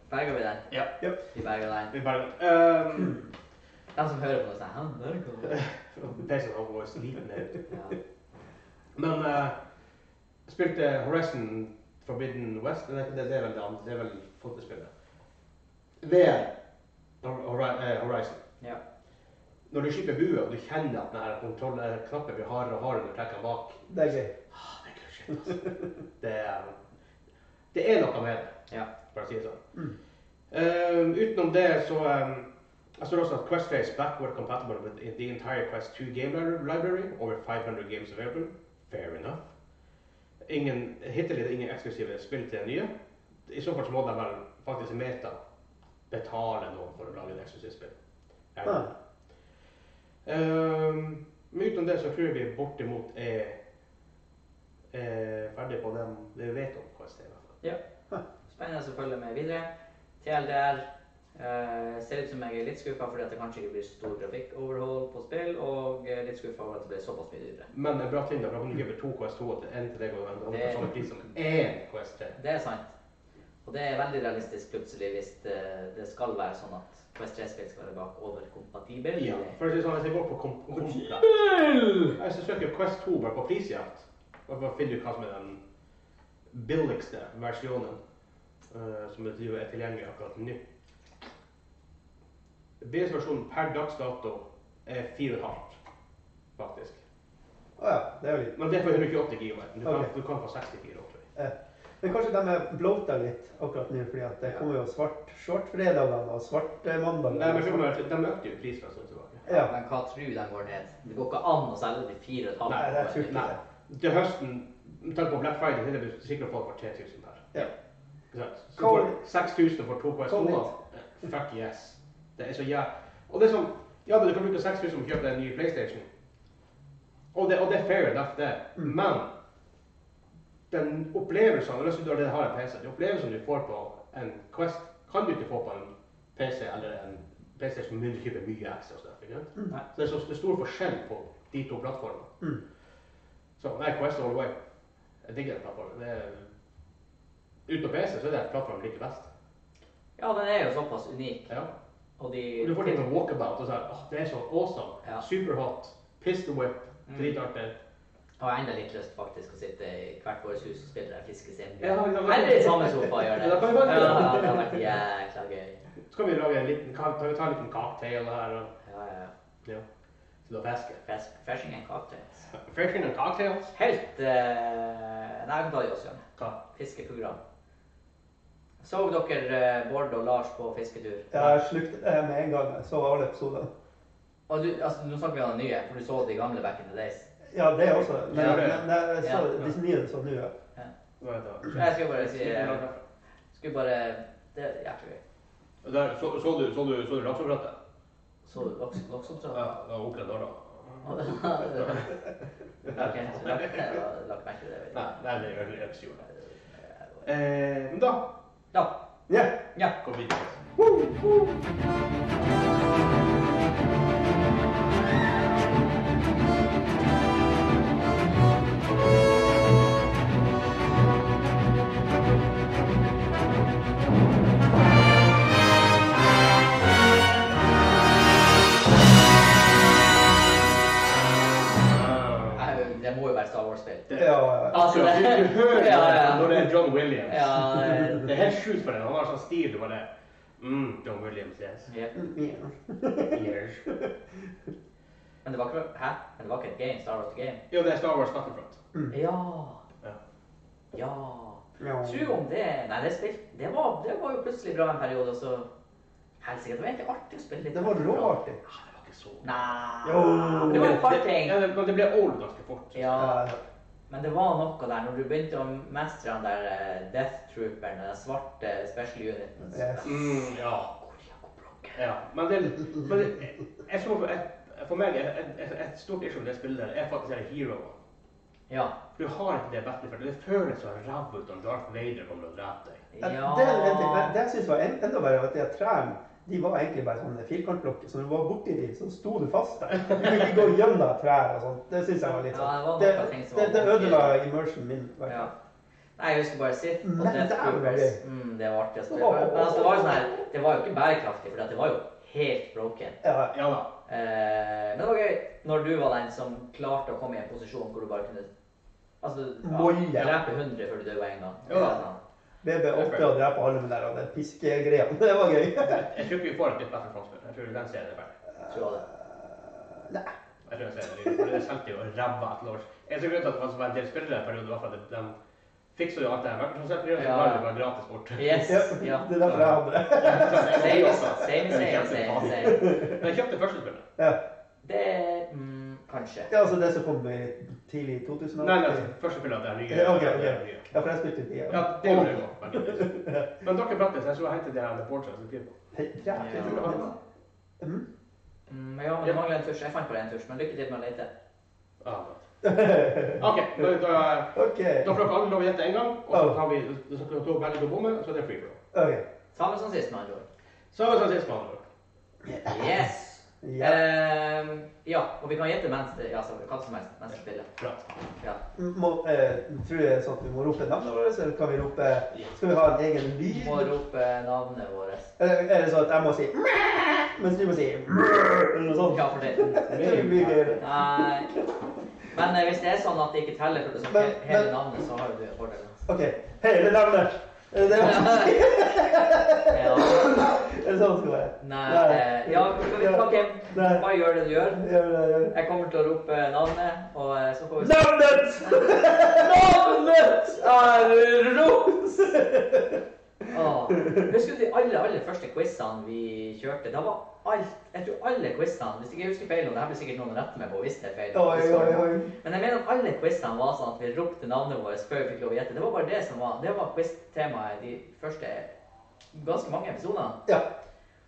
Speaker 2: Berger vi den?
Speaker 1: Ja.
Speaker 3: Ja.
Speaker 2: Vi berger den.
Speaker 1: Vi bare, ehm, (clears throat)
Speaker 2: De som hører på det, sånn Han
Speaker 1: (laughs)
Speaker 2: hører ikke noe.
Speaker 1: PC-en har vært sliten helt.
Speaker 2: Ja.
Speaker 1: Men eh, spilte Horizon Forbidden West? Nei, det, det er vel det andre. Det er vel fotballspillet. VR. Hor- Hori- eh, Horizon.
Speaker 2: ja.
Speaker 1: Når du skyter bue og du kjenner at denne kontrollknappen eh, blir hardere og hardere når du trekker bak
Speaker 3: Det er gøy.
Speaker 1: ah, det, er good shit, altså. (laughs) det, er, det er noe med det.
Speaker 2: ja.
Speaker 1: for å si det sånn. Eh, utenom det så um, jeg står også at Questface backward compatible with the entire Quest 2 game li- library, over 500 games available. Fair enough. Ingen, hittil er det ingen eksklusive spill til det nye. I så fall så må de vel faktisk i Meta betale noen for å lage et eksklusivt spill. Jeg vet
Speaker 3: Ja.
Speaker 1: ikke. Ehm, men utenom det så tror jeg vi bortimot er, er ferdig på dem vi vet om Quest. i hvert fall.
Speaker 2: ja. Spennende å følge med videre. TLDR eh, ser ut som jeg er litt skuffa fordi at det kanskje ikke blir stor trafikkoverhold på spill, og eh, litt skuffa over at det ble såpass mye dyrere.
Speaker 1: Men det er bra ting, da, for da kan du kjøpe to Quest 2 til en til deg og en annen
Speaker 2: Det-
Speaker 1: for samme pris som én Quest 3.
Speaker 2: Det er sant. Og det er veldig realistisk plutselig hvis det, det skal være sånn at Quest 3-spill skal være bakover kompatibel.
Speaker 1: Ja, for å si det sånn, hvis jeg går på kom- kom- Jeg så søker Quest 2 bare på prisjakt. Og bare finner ut hva som er den billigste versjonen eh, som er er tilgjengelig akkurat nå. Billigste versjonen per dags dato er 4,5, faktisk.
Speaker 3: Å ja, det er jo litt
Speaker 1: Men det er for 128 GB. Du kan,
Speaker 3: Ok.
Speaker 1: du kan få 64 tror jeg.
Speaker 3: eh. Men kanskje de er bloata litt akkurat nå, fordi at det kommer jo svart shortfredagene og svart eh, mandag.
Speaker 1: Nei, men skjønner du, De økte jo prisen en stund tilbake.
Speaker 3: Ja.
Speaker 2: Men hva tror de går ned? Det går ikke an å selge de fire og et halvt.
Speaker 3: Nei, det tror jeg ikke.
Speaker 1: Nei. Til høsten, med tanke på Black Friday, vil du sikkert få for 3000 per.
Speaker 3: ja.
Speaker 1: Ikke sant? Så
Speaker 3: Kom
Speaker 1: for
Speaker 3: hit.
Speaker 1: 6000 for to quest
Speaker 3: Kom hit.
Speaker 1: Fuck yes. Det er så jæv... Og det er sånn Ja, men du kan bruke 6000 på å kjøpe deg en ny PlayStation. Og det, og det er fair enough, det. Men den opplevelsen eller hvis du allerede har en PC, den opplevelsen du får på en Quest, kan du ikke få på en PC eller en PlayStation med mindre du kjøper mye ekstra stuff. Ikke sant?
Speaker 2: Nei.
Speaker 1: Så det er så det er stor forskjell på de to plattformene.
Speaker 3: Mm.
Speaker 1: Så nei, Quest all the way. Jeg digger den plattformen. Det er, uten PC så er det plattformen jeg liker best.
Speaker 2: Ja, den er jo såpass unik.
Speaker 1: Ja.
Speaker 2: Og de
Speaker 1: Og Du får litt sånn walkabout og sånn. Åh, det er så awesome.
Speaker 2: Ja.
Speaker 1: Superhot. Pistol whip.
Speaker 2: Mm.
Speaker 1: Dritartig.
Speaker 2: har enda litt lyst faktisk å sitte i hvert vårt hus og spille der fiskescenen.
Speaker 1: Ja, ja, ja.
Speaker 2: Eller i samme sofa og gjøre det.
Speaker 1: (laughs) Ja, da kan vi bare gjøre
Speaker 2: ja,
Speaker 1: det.
Speaker 2: det har vært jækla gøy.
Speaker 1: Så kan vi lage en liten, ka- ta, ta en liten cocktail her og
Speaker 2: Ja, ja.
Speaker 1: ja. Sitte og fiske.
Speaker 2: Fresh, freshing and cocktails.
Speaker 1: Fishing and cocktails.
Speaker 2: Helt eh, Nei, vi kan ta det i oss igjen.
Speaker 1: Hva?
Speaker 2: fiskeprogram. Så dere eh, Bård og Lars på fisketur?
Speaker 3: Jeg slukte det med en gang jeg så alle episodene.
Speaker 2: Og du, altså, nå snakker vi om det nye, for du så de gamle back in the days.
Speaker 3: Ja, det også. Men,
Speaker 1: Ja, det-
Speaker 3: men jeg så
Speaker 2: ja.
Speaker 3: disse nye så sånn nå, ja.
Speaker 1: Hva er det?
Speaker 2: Jeg skulle bare si eh, Skulle bare Det er jækla gøy.
Speaker 1: Der, så, så du, så du, så du lakseoppdrettet?
Speaker 2: Så du voksen voksen, tror
Speaker 1: Ja,
Speaker 2: jeg?
Speaker 1: det var opplevd da.
Speaker 2: Ok, så la la ikke merke til det. vet
Speaker 1: Nei,
Speaker 2: jeg.
Speaker 1: nei, det gjør det ikke. gjorde det. Eh, men da
Speaker 2: Ja.
Speaker 3: Ja.
Speaker 2: ja.
Speaker 1: går vi videre.
Speaker 2: Nei, Det må jo være Star Wars-spill.
Speaker 3: Ja, ja, ja.
Speaker 2: Altså,
Speaker 1: Du,
Speaker 2: det-
Speaker 1: du hører
Speaker 2: Ja, ja.
Speaker 1: når det er John Williams.
Speaker 2: Ja,
Speaker 1: Det er helt sjukt for deg. Han har sånn stil. Du bare mm, John Williams, yes.
Speaker 2: ja.
Speaker 3: Ja.
Speaker 1: yes.
Speaker 2: Men det var ikke Hæ? Men det var ikke et game? Star Wars the Game?
Speaker 1: Jo, det er Star Wars Battlefront.
Speaker 2: Ja.
Speaker 1: Ja.
Speaker 2: Ja.
Speaker 3: Ja.
Speaker 2: Tro om det Nei, det, spil, det, var, det var jo plutselig bra en periode, og så Helsike, det var egentlig artig å spille litt.
Speaker 3: Det var råartig.
Speaker 1: Ah, det var ikke så
Speaker 2: Nei
Speaker 3: Jo.
Speaker 2: Det var et par ting.
Speaker 1: Ja, det, men det ble old ganske fort.
Speaker 2: Ja.
Speaker 3: Ja.
Speaker 2: Men det var noe der når du begynte å mestre den der eh, Death Trooperen, den svarte special uniten.
Speaker 3: Yes.
Speaker 1: Mm, ja.
Speaker 2: Koreakoblokken.
Speaker 1: ja. Men det men det- jeg så for, jeg, for meg et, et, et stort issue med det spillet der er faktisk hele heroen.
Speaker 2: Ja.
Speaker 1: Du har ikke det Battlefront. Det føles så ræv ut når Darth Vader kommer og dreper deg.
Speaker 3: Ja, Det, er en ting, men det jeg synes var en- enda verre, var at de her trærne de var egentlig bare sånne firkantblokker. Så når du var borti dem, så sto du fast der. Du kunne ikke gå gjennom trær og sånt. Det synes jeg var litt
Speaker 2: Ja, det var
Speaker 3: sånn
Speaker 2: noe
Speaker 3: Det,
Speaker 2: jeg tenkte
Speaker 3: det,
Speaker 2: var
Speaker 3: det
Speaker 2: vanskelig.
Speaker 3: ødela immersionen min. i hvert
Speaker 2: Ja.
Speaker 3: fall.
Speaker 2: Nei, jeg husker bare Sith og
Speaker 3: Men
Speaker 2: Death
Speaker 3: det er jo
Speaker 2: Troopers.
Speaker 3: gøy.
Speaker 2: Mm, det var artig å spille. Men altså, det var jo sånn her, det var jo ikke bærekraftig, for det var jo helt broken.
Speaker 3: Ja,
Speaker 1: Ja da.
Speaker 2: Eh, men det var gøy når du var den som klarte å komme i en posisjon hvor du bare kunne Altså,
Speaker 3: Volle.
Speaker 2: drepe 100 før du døde en gang.
Speaker 1: Jo da.
Speaker 2: Sånn.
Speaker 3: BB åtte og drepe alle med der, og den piskegreia. (laughs) Det var gøy.
Speaker 1: Jeg tror ikke vi får et nytt Battle Front-spill. Jeg tror den serien er ferdig.
Speaker 2: Tror jeg det.
Speaker 3: Nei.
Speaker 1: Jeg tror den serien er ferdig. Det solgte jo ræva til års. Eneste grunn til at det var så en del spillere i perioden, var for at de fiksa jo alt det her. Battle Front-spillet
Speaker 2: Ja.
Speaker 1: var det bare gratis bort.
Speaker 2: Yes.
Speaker 3: Ja,
Speaker 2: Ja.
Speaker 3: det er derfor jeg hadde det.
Speaker 2: Same, same, same, same, same.
Speaker 1: Men jeg kjøpte første spillet.
Speaker 3: Ja.
Speaker 2: Det mm, Kanskje.
Speaker 3: ja, altså det som kom i tidlig 2000?
Speaker 1: Nei, nei, altså, første spillet av det her nye.
Speaker 3: Ja, ok,
Speaker 1: det her nye.
Speaker 3: ok. Ja, for jeg spilte ikke
Speaker 1: Ja, det gjorde jeg også, veldig mye. Men dere prates, jeg skulle hente det her med Portrait. så blir det-
Speaker 3: Ja, det tror jeg var. Mm.
Speaker 2: Mm, ja, men det mangler en tusj. Jeg fant bare en tusj, men lykke til med å lete.
Speaker 1: Ja. OK, da, da,
Speaker 3: (laughs) OK.
Speaker 1: da får dere alle lov å gjette en gang, og så kan vi så skal dere to velge to bommer, så er det free for all.
Speaker 3: ok.
Speaker 2: Samme som sist, med andre ord.
Speaker 1: Samme som sist, med andre ord.
Speaker 2: Yes.
Speaker 3: Ja.
Speaker 2: Ehm, ja, og vi kan gjette mens det, ja, så, hva som helst mens vi spiller.
Speaker 1: Bra.
Speaker 2: Ja.
Speaker 3: Må, eh, tror du det er sånn at vi må rope navnet vårt, eller kan vi rope Skal vi ha en egen
Speaker 2: Vi må
Speaker 3: lyd?
Speaker 2: rope navnet vårt.
Speaker 3: Eller er det sånn at jeg må si mæ, mens du må si mæ, eller noe sånt?
Speaker 2: Ja, for det.
Speaker 3: Jeg tror det blir gøyere.
Speaker 2: Nei. Men eh, hvis det er sånn at det ikke teller for det som
Speaker 3: Men-
Speaker 2: he- hele
Speaker 3: men-
Speaker 2: navnet, så har jo du en
Speaker 3: (laughs)
Speaker 2: fordel.
Speaker 3: OK. Hele navnet. Er det det man skal si?
Speaker 2: Ja.
Speaker 3: Er det sånn det skal være?
Speaker 2: Nei. eh, Ja, OK.
Speaker 3: Nei.
Speaker 2: Bare gjør det du gjør.
Speaker 3: Ja, ja, ja.
Speaker 2: Jeg kommer til å rope navnet, og eh, så får vi se.
Speaker 3: Navnet! Navnet er Ros!
Speaker 2: Åh. Husker du de aller, aller første quizene vi kjørte? Da var alt, jeg tror alle quizene, hvis ikke jeg husker feil, og det her blir sikkert noen rett med på hvis det er feil.
Speaker 3: Oi, oi, oi.
Speaker 2: Men jeg mener at alle quizene var sånn at vi ropte navnet vårt før vi fikk lov å gjette. Det var bare det som var, det var quiz-temaet i de første ganske mange episodene.
Speaker 3: Ja.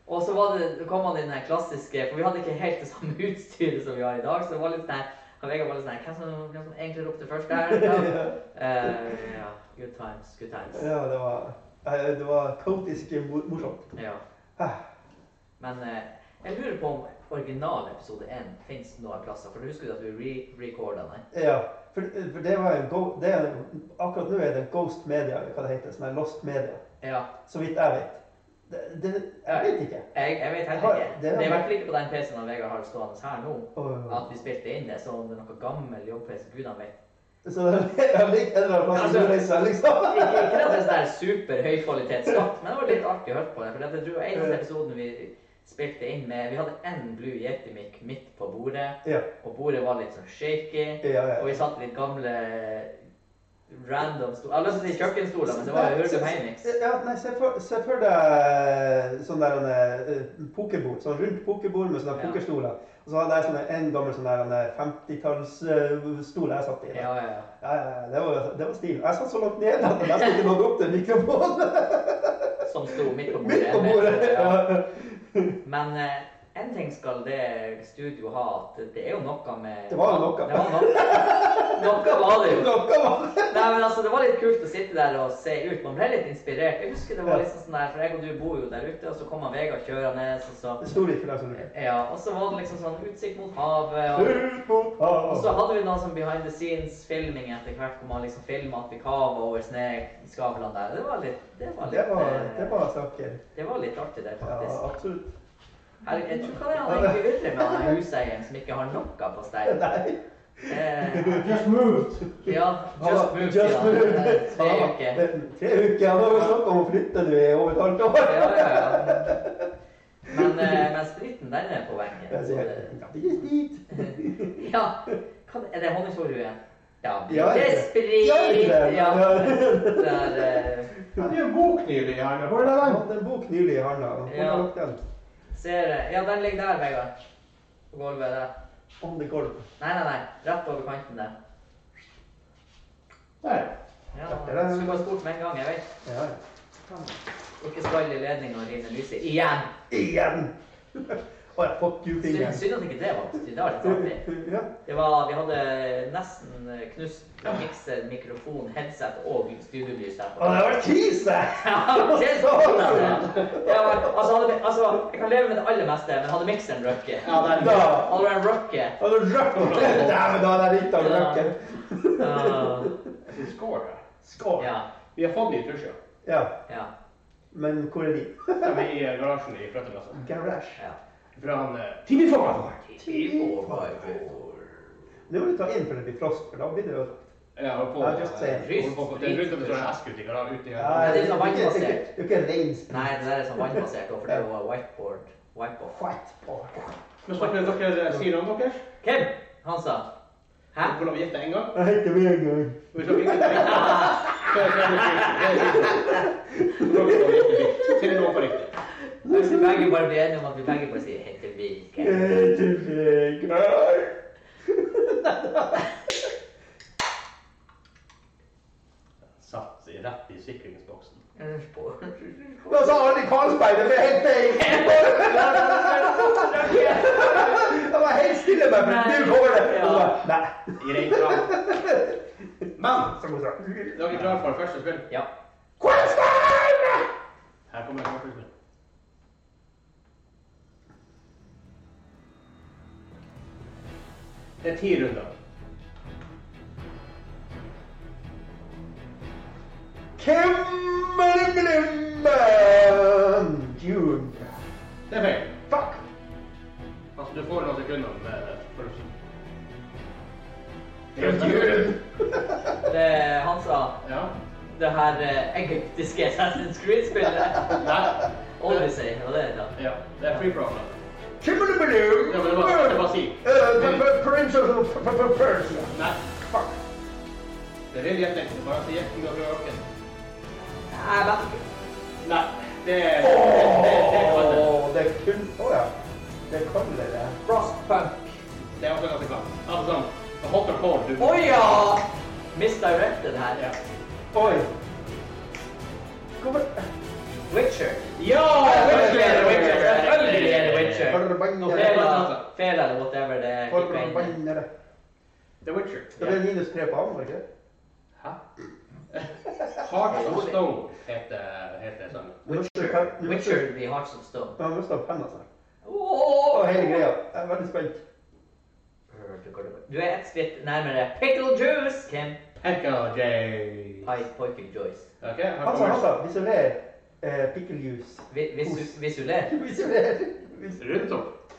Speaker 2: Og så var det, så kom han i den her klassiske, for vi hadde ikke helt det samme (laughs) utstyret som vi har i dag, så det var litt sånn her, han Vegard var litt sånn her, hvem som, hvem som egentlig ropte først
Speaker 3: (laughs)
Speaker 2: der? Ja. Eh, ja, good times, good times.
Speaker 3: Ja, det var eh, Det var kaotisk mor- morsomt.
Speaker 2: Ja.
Speaker 3: Ah.
Speaker 2: Men eh, jeg lurer på om original episode 1 finnes noen plasser, for du husker jo at du re-recorda den?
Speaker 3: Ja. For, for det var en go det er, Akkurat nå er det Ghost Media, eller hva det heter, som er Lost Media.
Speaker 2: Ja.
Speaker 3: Så vidt jeg vet. Det, det, jeg vet ikke.
Speaker 2: Jeg, jeg vet heller
Speaker 3: Har-
Speaker 2: ikke. Det
Speaker 3: det er-
Speaker 2: er i hvert fall ikke på den PC-en han Vegard har stående her nå,
Speaker 3: Og-
Speaker 2: at vi spilte inn det, så om det er noe gammel jobb-PC, gudene vet.
Speaker 3: Så (laughs) det er litt en eller annen plass som reiser, liksom.
Speaker 2: Ikke, ikke at det er sånn der super høykvalitetsskatt, men det var litt artig å høre på det. For jeg tror eneste episoden vi spilte inn med Vi hadde én Blue Yeti-mic midt på bordet,
Speaker 3: Ja.
Speaker 2: og bordet var litt sånn shaky.
Speaker 3: Ja, ja.
Speaker 2: Og vi satt litt gamle random stoler Jeg har lyst til å si kjøkkenstoler, men det var jo Hurlum Heinix.
Speaker 3: Ja, nei, se for, se for deg sånn der en eh, pokerbord, sånn rundt pokerbord med sånne
Speaker 2: Ja.
Speaker 3: pokerstoler. Og så hadde jeg sånne, en gammel sånn der en 50-tallsstol jeg satt i. da.
Speaker 2: Ja, ja, ja.
Speaker 3: Ja, ja, ja, det var, det var stil. Jeg satt så langt ned at jeg nesten ikke nådde opp til mikrofonen.
Speaker 2: Som sto midt på bordet.
Speaker 3: (laughs) Midt på bordet.
Speaker 2: Ja.
Speaker 3: Ja.
Speaker 2: Men eh, en ting skal det studio ha, at det er jo noe med
Speaker 3: Det var jo noe.
Speaker 2: Det var noe. noe var det jo.
Speaker 3: Klokka var
Speaker 2: Nei, men altså, Det var litt kult å sitte der og se ut. Man ble litt inspirert. Jeg husker det var liksom sånn der, for jeg og du bor jo der ute, og så kom han Vegard kjørende. Og så,
Speaker 3: Det sto ikke der som det.
Speaker 2: ja, og så var det liksom sånn utsikt mot havet.
Speaker 3: Ut mot
Speaker 2: Og, og
Speaker 3: havet.
Speaker 2: så hadde vi noe sånn behind the scenes-filming etter hvert, hvor man liksom filma at vi kava over snøskavlene der. Det var litt Det var
Speaker 3: Det
Speaker 2: litt,
Speaker 3: var,
Speaker 2: eh,
Speaker 3: det var saker.
Speaker 2: det var litt artig, det,
Speaker 3: Ja,
Speaker 2: faktisk.
Speaker 3: absolutt.
Speaker 2: Her, jeg tror ikke det er han egentlig ville med han her huseieren som ikke har noe på
Speaker 3: (laughs)
Speaker 2: stell.
Speaker 3: Nei.
Speaker 2: Eh,
Speaker 1: Just moved!
Speaker 2: ja, just move.
Speaker 3: Just
Speaker 2: ja.
Speaker 3: moved.
Speaker 2: Eh, Tre
Speaker 3: Ja,
Speaker 2: uker.
Speaker 3: det- Tre uker. Han har jo snakket om å flytte nå i over et halvt år.
Speaker 2: Ja, ja, ja. Men, eh, men spriten, den er på
Speaker 3: Jeg
Speaker 2: veggen. Så
Speaker 3: sier,
Speaker 2: det,
Speaker 3: «Ja, det er dit.
Speaker 2: ja. Hva, er det honningsorue? Ja,
Speaker 3: Ja,
Speaker 2: det er
Speaker 3: det-
Speaker 2: sprit!
Speaker 3: Ja, det er det.
Speaker 2: Ja.
Speaker 3: Ja. (laughs)
Speaker 2: Der, eh,
Speaker 1: Det er jo en bok nylig her. Hvor er
Speaker 3: Jeg
Speaker 1: den?
Speaker 3: hadde en bok nylig i handa. og hvor har
Speaker 2: Ja.
Speaker 3: jeg lagt den?
Speaker 2: ser jeg. Ja, den ligger der, Vegard. På gulvet der.
Speaker 3: On the golf.
Speaker 2: Nei, nei, nei. Rett over kanten der.
Speaker 1: Der.
Speaker 2: Ja,
Speaker 3: Der, der, der.
Speaker 2: Skulle bare spurt med en gang, jeg vet.
Speaker 3: Ja, ja.
Speaker 2: Ikke skall i ledninga og rine lyset igjen.
Speaker 3: Igjen! (laughs) Å ja, fuck you,
Speaker 2: Synd
Speaker 3: fingeren.
Speaker 2: synd at ikke det var på styr. Det var litt artig.
Speaker 3: Ja.
Speaker 2: Det var, vi hadde nesten knust mikser, mikrofon, headset og studiolys der. på.
Speaker 3: Å, det var krise!
Speaker 2: Ja, det er så godt, altså. Ja, men, altså, hadde, mi- altså, jeg kan leve med det aller meste, men hadde mikseren røkket
Speaker 1: Ja, der.
Speaker 3: Da
Speaker 2: Hadde den røkket
Speaker 3: hadde du røkt (laughs) opp. Dæven, da hadde jeg rikt av
Speaker 2: Ja.
Speaker 3: røkken.
Speaker 2: uh,
Speaker 1: Jeg synes Skål her.
Speaker 3: Skål.
Speaker 2: Ja.
Speaker 1: Vi har fått ny tusjer.
Speaker 3: Ja.
Speaker 2: ja.
Speaker 3: Men hvor er de?
Speaker 1: De er i eh, garasjen i flyttelasset.
Speaker 3: Garage.
Speaker 2: Ja.
Speaker 1: Fra han eh, Timmy Forward.
Speaker 3: Nå må du ta inn før det blir frost, for da blir det jo
Speaker 1: Ja, og på,
Speaker 3: Ja, just det.
Speaker 1: og på, det er rundt at det står en eske ute i garasjen. Ute i
Speaker 3: Ja,
Speaker 2: det er sånn
Speaker 3: ikke-
Speaker 2: vannbasert.
Speaker 3: Det er ikke reinsprut.
Speaker 2: Nei, det der er sånn vannbasert, også, for det var whiteboard. Whiteboard.
Speaker 3: Fight på.
Speaker 1: Men snakker dere eh, sier om dere?
Speaker 2: Hvem? Han sa. Hæ?
Speaker 1: Får lov å gjette en gang?
Speaker 3: Jeg heter Vegard.
Speaker 1: Og hvis dere ikke får riktig, så er det riktig. Får lov å få riktig. Til noe på riktig.
Speaker 2: Hvis vi begge bare blir enige om at vi begge bare sier hente bil.
Speaker 3: Jeg heter Vegard.
Speaker 1: Satt i- rett i sikringsboksen.
Speaker 3: Da sa alle i Karlsberg det ble helt feil. Det var helt stille, men
Speaker 2: Nei.
Speaker 3: nå kommer det.
Speaker 2: Ja.
Speaker 3: Og så bare, Nei.
Speaker 1: I rein kram. Men
Speaker 3: Så må du si,
Speaker 1: dere er klare for første spill?
Speaker 2: Ja.
Speaker 3: Karlsberg!
Speaker 1: Her kommer første spill. Det er ti runder.
Speaker 3: Kimberly Blummen June.
Speaker 1: Det er feil.
Speaker 3: Fuck!
Speaker 1: Altså, du får noen sekunder med det første.
Speaker 2: Det, han sa
Speaker 1: Ja.
Speaker 2: det her eh, egyptiske Assassin's Creed-spillet.
Speaker 1: Nei.
Speaker 2: Odyssey, var det det da?
Speaker 1: Ja, det er free problem.
Speaker 3: Kimberly
Speaker 1: Ja, men det var- det var si.
Speaker 3: Blummen Prince of P- P- P- Persia.
Speaker 1: Nei.
Speaker 3: Fuck.
Speaker 1: Det er veldig enkelt. Bare si gjetten du har prøvd orken.
Speaker 2: Nei, jeg vet ikke.
Speaker 1: Nei. Det er det- det- det kan det.
Speaker 3: Åh, det er kun... Åh ja. Det kan det det.
Speaker 2: Frostpunk.
Speaker 1: Det er også ganske klart. Altså sånn. det er Hot or cold. Du.
Speaker 2: Å ja! Misdirected her.
Speaker 1: Ja.
Speaker 3: Oi. Hvorfor...
Speaker 2: Witcher.
Speaker 1: Ja! Witcher! Witcher,
Speaker 2: Witcher, Selvfølgelig er det
Speaker 1: Witcher.
Speaker 2: Witcher.
Speaker 3: Forbanna
Speaker 2: Fela, fela eller whatever det er.
Speaker 3: Forbanna det.
Speaker 1: The Witcher.
Speaker 3: Det ble minus tre på ham, var det ikke? det?
Speaker 1: Hæ? Heart of Stone heter, heter sangen.
Speaker 3: Du måtte
Speaker 2: Witcher.
Speaker 3: ha- du måtte-
Speaker 2: Witcher the Hearts of Stone.
Speaker 3: Ja, Han mista penna si.
Speaker 2: Åh!
Speaker 3: Og altså. hele greia. Jeg er veldig spent.
Speaker 2: Du er ett skritt nærmere pickle juice, Kim.
Speaker 1: Pekka J.
Speaker 2: Pai- Pickle juice.
Speaker 1: Ok, her
Speaker 3: Han sa, han sa,
Speaker 1: kommer
Speaker 3: visualer eh, pickle (laughs) juice.
Speaker 2: Vi- Hvis du, hvis du ler.
Speaker 3: Visualer vis-
Speaker 1: Rundt opp.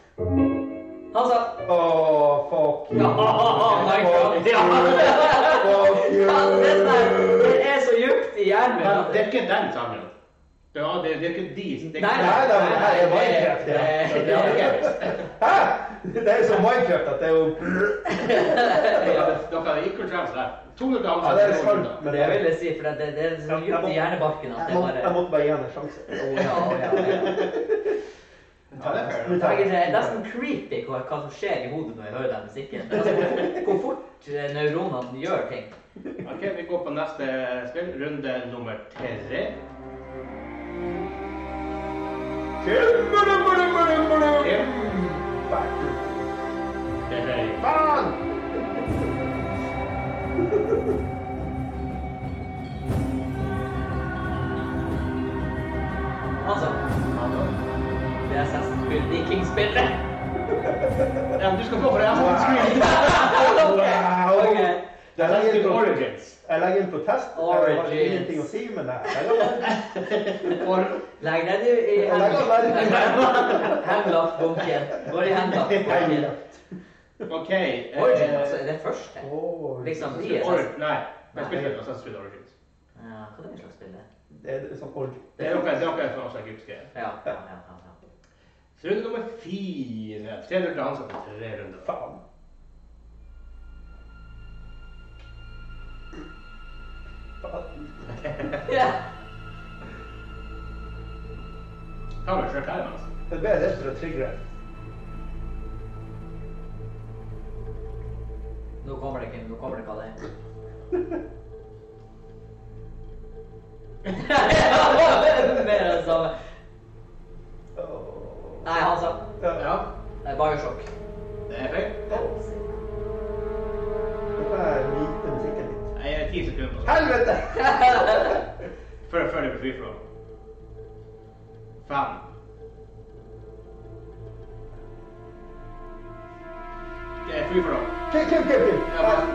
Speaker 2: Han sa
Speaker 3: Åh, fuck you.
Speaker 2: Ja,
Speaker 1: (laughs)
Speaker 2: my God.
Speaker 1: er-
Speaker 2: (laughs) Ja.
Speaker 3: Fuck you.
Speaker 2: Faen, det der- det er så djupt i hjernen min.
Speaker 1: Men
Speaker 2: at
Speaker 1: det er
Speaker 2: det-
Speaker 1: ikke den sangen. Det er, det er, det er ikke de. Det er ikke
Speaker 2: Nei,
Speaker 3: Nei,
Speaker 2: nei,
Speaker 3: nei, men det her er
Speaker 2: nei,
Speaker 3: Minecraft,
Speaker 2: det-
Speaker 3: ja.
Speaker 2: det-
Speaker 1: Det er ikke (laughs)
Speaker 3: Hæ? Det er som Minecraft at det er jo
Speaker 1: Dere er equal chance der. 200
Speaker 3: Ja, det er sant, men
Speaker 2: Det vil jeg si, for det, det er så
Speaker 3: Jeg
Speaker 2: djupt i
Speaker 3: må-
Speaker 2: hjernebarken at
Speaker 3: Jeg
Speaker 2: det
Speaker 3: måtte, jeg
Speaker 2: bare
Speaker 3: måtte bare gi han en sjanse.
Speaker 2: Å ja, å ja, å ja.
Speaker 1: Ja, det er fair.
Speaker 3: Vi
Speaker 2: Det
Speaker 3: tar-
Speaker 2: er egentlig nesten creepy hva, hva som skjer i hodet når jeg hører den musikken. Altså, hvor- hvor fort eh, neuronene gjør ting.
Speaker 1: Ok, vi går på neste spill. Runde nummer tre.
Speaker 3: Kimberly-Kimberly-Kimberly-Kimberly.
Speaker 1: Kim. Det er feil.
Speaker 3: Faen!
Speaker 2: Altså, det er Assassin's Creed Viking-spillet.
Speaker 1: Ja, men du skal få for det. Jeg har screen.
Speaker 3: Wow!
Speaker 2: Ok.
Speaker 3: Jeg
Speaker 1: Let's
Speaker 3: legger
Speaker 1: (laughs) do
Speaker 3: inn på-
Speaker 1: Origins.
Speaker 3: jeg legger inn protest. Jeg har
Speaker 2: Origins.
Speaker 3: ingenting å si, men jeg jeg legger-
Speaker 1: For
Speaker 2: Legg deg du i
Speaker 3: jeg legger-
Speaker 2: Hemlock-bunken. Går i Hemlock-bunken.
Speaker 1: OK eh,
Speaker 2: Origin, altså, er det første?
Speaker 3: Åh,
Speaker 2: Liksom, de
Speaker 1: Spill
Speaker 2: er sånn...
Speaker 1: Origin. Nei, jeg spiller ikke Assassin's Creed Origins.
Speaker 2: Ja, hva er det slags spill det? er?
Speaker 3: Det er sånn org.
Speaker 1: Det er noe det er noe som også er egyptske.
Speaker 2: Ja, ja, ja, ja, ja.
Speaker 1: Så runde nummer fire. Tre runder ansatt, tre runder.
Speaker 3: Faen.
Speaker 2: Ja.
Speaker 1: Har du kjørt her, altså?
Speaker 3: Det ble rett for å trigge det.
Speaker 2: Nå kommer det, Kim. Nå kommer det hva
Speaker 3: (laughs)
Speaker 2: det er. Mer av det samme.
Speaker 3: Åh.
Speaker 2: Nei, han sa...
Speaker 3: Ja.
Speaker 1: Ja.
Speaker 2: Det er Bioshock.
Speaker 1: Det er feil.
Speaker 3: Dette er lite musikken litt.
Speaker 1: Jeg er ti sekunder på sånn.
Speaker 3: Helvete!
Speaker 1: Før, før det blir free flow. Fem. Det er free for all.
Speaker 3: Kim, Kim, Kim, Kim.
Speaker 1: Ja, men-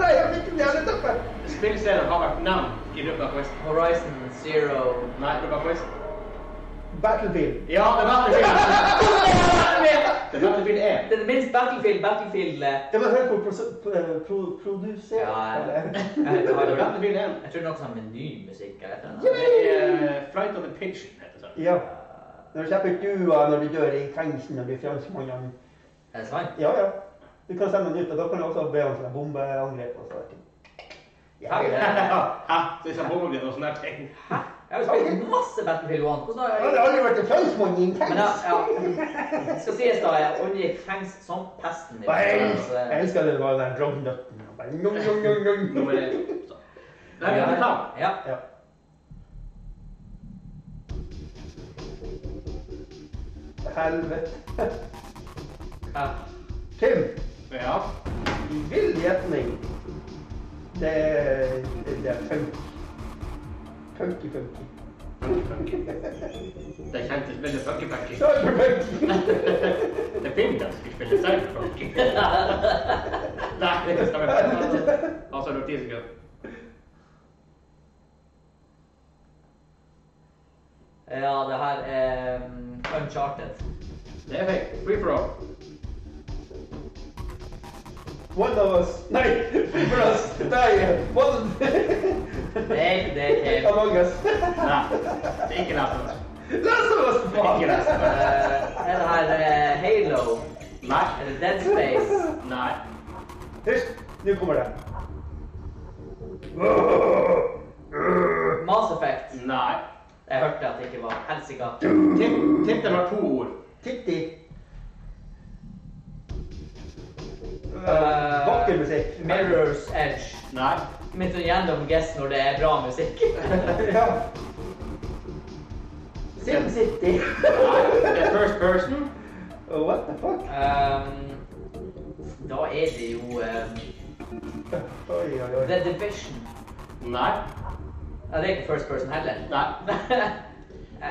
Speaker 3: Nei, jeg fikk den jernetappen.
Speaker 1: Spillserien har vært nevnt i Europa Quest.
Speaker 2: Horizon Zero
Speaker 1: Nei, Europa Quest.
Speaker 3: Battlefield.
Speaker 1: Ja, (laughs) det er Battlefield! Det er Battlefield 1.
Speaker 2: Det er minst Battlefield, Battlefield eh,
Speaker 3: Det var høyt på produ- pro- pro- produsert.
Speaker 2: Ja, jeg,
Speaker 3: eller?
Speaker 2: jeg, jeg,
Speaker 1: Det er
Speaker 2: tror-
Speaker 1: Battlefield 1.
Speaker 2: jeg tror det er noe sånn menymusikk eller et eller annet.
Speaker 1: Det er eh, Flight of the Pigeon, heter det.
Speaker 3: (laughs) Ja. Når du slipper duer når du dør i fengsel når du er franskmann.
Speaker 2: Er det sant?
Speaker 3: Ja, ja. Du kan sende den ut, og da kan du også be om sånne bombeangrep og sånne ting. Ja, ja.
Speaker 1: Hæ? Så hvis jeg bommer litt sånn og sånne her ting.
Speaker 2: Jeg har jo spilt masse Battlefield 1. Hvordan har
Speaker 3: Jeg
Speaker 2: jeg...
Speaker 3: har aldri vært en franskmann i en
Speaker 2: Men ja,
Speaker 3: tanks.
Speaker 2: ja. Det skal sies da, jeg unngikk fengst som pesten. Altså, i
Speaker 3: Og Jeg
Speaker 2: det,
Speaker 3: elsker-
Speaker 2: så det-
Speaker 3: jeg elsker det var den drognutten. Bare njong, njong, njong, njong.
Speaker 1: Nummer 1. Det er en plan.
Speaker 2: Ja.
Speaker 3: Ja. Helvete.
Speaker 2: ja.
Speaker 3: Kim,
Speaker 1: Ja.
Speaker 3: i vill gjetning. Det er, det er funk. Funky, funky.
Speaker 1: Funky-funky. Det kjentes veldig funky-funky.
Speaker 3: Cyberpunk!
Speaker 1: Det er fint at vi spiller cyberpunk. Nei, det skal vi ikke. Altså, det var ti sekunder.
Speaker 2: ja, det her er um, Uncharted.
Speaker 1: Det er fint. Free for all.
Speaker 3: One of us. Nei, free for us. Nei, one
Speaker 2: Det er ikke det, Kim.
Speaker 3: Among us.
Speaker 1: Nei, det er ikke lett. Det
Speaker 3: Last of us,
Speaker 1: er ikke
Speaker 3: faen!
Speaker 1: lett.
Speaker 2: Eh, er det her eh, Halo?
Speaker 1: Nei.
Speaker 2: Er det Dead Space?
Speaker 1: Nei.
Speaker 3: Hysj, nå kommer det.
Speaker 2: Mass Effect?
Speaker 1: Nei.
Speaker 2: Jeg hørte at det ikke var helsika.
Speaker 1: Tipp, tipp dem har to ord.
Speaker 3: Titti.
Speaker 2: Eh,
Speaker 3: Vakker musikk.
Speaker 2: Mirror's Edge.
Speaker 1: Nei.
Speaker 2: Mitt random guess når det er bra
Speaker 3: (laughs)
Speaker 2: musikk.
Speaker 3: (laughs) Ja. Sim City.
Speaker 1: Nei. Det er first person.
Speaker 3: Oh, What the fuck?
Speaker 2: Um, da er det jo um,
Speaker 3: Oi, oi, oi.
Speaker 2: The Division.
Speaker 1: Nei.
Speaker 2: Ja, det er ikke first person heller. (laughs)
Speaker 1: Nei.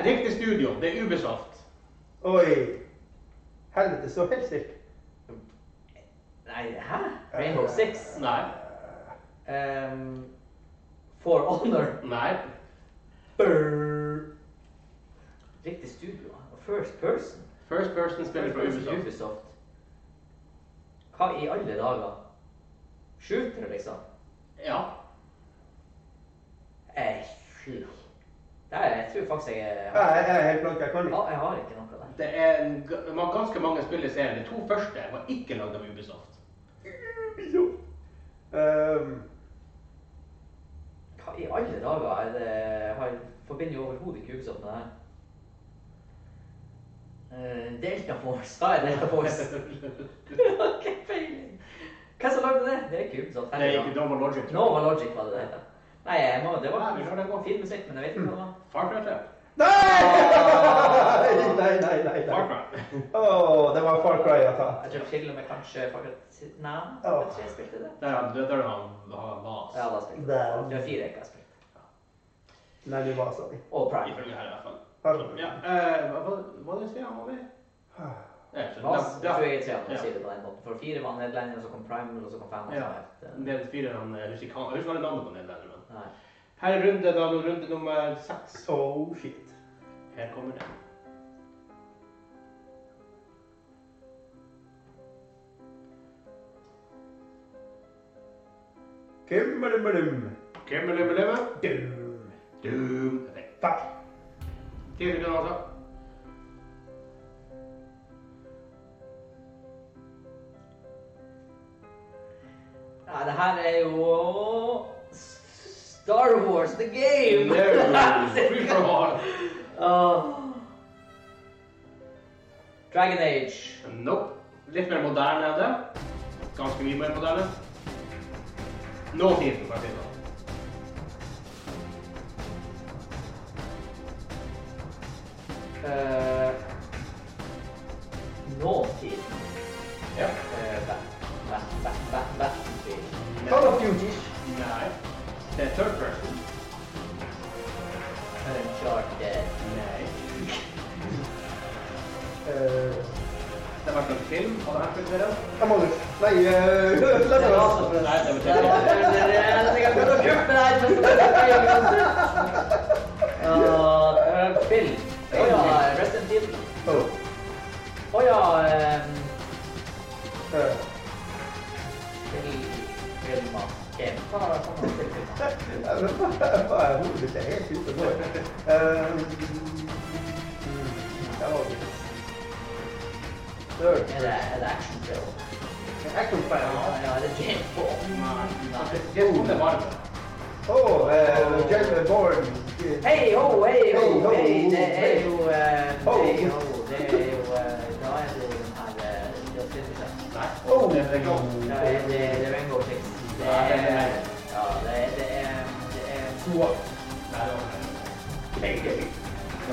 Speaker 1: Riktig studio. Det er Ubisoft.
Speaker 3: Oi. Helvete, så helt stilt.
Speaker 2: Nei, hæ? Rainbow Six?
Speaker 1: Nei.
Speaker 2: Um, For Honor?
Speaker 1: Nei.
Speaker 2: Brr. Riktig studio. Og First person?
Speaker 1: First person spiller
Speaker 2: First
Speaker 1: fra
Speaker 2: person
Speaker 1: Ubisoft.
Speaker 2: Ubisoft. Hva i alle dager? Shooter, liksom?
Speaker 1: Ja.
Speaker 2: Eh, fy. Det er, jeg tror faktisk jeg
Speaker 3: Ja,
Speaker 2: har,
Speaker 3: jeg jeg er helt blank, jeg kan
Speaker 2: ja,
Speaker 3: ikke.
Speaker 2: jeg har ikke noe der.
Speaker 1: Det er en, g- ma- ganske mange spill i serien. De to første var ikke lagd av Ubisoft.
Speaker 3: Ehm,
Speaker 2: Hva i alle dager er det har, forbinder jo overhodet ikke Ubisoft med det her. Eh, Delta Force. Hva er Delta
Speaker 1: (laughs)
Speaker 2: Force? Jeg har ikke peiling. Hvem som lagde det? Det er ikke Ubisoft.
Speaker 1: Det er ikke Double Logic. tror jeg.
Speaker 2: Nova Logic var det det heter. Nei, jeg må, det var
Speaker 1: Nei, Mm. vi får
Speaker 2: det var fin musikk, men jeg vet ikke hva det var.
Speaker 1: Far Cry 3.
Speaker 3: Nei! (laughs) Nei, nei, nei.
Speaker 1: Far
Speaker 3: nei.
Speaker 1: Cry.
Speaker 3: Åh, det var Far Cry jeg tar.
Speaker 2: Jeg tror til og med kanskje faktisk Nei,
Speaker 3: Ja.
Speaker 2: jeg tror jeg spilte det.
Speaker 1: Der er der er han han Nas.
Speaker 2: Ja, da spilte jeg
Speaker 3: Der.
Speaker 2: det. Det var fire jeg ikke har spilt.
Speaker 3: Nei, du var sånn.
Speaker 2: Og Prime.
Speaker 1: Ifølge her i hvert fall.
Speaker 3: Far
Speaker 1: Ja.
Speaker 3: Cry.
Speaker 1: eh, Hva var det du sa han var med? Eh, så
Speaker 2: Mas,
Speaker 1: da-
Speaker 2: jeg
Speaker 1: da-
Speaker 2: tror jeg er tre når
Speaker 1: Ja.
Speaker 2: jeg sier det på den måten. For fire var Nederlender, og så kom Prime, og så kom fem. Og
Speaker 1: Ja.
Speaker 2: så var det-
Speaker 1: Det er fire han eh, husker ikke han- Jeg husker ikke navnet på den der. men-
Speaker 2: Nei.
Speaker 1: Her er runde, da, nå runde nummer seks.
Speaker 3: Oh, shit.
Speaker 1: Her kommer det.
Speaker 3: Kimmelummelum.
Speaker 1: Kimmerlimmerlimme.
Speaker 3: Dum.
Speaker 1: Doom. Ok.
Speaker 3: Fuck.
Speaker 1: Ti sekunder, altså.
Speaker 2: Nei, det her er jo oh, Star Wars The Game! (laughs)
Speaker 1: Free for all.
Speaker 2: Åh. Oh. Dragon Age.
Speaker 1: Nope. Litt mer moderne er det. Ganske mye mer moderne. Nåtiden, for å si det sånn.
Speaker 2: Uh, Nåtid.
Speaker 1: Ja.
Speaker 2: Eh, Bat- Bat- Bat- Bat- Battlefield.
Speaker 3: Call of Duty.
Speaker 1: Nei. Det er third person.
Speaker 2: Uncharted.
Speaker 1: Nei.
Speaker 3: Eh,
Speaker 1: film av denne kulturen?
Speaker 3: Jeg må du. Nei, eh, (laughs) la
Speaker 2: Det
Speaker 3: det
Speaker 2: var
Speaker 3: være.
Speaker 2: altså for en-
Speaker 1: Nei, det
Speaker 2: Det var
Speaker 1: betyr
Speaker 2: for en- det- jeg tenker at det var gruppe der, men så var det feil klasse. Åh, øh, Bill. Åh ja, Rest in Peace.
Speaker 3: Åh,
Speaker 2: Åh ja, ehm,
Speaker 3: eh,
Speaker 2: Bill Gilman. Game. Hva var det som var Bill Gilman?
Speaker 3: jeg vet ikke, (laughs) jeg bare- hodet mitt er helt ute nå. Eh, mm, der var det. Third.
Speaker 2: Er det- er det action film?
Speaker 3: Actionfilm.
Speaker 2: Ja, er det James Bond? Nei.
Speaker 1: Jeg tror det var det.
Speaker 3: Åh, eh, James Bond.
Speaker 2: Hei ho, hei
Speaker 3: Hei,
Speaker 2: ho,
Speaker 3: ho,
Speaker 2: hei, det er jo eh,
Speaker 3: Ho.
Speaker 2: Hei ho, det er jo eh, Da er det jo den her eh, det filmen.
Speaker 1: Nei.
Speaker 3: Oh.
Speaker 1: Det er ikke-
Speaker 2: Da er det det er Rainbow Six. Det
Speaker 1: Ja,
Speaker 2: er
Speaker 1: det er det.
Speaker 2: Ja, det er Det er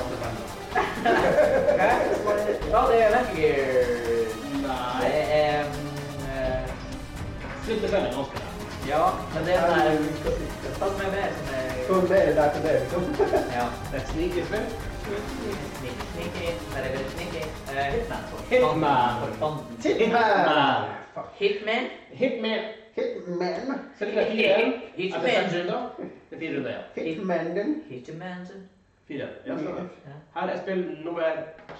Speaker 2: Det er
Speaker 1: Nei, det var det. Det var det samme.
Speaker 2: Hva? Ja, det er Metal Gear. Det
Speaker 1: Nei.
Speaker 2: er mm, eh,
Speaker 1: Slutt å spille med norsk.
Speaker 2: Ja, men det er den der Hva som er mer som er
Speaker 3: Kom med der til det, (laughs) liksom.
Speaker 2: Ja.
Speaker 1: Det er et snikespill.
Speaker 2: Sneaky, sneaky, very, very sneaky. Eh, Hitman. for
Speaker 1: Hitman.
Speaker 2: faen, For faen.
Speaker 3: Hitman.
Speaker 2: Hitman.
Speaker 1: Hitman.
Speaker 3: Hitman.
Speaker 1: Så ligger det fire igjen.
Speaker 2: Hitman.
Speaker 1: Er det fem runder? Det er fire runder, ja.
Speaker 3: Hitmanen.
Speaker 2: Hitman.
Speaker 1: Fire. Ja, sånn.
Speaker 2: Ja.
Speaker 1: Her er spill nummer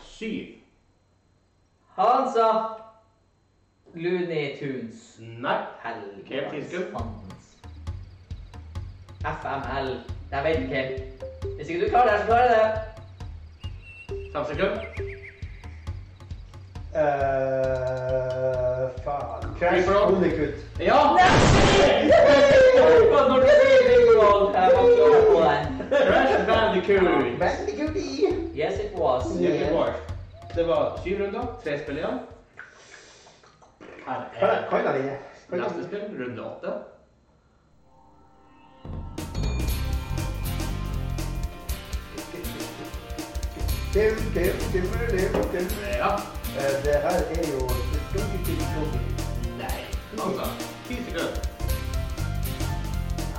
Speaker 1: syv.
Speaker 2: Han sa Looney Tunes.
Speaker 1: Nei. Hvem
Speaker 2: Helge.
Speaker 1: tilskudd?
Speaker 2: Hans. FML. Jeg vet ikke. Hvis ikke du klarer det, så klarer jeg det.
Speaker 1: Fem sekunder.
Speaker 3: Eh, faen.
Speaker 1: Crash
Speaker 3: Bandicoot.
Speaker 1: Ja!
Speaker 2: Når du sier Big Ball, jeg var ikke over på den.
Speaker 1: Crash Bandicoot.
Speaker 3: Bandicoot i.
Speaker 2: Yes, it was.
Speaker 1: Circuit Wars. Det var syv runder, tre spill igjen. Her
Speaker 3: Kan
Speaker 1: er
Speaker 3: kan han ikke? Kan han
Speaker 1: neste
Speaker 3: ikke?
Speaker 1: spill, runde åtte.
Speaker 3: Dim, dim, dimmer, dim, dim.
Speaker 1: Ja.
Speaker 3: Eh, Det her er jo
Speaker 1: Nei. Altså, ti sekunder.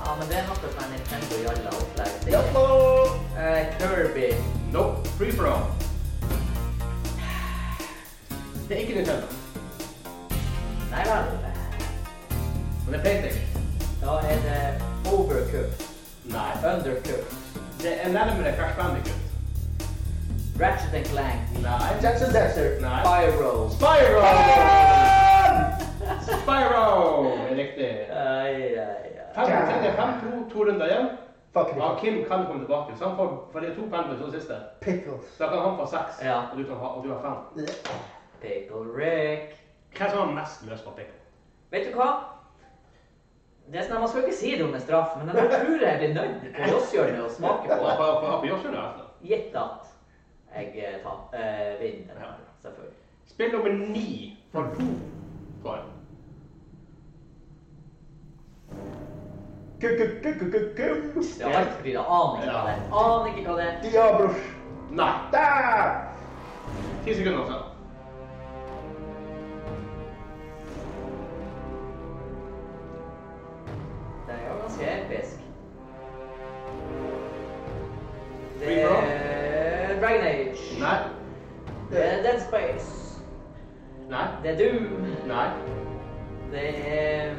Speaker 2: Ja, men det er noe som er Nintendo jalla opplegg. Det er-
Speaker 3: Jappo!
Speaker 2: Eh, Kirby.
Speaker 1: No. Free for all. Det er ikke Nintendo,
Speaker 2: Nei vel.
Speaker 1: men det er PlayStation.
Speaker 2: Da er det Overcook.
Speaker 1: Nei.
Speaker 2: Undercook.
Speaker 1: Det er nærmere Crash Bandicoot.
Speaker 2: Ratchet and Clank.
Speaker 1: Nei.
Speaker 3: Jackson Dasher.
Speaker 1: Nei.
Speaker 2: Pyro.
Speaker 1: Spyro! Spyro! Riktig.
Speaker 2: Ai, ai, ai.
Speaker 1: Fem, så er det fem, to, to runder igjen.
Speaker 3: Fuck it.
Speaker 1: Ja, Kim kan komme tilbake. Så han får, for det er to pendler som siste.
Speaker 3: Pickles.
Speaker 1: Så da kan han få seks,
Speaker 2: Ja.
Speaker 1: og, du kan ha, og du har fem.
Speaker 2: Pickle Rick.
Speaker 1: Hvem som har mest løs på pikken?
Speaker 2: Vet du hva? Det er sånn, at Man skal jo ikke si det om en straff, men jeg tror jeg blir nødt til å josshjørnet og smake
Speaker 1: Og
Speaker 2: på det.
Speaker 1: på, på, på Joshua, altså.
Speaker 2: Gitt at jeg eh, tap, eh, vinner,
Speaker 1: Ja.
Speaker 2: selvfølgelig.
Speaker 1: Spill nummer ni for to poeng.
Speaker 3: Ku-ku-ku-ku-ku-kum.
Speaker 2: Det er alt fordi jeg aner ikke hva det er. Aner ikke hva det er.
Speaker 3: Diablos.
Speaker 1: Nei.
Speaker 3: Der!
Speaker 1: Ti sekunder, altså.
Speaker 2: Det er jo ganske episk. Det
Speaker 1: Free for all?
Speaker 2: er Dragon Age.
Speaker 1: Nei.
Speaker 2: Det er Dead Space.
Speaker 1: Nei.
Speaker 2: Det er Doom.
Speaker 1: Nei.
Speaker 2: Det er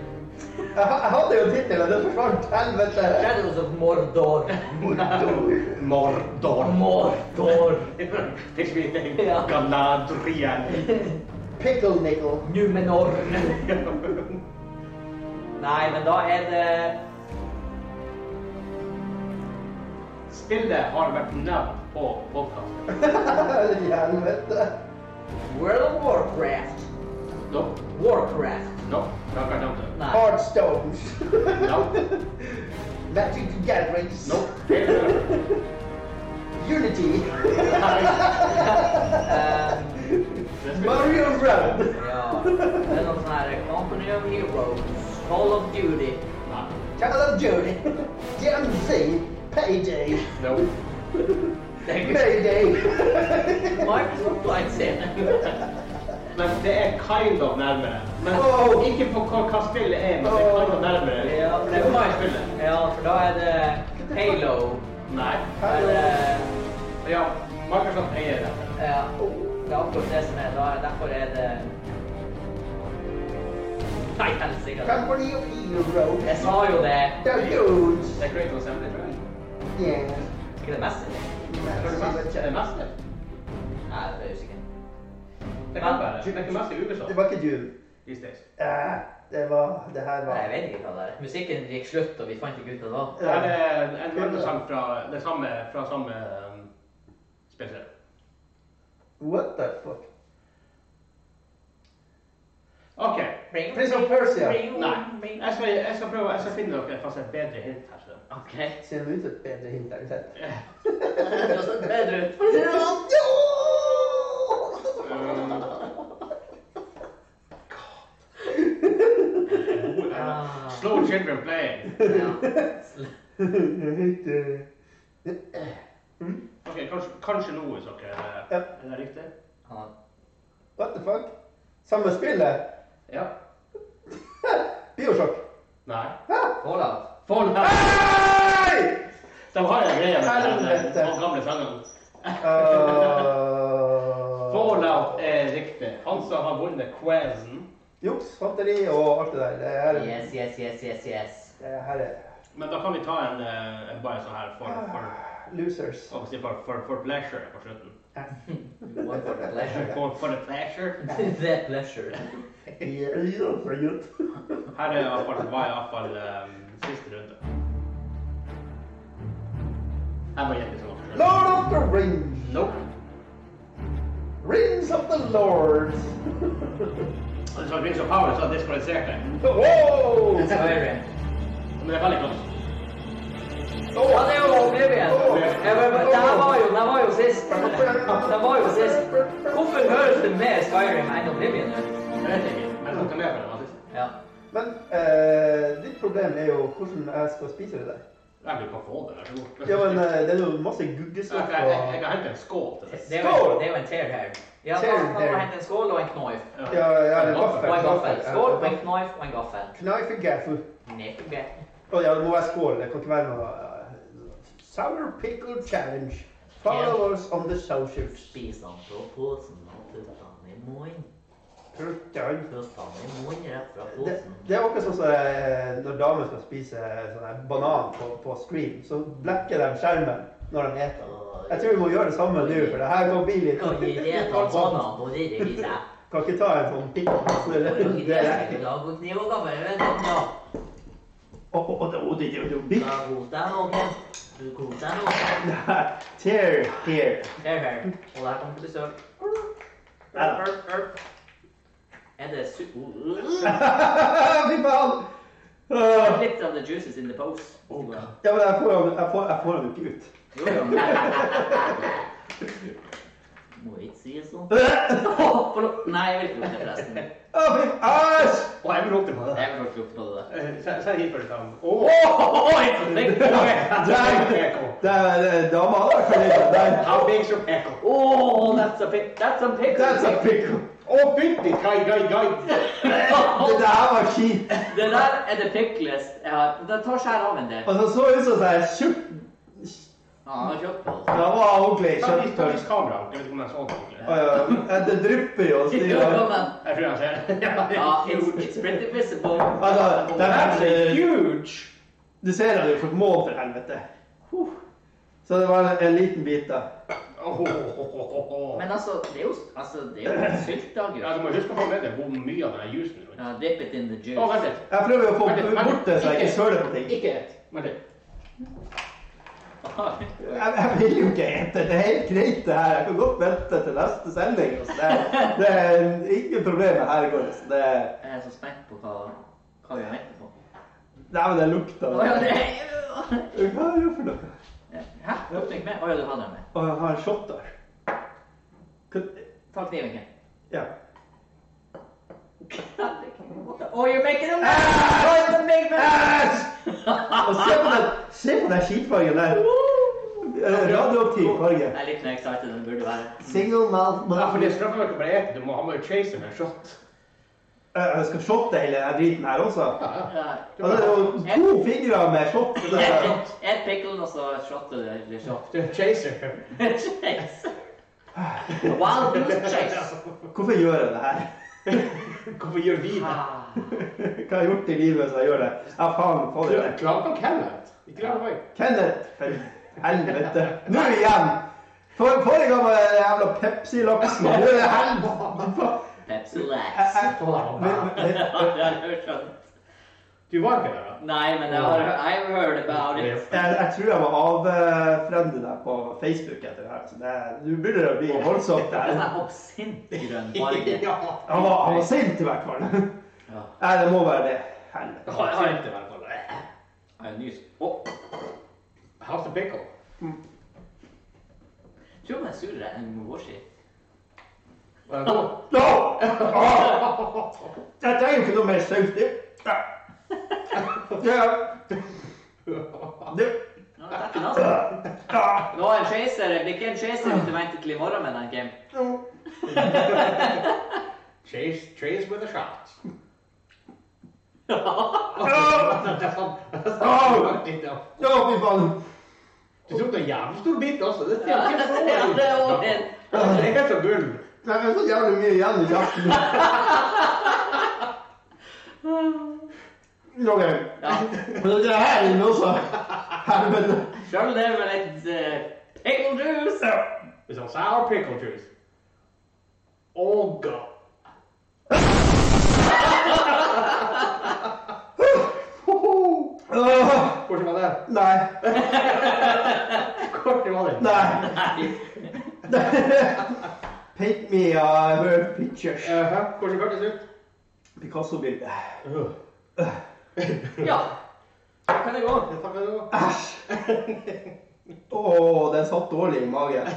Speaker 3: Jeg ha- jeg hadde jo tittelen, det forsvant. Helvete.
Speaker 2: Shadows of Mordor.
Speaker 1: Mordor.
Speaker 2: Mordor.
Speaker 1: (laughs) Det spiller
Speaker 2: Ja.
Speaker 1: Galadriel.
Speaker 3: Pickle nickel.
Speaker 2: Numenor. Nei, men da er det
Speaker 1: Spillet har vært nevnt på podkasten.
Speaker 3: Helvete.
Speaker 2: World of Warcraft.
Speaker 1: No.
Speaker 2: Warcraft.
Speaker 1: No.
Speaker 2: Nou,
Speaker 1: Det har ikke vært nevnt.
Speaker 2: Nei.
Speaker 3: Oh. Hardstones.
Speaker 1: No.
Speaker 3: Magic the Gatherings.
Speaker 1: No. Helt
Speaker 3: Unity.
Speaker 2: eh,
Speaker 1: nødt.
Speaker 3: Mario Run.
Speaker 2: ja. Det er noe sånn her Company of Heroes. Call of Duty.
Speaker 1: Nei.
Speaker 3: Call of Duty. DMC. Payday.
Speaker 1: No.
Speaker 2: Det er ikke
Speaker 3: Mayday.
Speaker 2: Microsoft Light-scene.
Speaker 1: Men det er kind of nærmere. Men
Speaker 3: Åh!
Speaker 1: ikke på hva, hva spillet er, men det er kind of nærmere.
Speaker 2: Oh. Ja,
Speaker 1: Det er hva jeg spiller.
Speaker 2: ja, for da er det Halo. eh,
Speaker 1: Nei.
Speaker 2: Da er det
Speaker 1: Ja, Microsoft eier det.
Speaker 2: Ja. Det er akkurat det som er. Da er derfor er det Nei, helsike.
Speaker 3: Company of Heroes.
Speaker 2: Jeg sa jo det.
Speaker 3: The Huge.
Speaker 1: Det er Great Assembly, tror jeg.
Speaker 3: Yes.
Speaker 2: Ikke det meste?
Speaker 1: Tror du Master- Er det Master?
Speaker 2: Nei, det er jeg usikker.
Speaker 1: Det kan være. Det er ikke Master i USA
Speaker 3: Det var ikke Doom.
Speaker 1: these days.
Speaker 3: Eh, Det var Det her
Speaker 2: Nei, jeg
Speaker 3: var
Speaker 2: vet ikke hva det er. Musikken gikk slutt, og vi fant ikke ut hva det var.
Speaker 1: Det er en- en mørkesang fra det samme, fra samme um, spillserie.
Speaker 3: What the fuck?
Speaker 1: OK.
Speaker 3: Prince of Persia.
Speaker 1: Nei. Jeg skal, jeg skal prøve, jeg skal finne dere fast et bedre hint her.
Speaker 2: (laughs)
Speaker 1: Så.
Speaker 2: Ok.
Speaker 3: Ser det ut som et bedre hint enn sett?
Speaker 2: Det høres bedre ut. For å si det sånn.
Speaker 1: Um, Slow children playing.
Speaker 2: Ja.
Speaker 3: Hm?
Speaker 1: Ok, kanskje, kanskje noe så dere eh,
Speaker 3: Ja.
Speaker 1: Er det riktig?
Speaker 2: Han
Speaker 3: What the fuck? Samme spillet? (laughs)
Speaker 1: Ja.
Speaker 3: Biosjokk.
Speaker 1: Nei.
Speaker 2: har fallout.
Speaker 1: Fallout!
Speaker 3: Hei!
Speaker 1: De har en greie med den eh,
Speaker 3: Helvete.
Speaker 1: den gamle sangen.
Speaker 3: Eh, Uh,
Speaker 1: Fallout er riktig. Han som har vunnet quizen.
Speaker 3: Juks, fanteri og alt det der. Det her,
Speaker 2: Yes, yes, yes, yes, yes. (laughs)
Speaker 3: det her er
Speaker 1: Men da kan vi ta en, eh, en bare sånn her for, for,
Speaker 3: losers.
Speaker 1: hva skal jeg si, for, for, for pleasure på slutten.
Speaker 2: One for the pleasure. (laughs)
Speaker 1: For, for the pleasure.
Speaker 2: The pleasure.
Speaker 3: Ja, ja, for gutt.
Speaker 1: Her er i hvert fall- var iallfall um, siste runde. Jeg må gjette sånn.
Speaker 3: Lord of the Rings.
Speaker 1: Nope.
Speaker 3: Rings of the Lords. (laughs)
Speaker 1: Det var Rings of Power som diskvalifiserte.
Speaker 3: Wow!
Speaker 2: Skyrim.
Speaker 1: Men det er veldig godt.
Speaker 2: Ja, det er jo Oblivion. Jeg var- Det her var jo, det her var jo sist. Det var jo sist. Hvorfor høres det mer Skyrim enn Oblivion ut?
Speaker 1: Jeg vet ikke, men jeg tok det med for den siste.
Speaker 2: Ja.
Speaker 3: Men eh, ditt problem er jo hvordan jeg skal spise det der.
Speaker 1: Jeg vil ikke få det, vær så god.
Speaker 3: Ja, men eh, det er jo masse
Speaker 1: Jeg,
Speaker 3: guggestoff
Speaker 1: jeg, jeg, jeg
Speaker 3: og
Speaker 1: kan hente en skål til det.
Speaker 2: Det er jo, det er jo en tear her. Ja, da
Speaker 3: Tear
Speaker 2: kan man
Speaker 3: hair.
Speaker 2: hente en skål og en knife.
Speaker 3: Ja, ja, det er
Speaker 2: Og en gaffel.
Speaker 3: gaffel.
Speaker 2: Skål og en knife og en gaffel.
Speaker 3: Knife and gaffel.
Speaker 2: Kniff og gaffel.
Speaker 3: Å ja, det må være skål. Det kan ikke være noe eh, Sour pickle challenge. Follow us on the socials.
Speaker 2: Spis den fra posen og putt den i munnen.
Speaker 3: Fruktdøgn.
Speaker 2: Putt den i munnen rett fra
Speaker 3: Det,
Speaker 2: posen.
Speaker 3: det er akkurat sånn som eh, når damer skal spise sånn her banan på, på screen, så blekker de skjermen når de spiser. Jeg tror vi må gjøre det samme nå, for det her kan bli litt
Speaker 2: Kan vi reta banan på dyreviset?
Speaker 3: Kan ikke ta en sånn pikk
Speaker 2: Det er jo ikke
Speaker 3: Det
Speaker 2: det som
Speaker 3: er
Speaker 2: er lag og kniv og gaffel. Vent litt, ja.
Speaker 3: Å, å, å, det å, det- det- det-
Speaker 2: Da kos deg nå, Ken. Du kos deg nå.
Speaker 3: det her. Tear here.
Speaker 2: Her, her. Og der kommer til besøk.
Speaker 3: Ja.
Speaker 2: Urp, urp. Er det su...
Speaker 3: (laughs)
Speaker 2: (laughs)
Speaker 3: Fy faen! Åh.
Speaker 2: Litt av the juices in the pose. (laughs)
Speaker 3: Ja, men jeg får han- jeg får- jeg får han ikke ut.
Speaker 2: Jo, jo. Må ikke si det
Speaker 3: (laughs)
Speaker 2: sånn. Åh, forlåt. Nei, jeg vil ikke lukte forresten.
Speaker 3: Å, fy æsj!
Speaker 1: Og jeg vil lukte på det.
Speaker 2: Jeg vil ikke lukte på det der.
Speaker 1: Eh, se- Se hit for det samme.
Speaker 3: Oh,
Speaker 1: Åh!
Speaker 3: Der- der- der- Dama har vært fornøyd der.
Speaker 1: How big's your echo?
Speaker 2: (laughs) Oh, that's a pick. That's a pick.
Speaker 3: That's a pickle.
Speaker 1: Å, fytti kai, kai, kai.
Speaker 3: Det der var kjipt.
Speaker 2: (laughs) Det der er det picklest jeg har. Det tar skjær av en del.
Speaker 3: Altså, så ut som sånn tjukk
Speaker 2: Ja, han har kjøpt på (laughs) det.
Speaker 3: Da var ordentlig
Speaker 1: Ta vis- ta vis
Speaker 3: kjøttpølse.
Speaker 1: kameraet. Jeg vet ikke om sånn. jeg så det ordentlig.
Speaker 3: Å, ja. Det drypper jo. så det
Speaker 2: Ja,
Speaker 3: gjør-
Speaker 2: men-
Speaker 1: Jeg tror jeg ser (laughs) det.
Speaker 2: Ja, it's, it's pretty visible.
Speaker 3: Altså, det
Speaker 1: That's
Speaker 3: er
Speaker 1: huge!
Speaker 3: Du ser han jo for mål, for helvete.
Speaker 1: Oh.
Speaker 3: Huh. Så det var en liten bit, da.
Speaker 1: Åh, åh, åh, åh, åh.
Speaker 2: Men altså, det er jo, altså, det er jo en syltdag,
Speaker 1: Ja,
Speaker 2: jo.
Speaker 1: du må huske å få med deg hvor mye av denne jusen er.
Speaker 2: Ja, dip it in the juice.
Speaker 1: Å, vent litt.
Speaker 3: Jeg prøver å få
Speaker 1: Vent litt, vent litt.
Speaker 3: bort det, så jeg ikke søler på ting.
Speaker 1: Ikke ett. Vent litt.
Speaker 3: Jeg, jeg vil jo ikke ete. Det er helt greit, det her. Jeg kan godt vente til neste sending. Altså. Det, det er ikke problemet her i går. Altså. Det,
Speaker 2: (laughs) Jeg er så spent på hva, hva vi venter på.
Speaker 3: nei, men det lukta
Speaker 2: Å
Speaker 3: Hva
Speaker 2: ja,
Speaker 3: er
Speaker 2: det
Speaker 3: det
Speaker 2: er
Speaker 3: for noe?
Speaker 2: (laughs) Hæ? Tok du ikke med? Å ja, du hadde den med.
Speaker 3: Å, jeg har en shot der. Kan,
Speaker 2: Ta kniven, Ken.
Speaker 3: ja.
Speaker 2: Oh, you're making a mess!
Speaker 3: Ah!
Speaker 2: Oh, it's a big mess!
Speaker 3: Og se på den, se på den skitfargen der. Eh, Radioaktiv farge.
Speaker 2: Jeg er litt mer excited enn det burde være.
Speaker 3: Single malt
Speaker 1: Ja, for det er straffen ikke bare ett. Du må ha med chaser med en shot.
Speaker 3: Jeg Eh, jeg skal shotte hele den driten her også.
Speaker 1: Ja, ja.
Speaker 2: Ja.
Speaker 3: Ja, det er jo to fingre med shot. så det er-
Speaker 2: Et pickle, og så shotter du eller shot. (laughs)
Speaker 1: Du er chaser.
Speaker 2: Chase. Wild goose chase.
Speaker 3: (laughs) Hvorfor gjør jeg det her? (laughs)
Speaker 1: Hvorfor gjør vi det?
Speaker 2: Ah.
Speaker 3: Hva har jeg gjort i livet hvis jeg gjør det? Ja, faen, få det
Speaker 1: Klar-
Speaker 3: der.
Speaker 1: Klart på Kenneth. Ikke klart på meg.
Speaker 3: Kenneth, for helvete. Nå igjen! For, forrige gang var det jævla Pepsi-laksen. Nå er det helvete.
Speaker 2: Pepsi
Speaker 3: Jeg-
Speaker 2: Lax.
Speaker 3: jeg- Men- men-
Speaker 2: (laughs)
Speaker 1: Du var ikke der, da?
Speaker 2: Nei, men jeg har I've heard about it.
Speaker 3: Jeg, jeg tror jeg må avfrende deg på Facebook etter det her. Så det, du begynner å bli (laughs) voldsomt
Speaker 2: Det er
Speaker 3: der.
Speaker 2: sånn oppsint grønn farge.
Speaker 1: (laughs) Ja.
Speaker 3: Han var, han var sint i hvert fall. (laughs)
Speaker 2: Ja.
Speaker 3: Nei, det må være det. Helvete.
Speaker 1: Har har ikke vært på det.
Speaker 2: Jeg er nys. Åh,
Speaker 1: How's the pickle?
Speaker 2: tror man er surere enn Moshi.
Speaker 1: Var det god?
Speaker 3: Nå! Åh! Jeg trenger ikke noe mer saus. Det- Det
Speaker 1: (laughs)
Speaker 3: Det
Speaker 2: Nå er det altså. Nå er en chaser, det blir ikke en chaser hvis du venter til i morgen med den game.
Speaker 1: Chase, chase with a (laughs) shot.
Speaker 3: Åh!
Speaker 1: Det er sånn. Oh!
Speaker 3: Åh! Å, fy faen.
Speaker 1: Du tok en jævlig stor bit også. Det
Speaker 2: Ja, det er også en.
Speaker 1: Det er så gull.
Speaker 3: Det er så jævlig mye igjen i kjeften. (laughs) Roger,
Speaker 2: Ja.
Speaker 3: men det her inne også. Helvete.
Speaker 2: Sjøl det med litt eh, pickle juice.
Speaker 1: It's a sour pickle juice. Oh god.
Speaker 3: Åh,
Speaker 1: Hvordan var det?
Speaker 3: Nei.
Speaker 1: Hvordan var det?
Speaker 3: Nei.
Speaker 2: Nei.
Speaker 3: (laughs) Paint me a word picture.
Speaker 1: Jaha, Hvordan hørtes det ut?
Speaker 3: Picasso-bilde.
Speaker 2: Ja. Så kan det gå.
Speaker 1: Jeg tar med det nå.
Speaker 3: Æsj. Å, den satt dårlig i magen.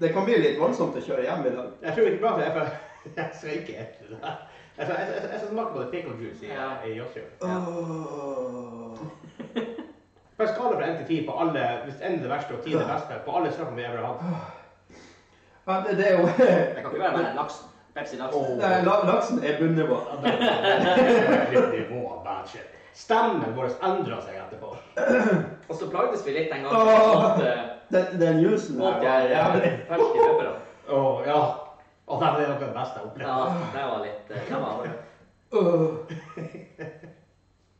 Speaker 3: Det kan bli litt voldsomt å kjøre hjem i dag.
Speaker 1: Jeg tror ikke bra for jeg for jeg sveiker etter det. der. Jeg tror- jeg- jeg- jeg skal smake på det pickle juice i,
Speaker 2: Ja.
Speaker 1: i Joshua.
Speaker 3: Åh.
Speaker 1: På en skala fra 1 til 10 på alle, hvis 1 er det verste og 10 er det beste, på alle straffene vi har hatt.
Speaker 3: Ja, det, det er jo
Speaker 2: Det kan ikke være med laksen. Pepsi laksen.
Speaker 3: Nei, la- Laksen er bunnivå.
Speaker 1: Nivå av bad shit. Stemmen vår endrer seg etterpå.
Speaker 2: Og så plagdes vi litt den gangen.
Speaker 3: Åh.
Speaker 2: at, eh,
Speaker 3: Den, den jusen her
Speaker 2: folk
Speaker 3: var
Speaker 2: er, eh,
Speaker 3: jævlig.
Speaker 2: ferske peppere.
Speaker 1: Å, ja. Å, nei, det er noe av det beste jeg har
Speaker 2: Ja,
Speaker 1: opplevd.
Speaker 2: det var litt eh, det var,
Speaker 3: Åh.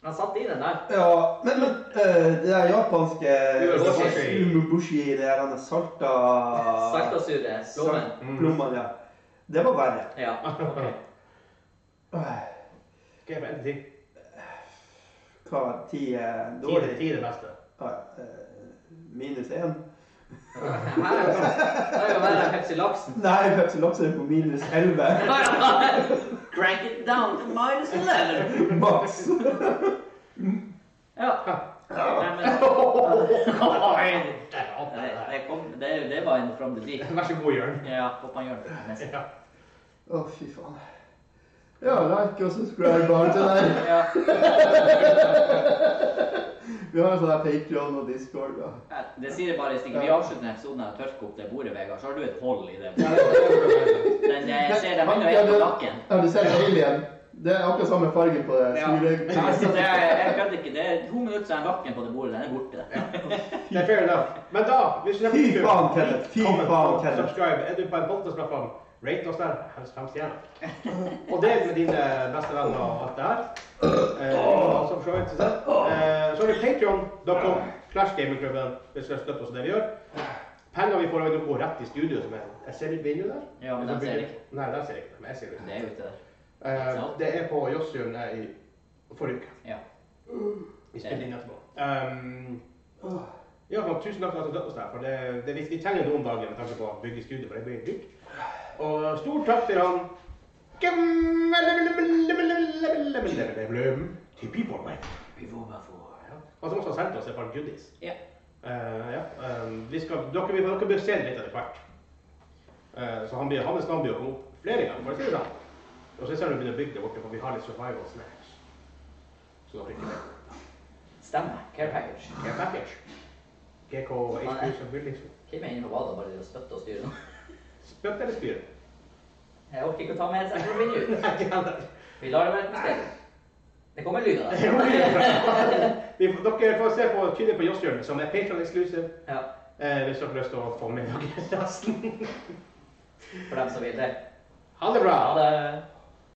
Speaker 2: Han satt i den der.
Speaker 3: Ja, men, men eh, det der japanske
Speaker 1: Umebushi.
Speaker 3: Umubushi, det der han salta
Speaker 2: Salta sure blommen.
Speaker 3: salt- Plommen, ja. Det var verre.
Speaker 2: eh, Ja. ok.
Speaker 3: Øh,
Speaker 1: Skal jeg på 1 til 10?
Speaker 3: Hva,
Speaker 1: 10
Speaker 3: ti er
Speaker 1: er det-
Speaker 3: dårlig?
Speaker 1: 10 er det beste.
Speaker 3: Ja, eh, minus én?
Speaker 2: Her er jo- her er jo verre enn Pepsi laksen.
Speaker 3: Nei, Pepsi Laks er på minus elleve.
Speaker 2: Crank it down to minus 11.
Speaker 3: Maks.
Speaker 2: Ja. Nei, men,
Speaker 1: Nei, det er alt
Speaker 2: nei,
Speaker 1: det der.
Speaker 2: det, kom, det, det var en from the deep.
Speaker 1: Vær så god, Jørn.
Speaker 2: Ja, håper han gjør det neste.
Speaker 1: Ja.
Speaker 3: Å, fy faen. Ja, like og subscribe bare til deg.
Speaker 2: Ja.
Speaker 3: Vi har sånn her Patreon og Discord. Ja.
Speaker 2: Det sier jeg bare i stikken. Vi avslutter denne episoden med å tørke opp det bordet, Vegard. Så har du et hold i det.
Speaker 1: Ja, det er-
Speaker 2: Den, jeg ser det
Speaker 3: Ja,
Speaker 2: begynner å
Speaker 3: ja,
Speaker 2: ete på
Speaker 3: det-
Speaker 2: nakken.
Speaker 3: Ja, du ser Alien. Det er akkurat samme farge på det.
Speaker 2: Ja.
Speaker 3: Smiløyet.
Speaker 2: Ja, så det er- Jeg kødder ikke. Det er to minutter siden nakken på det bordet. Den er borte.
Speaker 1: Det er fair enough. Men da, hvis du
Speaker 3: Fy faen, Kenneth. Fy
Speaker 1: Comment,
Speaker 3: faen,
Speaker 1: follow,
Speaker 3: Kenneth.
Speaker 1: Subscribe. Er du på en podkastplattform, rate oss der. Helst fem stjerner. Og del med dine beste venner og alt det her. Eh, og som så, vidt, så, sett. eh, så har vi Patreon.com slash gamingklubben hvis du vil støtte oss i det vi gjør. Penger vi får, går rett i studio. som er, Jeg ser ut vinduet der.
Speaker 2: Ja, men den ser jeg ikke.
Speaker 1: Nei, den ser jeg ikke. Men jeg ser ut.
Speaker 2: Det er ute der.
Speaker 1: Eh, det er på Jåssjøen i forrige uke.
Speaker 2: Ja.
Speaker 1: Vi spiller inn etterpå. Um, ja, men tusen takk for at du støtter oss der. For det, det, vi, vi trenger noen dager med tanke på å bygge studio, for det blir dyrt. Og stor takk til han Til Peopleway.
Speaker 2: Vi får bare få-
Speaker 1: Han som også har sendt oss et par goodies.
Speaker 2: Ja.
Speaker 1: Eh, ja. ehm, vi skal, dere, vi, dere bør se det litt etter hvert. Eh, så han blir, hans navn blir å komme opp flere ganger. bare si det da. Og så ser du begynner å bygge det borte, for vi har litt survival snacks. Så dere ikke vet.
Speaker 2: Stemmer. Care package.
Speaker 1: Care package. GK HQ som vil liksom.
Speaker 2: Kim er inne på badet og bare driver og støtter og styrer.
Speaker 1: Spøtt eller spyr?
Speaker 2: Jeg orker ikke å ta med headset for å finne ut.
Speaker 1: Nei, ikke heller.
Speaker 2: Vi lar det være et mysterium. Det kommer lyd av det.
Speaker 1: Vi får- Dere får se på tydelig på Josshjørnet, som er Patreon exclusive.
Speaker 2: Ja,
Speaker 1: eh, hvis dere har lyst til å få med dere resten.
Speaker 2: for dem som vil det.
Speaker 1: Ha det bra!
Speaker 2: Ha det.